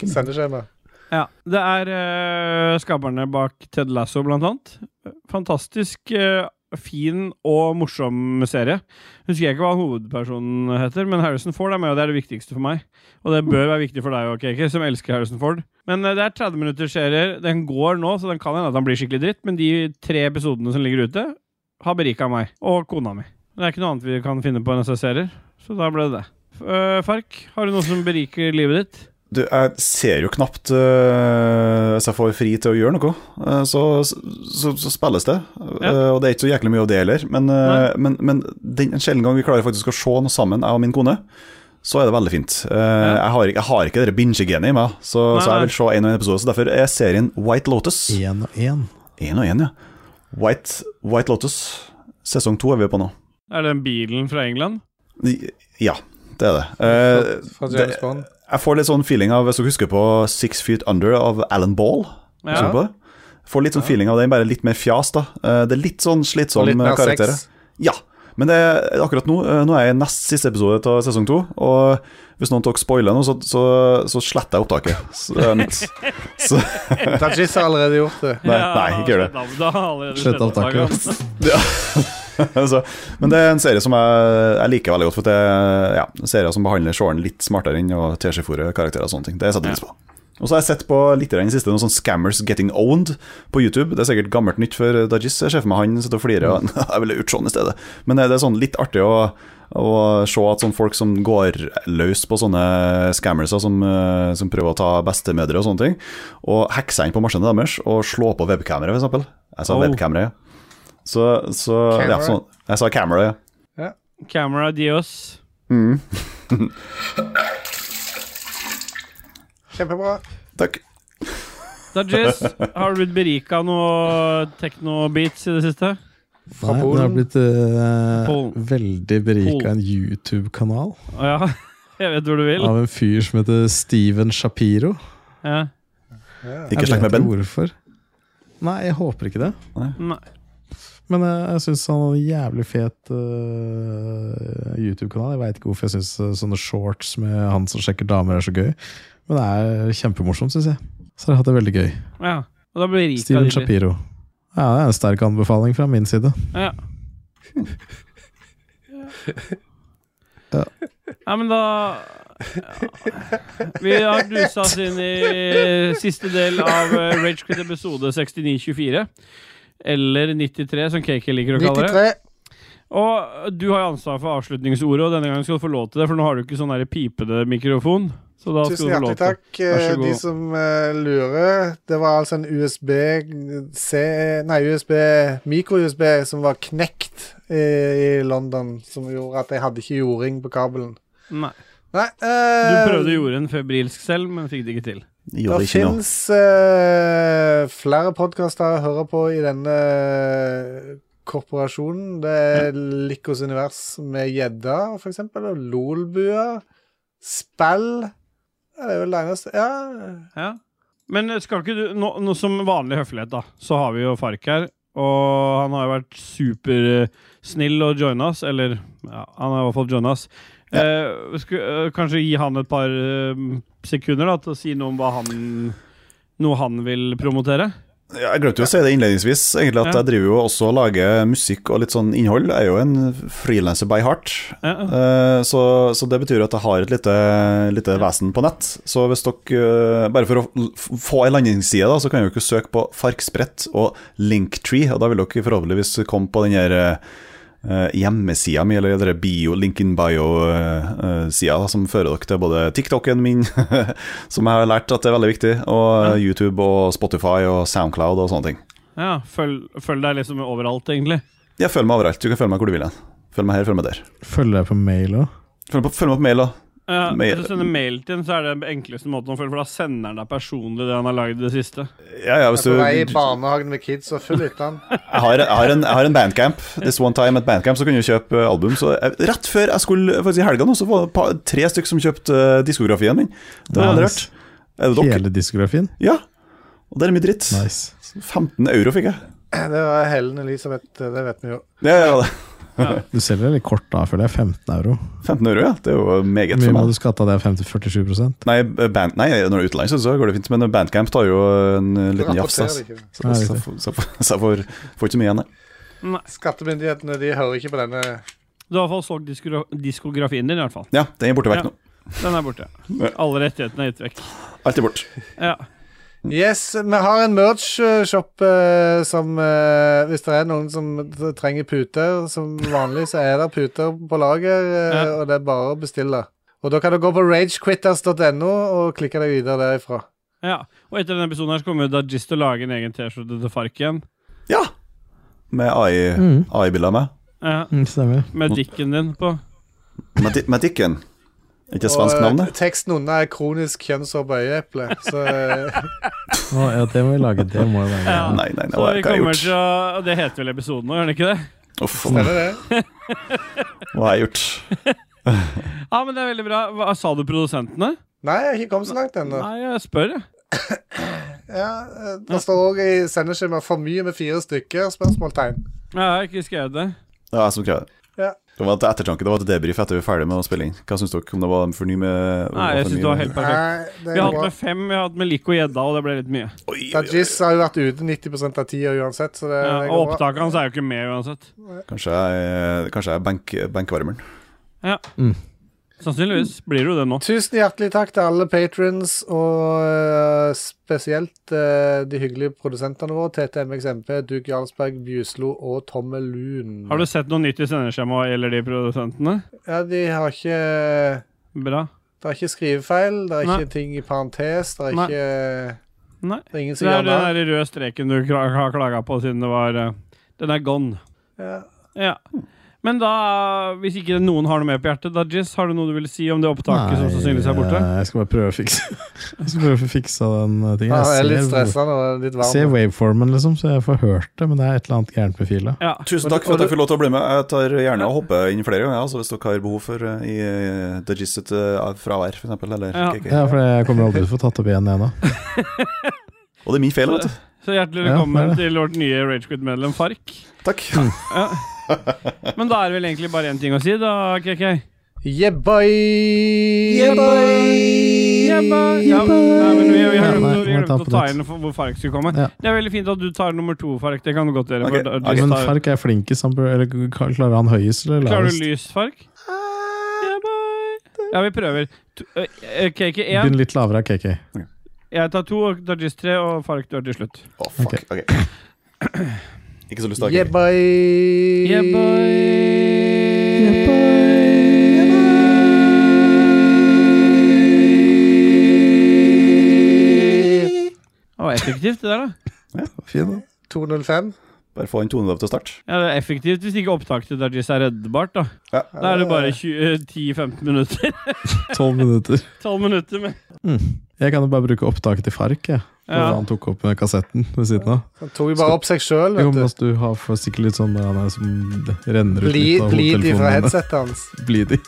S5: sendeskjema.
S2: Ja, det er eh, skaperne bak Ted Lasso, blant annet. Fantastisk eh, fin og morsom serie. Husker jeg ikke hva hovedpersonen heter, men Harrison Ford er med, og det er det viktigste for meg. Og det bør være viktig for deg òg, Kiki, som elsker Harrison Ford. Men eh, det er 30 minutters serier. Den går nå, så den kan hende at den blir skikkelig dritt, men de tre episodene som ligger ute, har berika meg og kona mi. Det er ikke noe annet vi kan finne på enn disse serier, så da ble det det. Eh, Fark, har du noe som beriker livet ditt?
S3: Du, jeg ser jo knapt øh, hvis jeg får fri til å gjøre noe, øh, så, så, så spilles det.
S2: Ja.
S3: Øh, og det er ikke så jæklig mye av det heller, men, øh, men, men den en sjelden gang vi klarer faktisk å se noe sammen, jeg og min kone, så er det veldig fint. Eh, jeg, har, ikke- jeg har ikke det binge-genet i meg, så,
S2: Nei,
S3: så jeg
S2: nei.
S3: vil se én og én episode. Så derfor er serien White Lotus
S4: Én og én.
S3: Én og én, ja. White, White Lotus. Sesong to er vi på nå.
S2: Er det den bilen fra England?
S3: Ja, det er det. Eh,
S5: Fra
S3: det-
S5: James Bond.
S3: Jeg får litt sånn feeling av, hvis dere husker på Six Feet Under av Alan Ball.
S2: Ja.
S3: Ja. Får litt sånn feeling av den, bare litt mer fjas, da. Eh, Det er litt sånn
S5: Og
S3: slitsom
S5: litt mer
S3: karakter.
S5: sex.
S3: Ja, Men det, er akkurat nå eh, Nå er jeg i nest siste episode av sesong to. Og hvis noen av dere spoiler nå, så, så, så sletter jeg opptaket. Så, det er mitt. så
S5: Tajis har allerede gjort det.
S3: nei, nei, ikke gjør det.
S2: det.
S4: Slett opptaket.
S3: så, men det er en serie som jeg, jeg liker veldig godt. For det er ja, en serie som behandler seeren litt smartere enn å teskjefòre karakterer og sånne ting. Det setter jeg pris på. Og så har jeg sett på litt i den siste noen sånn Scammers Getting Owned på YouTube. Det er sikkert gammelt nytt for eh, Dajis. Jeg ser for meg han sitter og flirer
S5: Mm.
S3: og jeg ville gjort sånn i stedet. Men det er sånn litt artig å, å se at sånn folk som går løs på sånne scammerser som, eh, som prøver å ta bestemødre og sånne ting, og hekse inn på maskinene deres og slå på webkamera, f.eks. Jeg sa
S2: Oh.
S3: webkamera, ja. Så, så ja,
S5: Camera.
S3: sånn, jeg sa camera, ja.
S2: Camera Dios.
S5: Kjempebra.
S3: Takk.
S2: Dajis, har du blitt berika noe techno-beats i det siste?
S4: Nei, den har blitt eh,
S2: Polen.
S4: veldig berika en YouTube-kanal
S2: Å ja. Jeg vet hvor du vil.
S4: av en fyr som heter Steven Shapiro.
S2: Ja.
S3: Ikke
S4: Jeg
S3: slekk med
S4: vet
S3: Ben.
S4: ikke hvorfor. Nei, jeg håper ikke det.
S2: Nei.
S4: Men eh, jeg syns han har en jævlig fet eh, YouTube-kanal. Jeg veit ikke hvorfor jeg syns sånne shorts med han som sjekker damer, er så gøy. Men det er kjempemorsomt, syns jeg. Så jeg har hatt det veldig gøy.
S2: ja. Og da berika
S4: Steven
S2: de litt.
S4: Shapiro. Ja, det er en sterk anbefaling fra min side.
S2: Ja.
S4: Ja.
S2: Nei, men da ja. Vi har dusa oss inn i siste del av eh, Rage Quit episode 6924. Eller 93, som Kake liker å kalle det.
S5: 93.
S2: Og du har jo ansvar for avslutningsordet, og denne gangen skal du få lov til det, for nå har du ikke sånn der pipede mikrofon. Så da
S5: Tusen
S2: skal du få lov
S5: hjertelig
S2: til
S5: takk, eh,
S2: Vær så god.
S5: de som eh, lurer. Det var altså en USB-C Nei, USB mikro-USB som var knekt i, i London, som gjorde at jeg hadde ikke jording på kabelen.
S2: Nei.
S5: Nei
S2: Du
S5: eh,
S2: prøvde å gjøre en febrilsk selv, men fikk det ikke til.
S5: det
S3: Jo, det er ikke noe.
S5: fins eh, flere podkaster å høre på i denne korporasjonen. Det er Likos univers med gjedda, for eksempel. Og Lolbua. Spill. Ja, det er vel det eneste Ja.
S2: Ja. Men skal ikke du nå, nå Som vanlig høflighet, da, så har vi jo Fark her. Og han har jo vært supersnill og joina oss. Eller ja, han har i hvert fall joina oss. Eh, sku- eh, kanskje gi han et par eh, sekunder da, til å si noe om hva han noe han vil promotere?
S3: Ja, Jeg glemte jo å si det innledningsvis, egentlig at
S2: Ja.
S3: jeg driver jo også og lager musikk og litt sånn innhold. Jeg er jo en frilanser by heart,
S2: Ja, ja.
S3: Eh, så, så det betyr at jeg har et lite, lite vesen på nett. Så hvis dere eh, Bare for å f- få ei landingsside, da, så kan dere jo søke på Farksbrett og Linktree, og da vil dere forhåpentligvis komme på den her eh, hjemmesida mi, eller den der bio, eh, linkin bio-sida, som fører dere til både TikToken min, som jeg har lært at er veldig viktig, og eh, YouTube og Spotify og Soundcloud og sånne ting.
S2: ja følg, følg deg liksom overalt, egentlig.
S3: Jeg følger meg overalt. Du kan følge meg hvor du vil hen. Følg meg her, følg meg der.
S4: Følger deg på mail òg.
S3: Følg meg på, følg meg på mail, da.
S2: Ja,
S3: Mail.
S2: Hvis du sender mail til ham, så er det den enkleste måten å følge, for da sender han deg personlig det han har lagd i det siste.
S3: Ja, ja, hvis
S5: Jeg
S3: du
S5: er på vei i
S3: jeg
S5: barnehagen med kids og full etter han.
S3: har, jeg, har en, jeg har en bandcamp. This one time at bandcamp, så kunne du kjøpe eh, album. Så jeg, rett før jeg skulle faktisk i helga nå, så var det et par- tre stykker som kjøpte eh, diskografien min. Det var veldig rart.
S4: Nice.
S3: Er det dere?
S4: Hele diskografien.
S3: Ja. Og det er mye dritt.
S4: Nice.
S3: 15 euro fikk jeg.
S5: Det var Helen Elisabeth, eh, det vet vi jo.
S3: Ja, ja, ja.
S4: Du selger litt kort da, føler jeg. 15 euro.
S3: 15 euro, ja. Det er jo eh, meget
S4: Hvor mye
S3: for
S4: må
S3: meg.
S4: du skatte av det? 50-47
S3: Nei, eh, band, nei, når det er utenlands, så går det fint. Men Bandcamp tar jo en eh, liten jafs. ass.
S5: Rapporterer ikke.
S3: Så så- så- så- så- så jeg får får ikke så mye igjen, jeg.
S5: Skattemyndighetene de hører ikke på denne.
S2: Du har i hvert fall solgt diskogra diskografien din, i hvert fall.
S3: Ja, den er borte vekk
S2: Ja.
S3: nå.
S2: Den er borte. Alle rettighetene er gitt vekk.
S3: Alt er borte.
S2: Ja.
S5: Yes, vi har en merch-shop eh, som eh, Hvis det er noen som trenger puter, som vanlig, så er det puter på lager, eh,
S2: Ja.
S5: og det er bare å bestille. Og da kan du gå på ragequitters.no og klikke deg videre derifra.
S2: Ja, og etter denne episoden her så kommer jo Dajis til å lage en egen T-skjorte til Fark igjen.
S3: Ja! Med
S4: Mm.
S3: AI-bilder av meg.
S2: Ja,
S11: Mm,
S4: Stemmer.
S2: med dikken din på.
S3: Med di- Med Dicken. Er ikke det
S5: Og
S3: svensk navn,
S5: eh,
S3: det?
S5: teksten unna er 'kronisk kjønnsår på øyeeple', så eh,
S4: Å, ja, det må vi lage. Det må jo være
S2: Ja.
S3: Nei, nei, nei,
S2: Så vi
S3: hva hva har jeg
S2: kommer
S3: gjort?
S2: til å Det heter vel episoden nå, gjør den ikke det?
S3: Uff,
S5: stemmer det.
S3: hva har jeg gjort?
S2: Ja, men det er veldig bra. Hva, sa du produsentene?
S5: Nei, jeg har ikke kommet så langt ennå.
S2: Nei, jeg spør, jeg.
S5: Ja, eh, det står òg i sendeskjemaet 'for mye med fire stykker'? spørsmålstegn.
S2: Ja, jeg har ikke skrevet det.
S3: Det er jeg som krever det.
S5: Ja.
S3: Det var til ettertanke, det var til debrief etter vi var ferdig med å spille inn. Hva syns dere om det var for ny med
S2: Nei, jeg syns det var helt perfekt.
S5: Nei, det
S2: Vi har
S5: er
S2: hatt
S5: bra.
S2: med fem, vi har hatt med Lico Gjedda, og det ble litt mye.
S5: Dajis har jo vært ute 90 av tida uansett, så det,
S2: Ja,
S5: det
S2: og
S5: går bra.
S2: opptaket hans er jo ikke med uansett.
S3: Kanskje jeg, kanskje jeg er benk, benkvarmeren.
S2: Ja.
S11: Mm.
S2: Sannsynligvis blir det jo det nå.
S5: Tusen hjertelig takk til alle patrons, og eh, spesielt eh, de hyggelige produsentene våre, TTMXMP, Duke Jarlsberg, Bjuslo og Tomme Lun.
S2: Har du sett noe nytt i sendeskjemaet hva gjelder de produsentene?
S5: Ja, de har ikke
S2: Bra.
S5: Det er ikke skrivefeil, det er
S2: Nei.
S5: ikke ting i parentes, det er
S2: Nei.
S5: ikke
S2: Nei.
S5: Det er ingen som
S2: Det er eh,
S5: gjør det.
S2: den der røde streken du kla- har klaga på siden det var eh, Den er gone.
S5: Ja.
S2: Ja. Men da, hvis ikke noen har noe mer på hjertet, Dajis, har du noe du vil si om det opptaket som sannsynligvis er borte?
S11: eh, jeg skal bare prøve å fikse Jeg skal prøve å fikse den eh, tingen.
S5: Ja, det er
S11: Jeg
S5: litt
S11: ser-
S5: stressende og litt
S11: Jeg ser
S5: varmt.
S11: waveformen, liksom, så jeg får hørt det, men det er et eller annet gærent med fila.
S2: Ja.
S3: Tusen takk for at jeg fikk lov til å bli med. Jeg tar gjerne og hopper inn flere ganger, altså, hvis dere har behov for eh, i eh, The Gist et eh, fravær, f.eks. Eller
S2: Ja.
S3: KK.
S11: Ja, for jeg kommer aldri til å få tatt opp igjen ennå.
S3: Og det er min feil, vet du.
S2: Så hjertelig
S11: Ja,
S2: velkommen
S11: det er det.
S2: til vårt nye Ragequit-medlem Fark.
S3: Takk.
S2: Men da er det vel egentlig bare én ting å si, da, KK.
S5: Yeah, boy!
S2: Ja, ba- ja, nei, men vi, vi har
S11: Ja,
S2: glemt, å-
S11: nei,
S2: vi
S11: må
S2: har glemt
S11: ta på
S2: å ta
S11: nytt.
S2: inn hvor Fark skulle komme.
S11: Ja.
S2: Det er veldig fint at du tar nummer to, Fark. Det kan du godt gjøre.
S3: Ok,
S2: for
S3: ok.
S2: Dajis
S11: Men
S2: tar-
S11: Fark er flink i sample... Eller k- klarer han høyest eller
S2: Klarer du
S11: lavest?
S2: lys, Fark? Ja, boy. Ja, vi prøver. To- ø, ø, KK 1,
S11: Begynn litt lavere, KK.
S2: jeg tar to, og Dajis 3, og Fark dør til slutt.
S3: Å, fuck.
S11: Ok.
S3: ok. Ikke så lyst til å
S5: Yeah, boy!
S2: Yeah, boy. Det var effektivt, det der, da.
S5: 205.
S3: Bare få en toneløp til å starte.
S2: Ja, det er effektivt hvis ikke opptaket til Dajis er reddbart, da.
S3: Ja.
S2: Da er det bare 20 ø, 10-15 minutter.
S11: Tolv minutter.
S2: 12 minutter med
S11: Jeg kan jo bare bruke opptaket til Fark, jeg. For
S2: Ja.
S11: han tok opp med kassetten ved siden av.
S5: Han tok jo bare opp seg sjøl, vet
S11: Jo, men
S5: du.
S11: altså, du har for sikkert litt sånn der han er som renner ut
S5: Bli-
S11: litt av
S5: Blid ifra
S11: hodetelefonene.
S5: headsetet hans.
S11: Bleedy.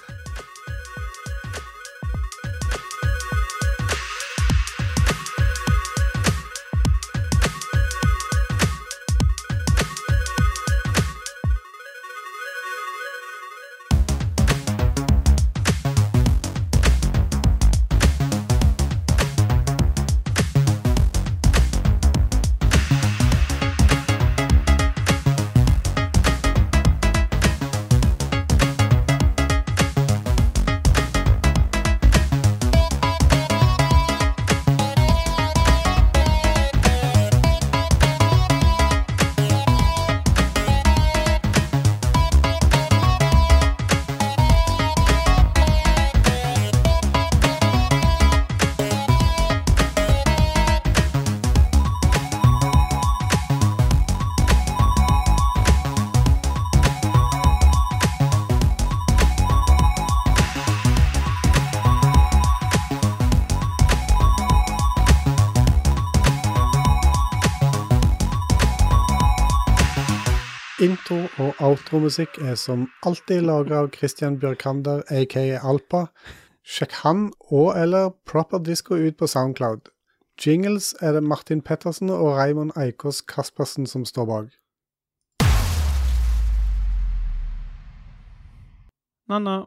S5: Intro- og outromusikk er som alltid laga av Christian Bjørkander, aka Alpa. Sjekk han og eller Proper Disco ut på Soundcloud. Jingles er det Martin Pettersen og Raymond Eikås Kaspersen som står bak.
S2: Nanna.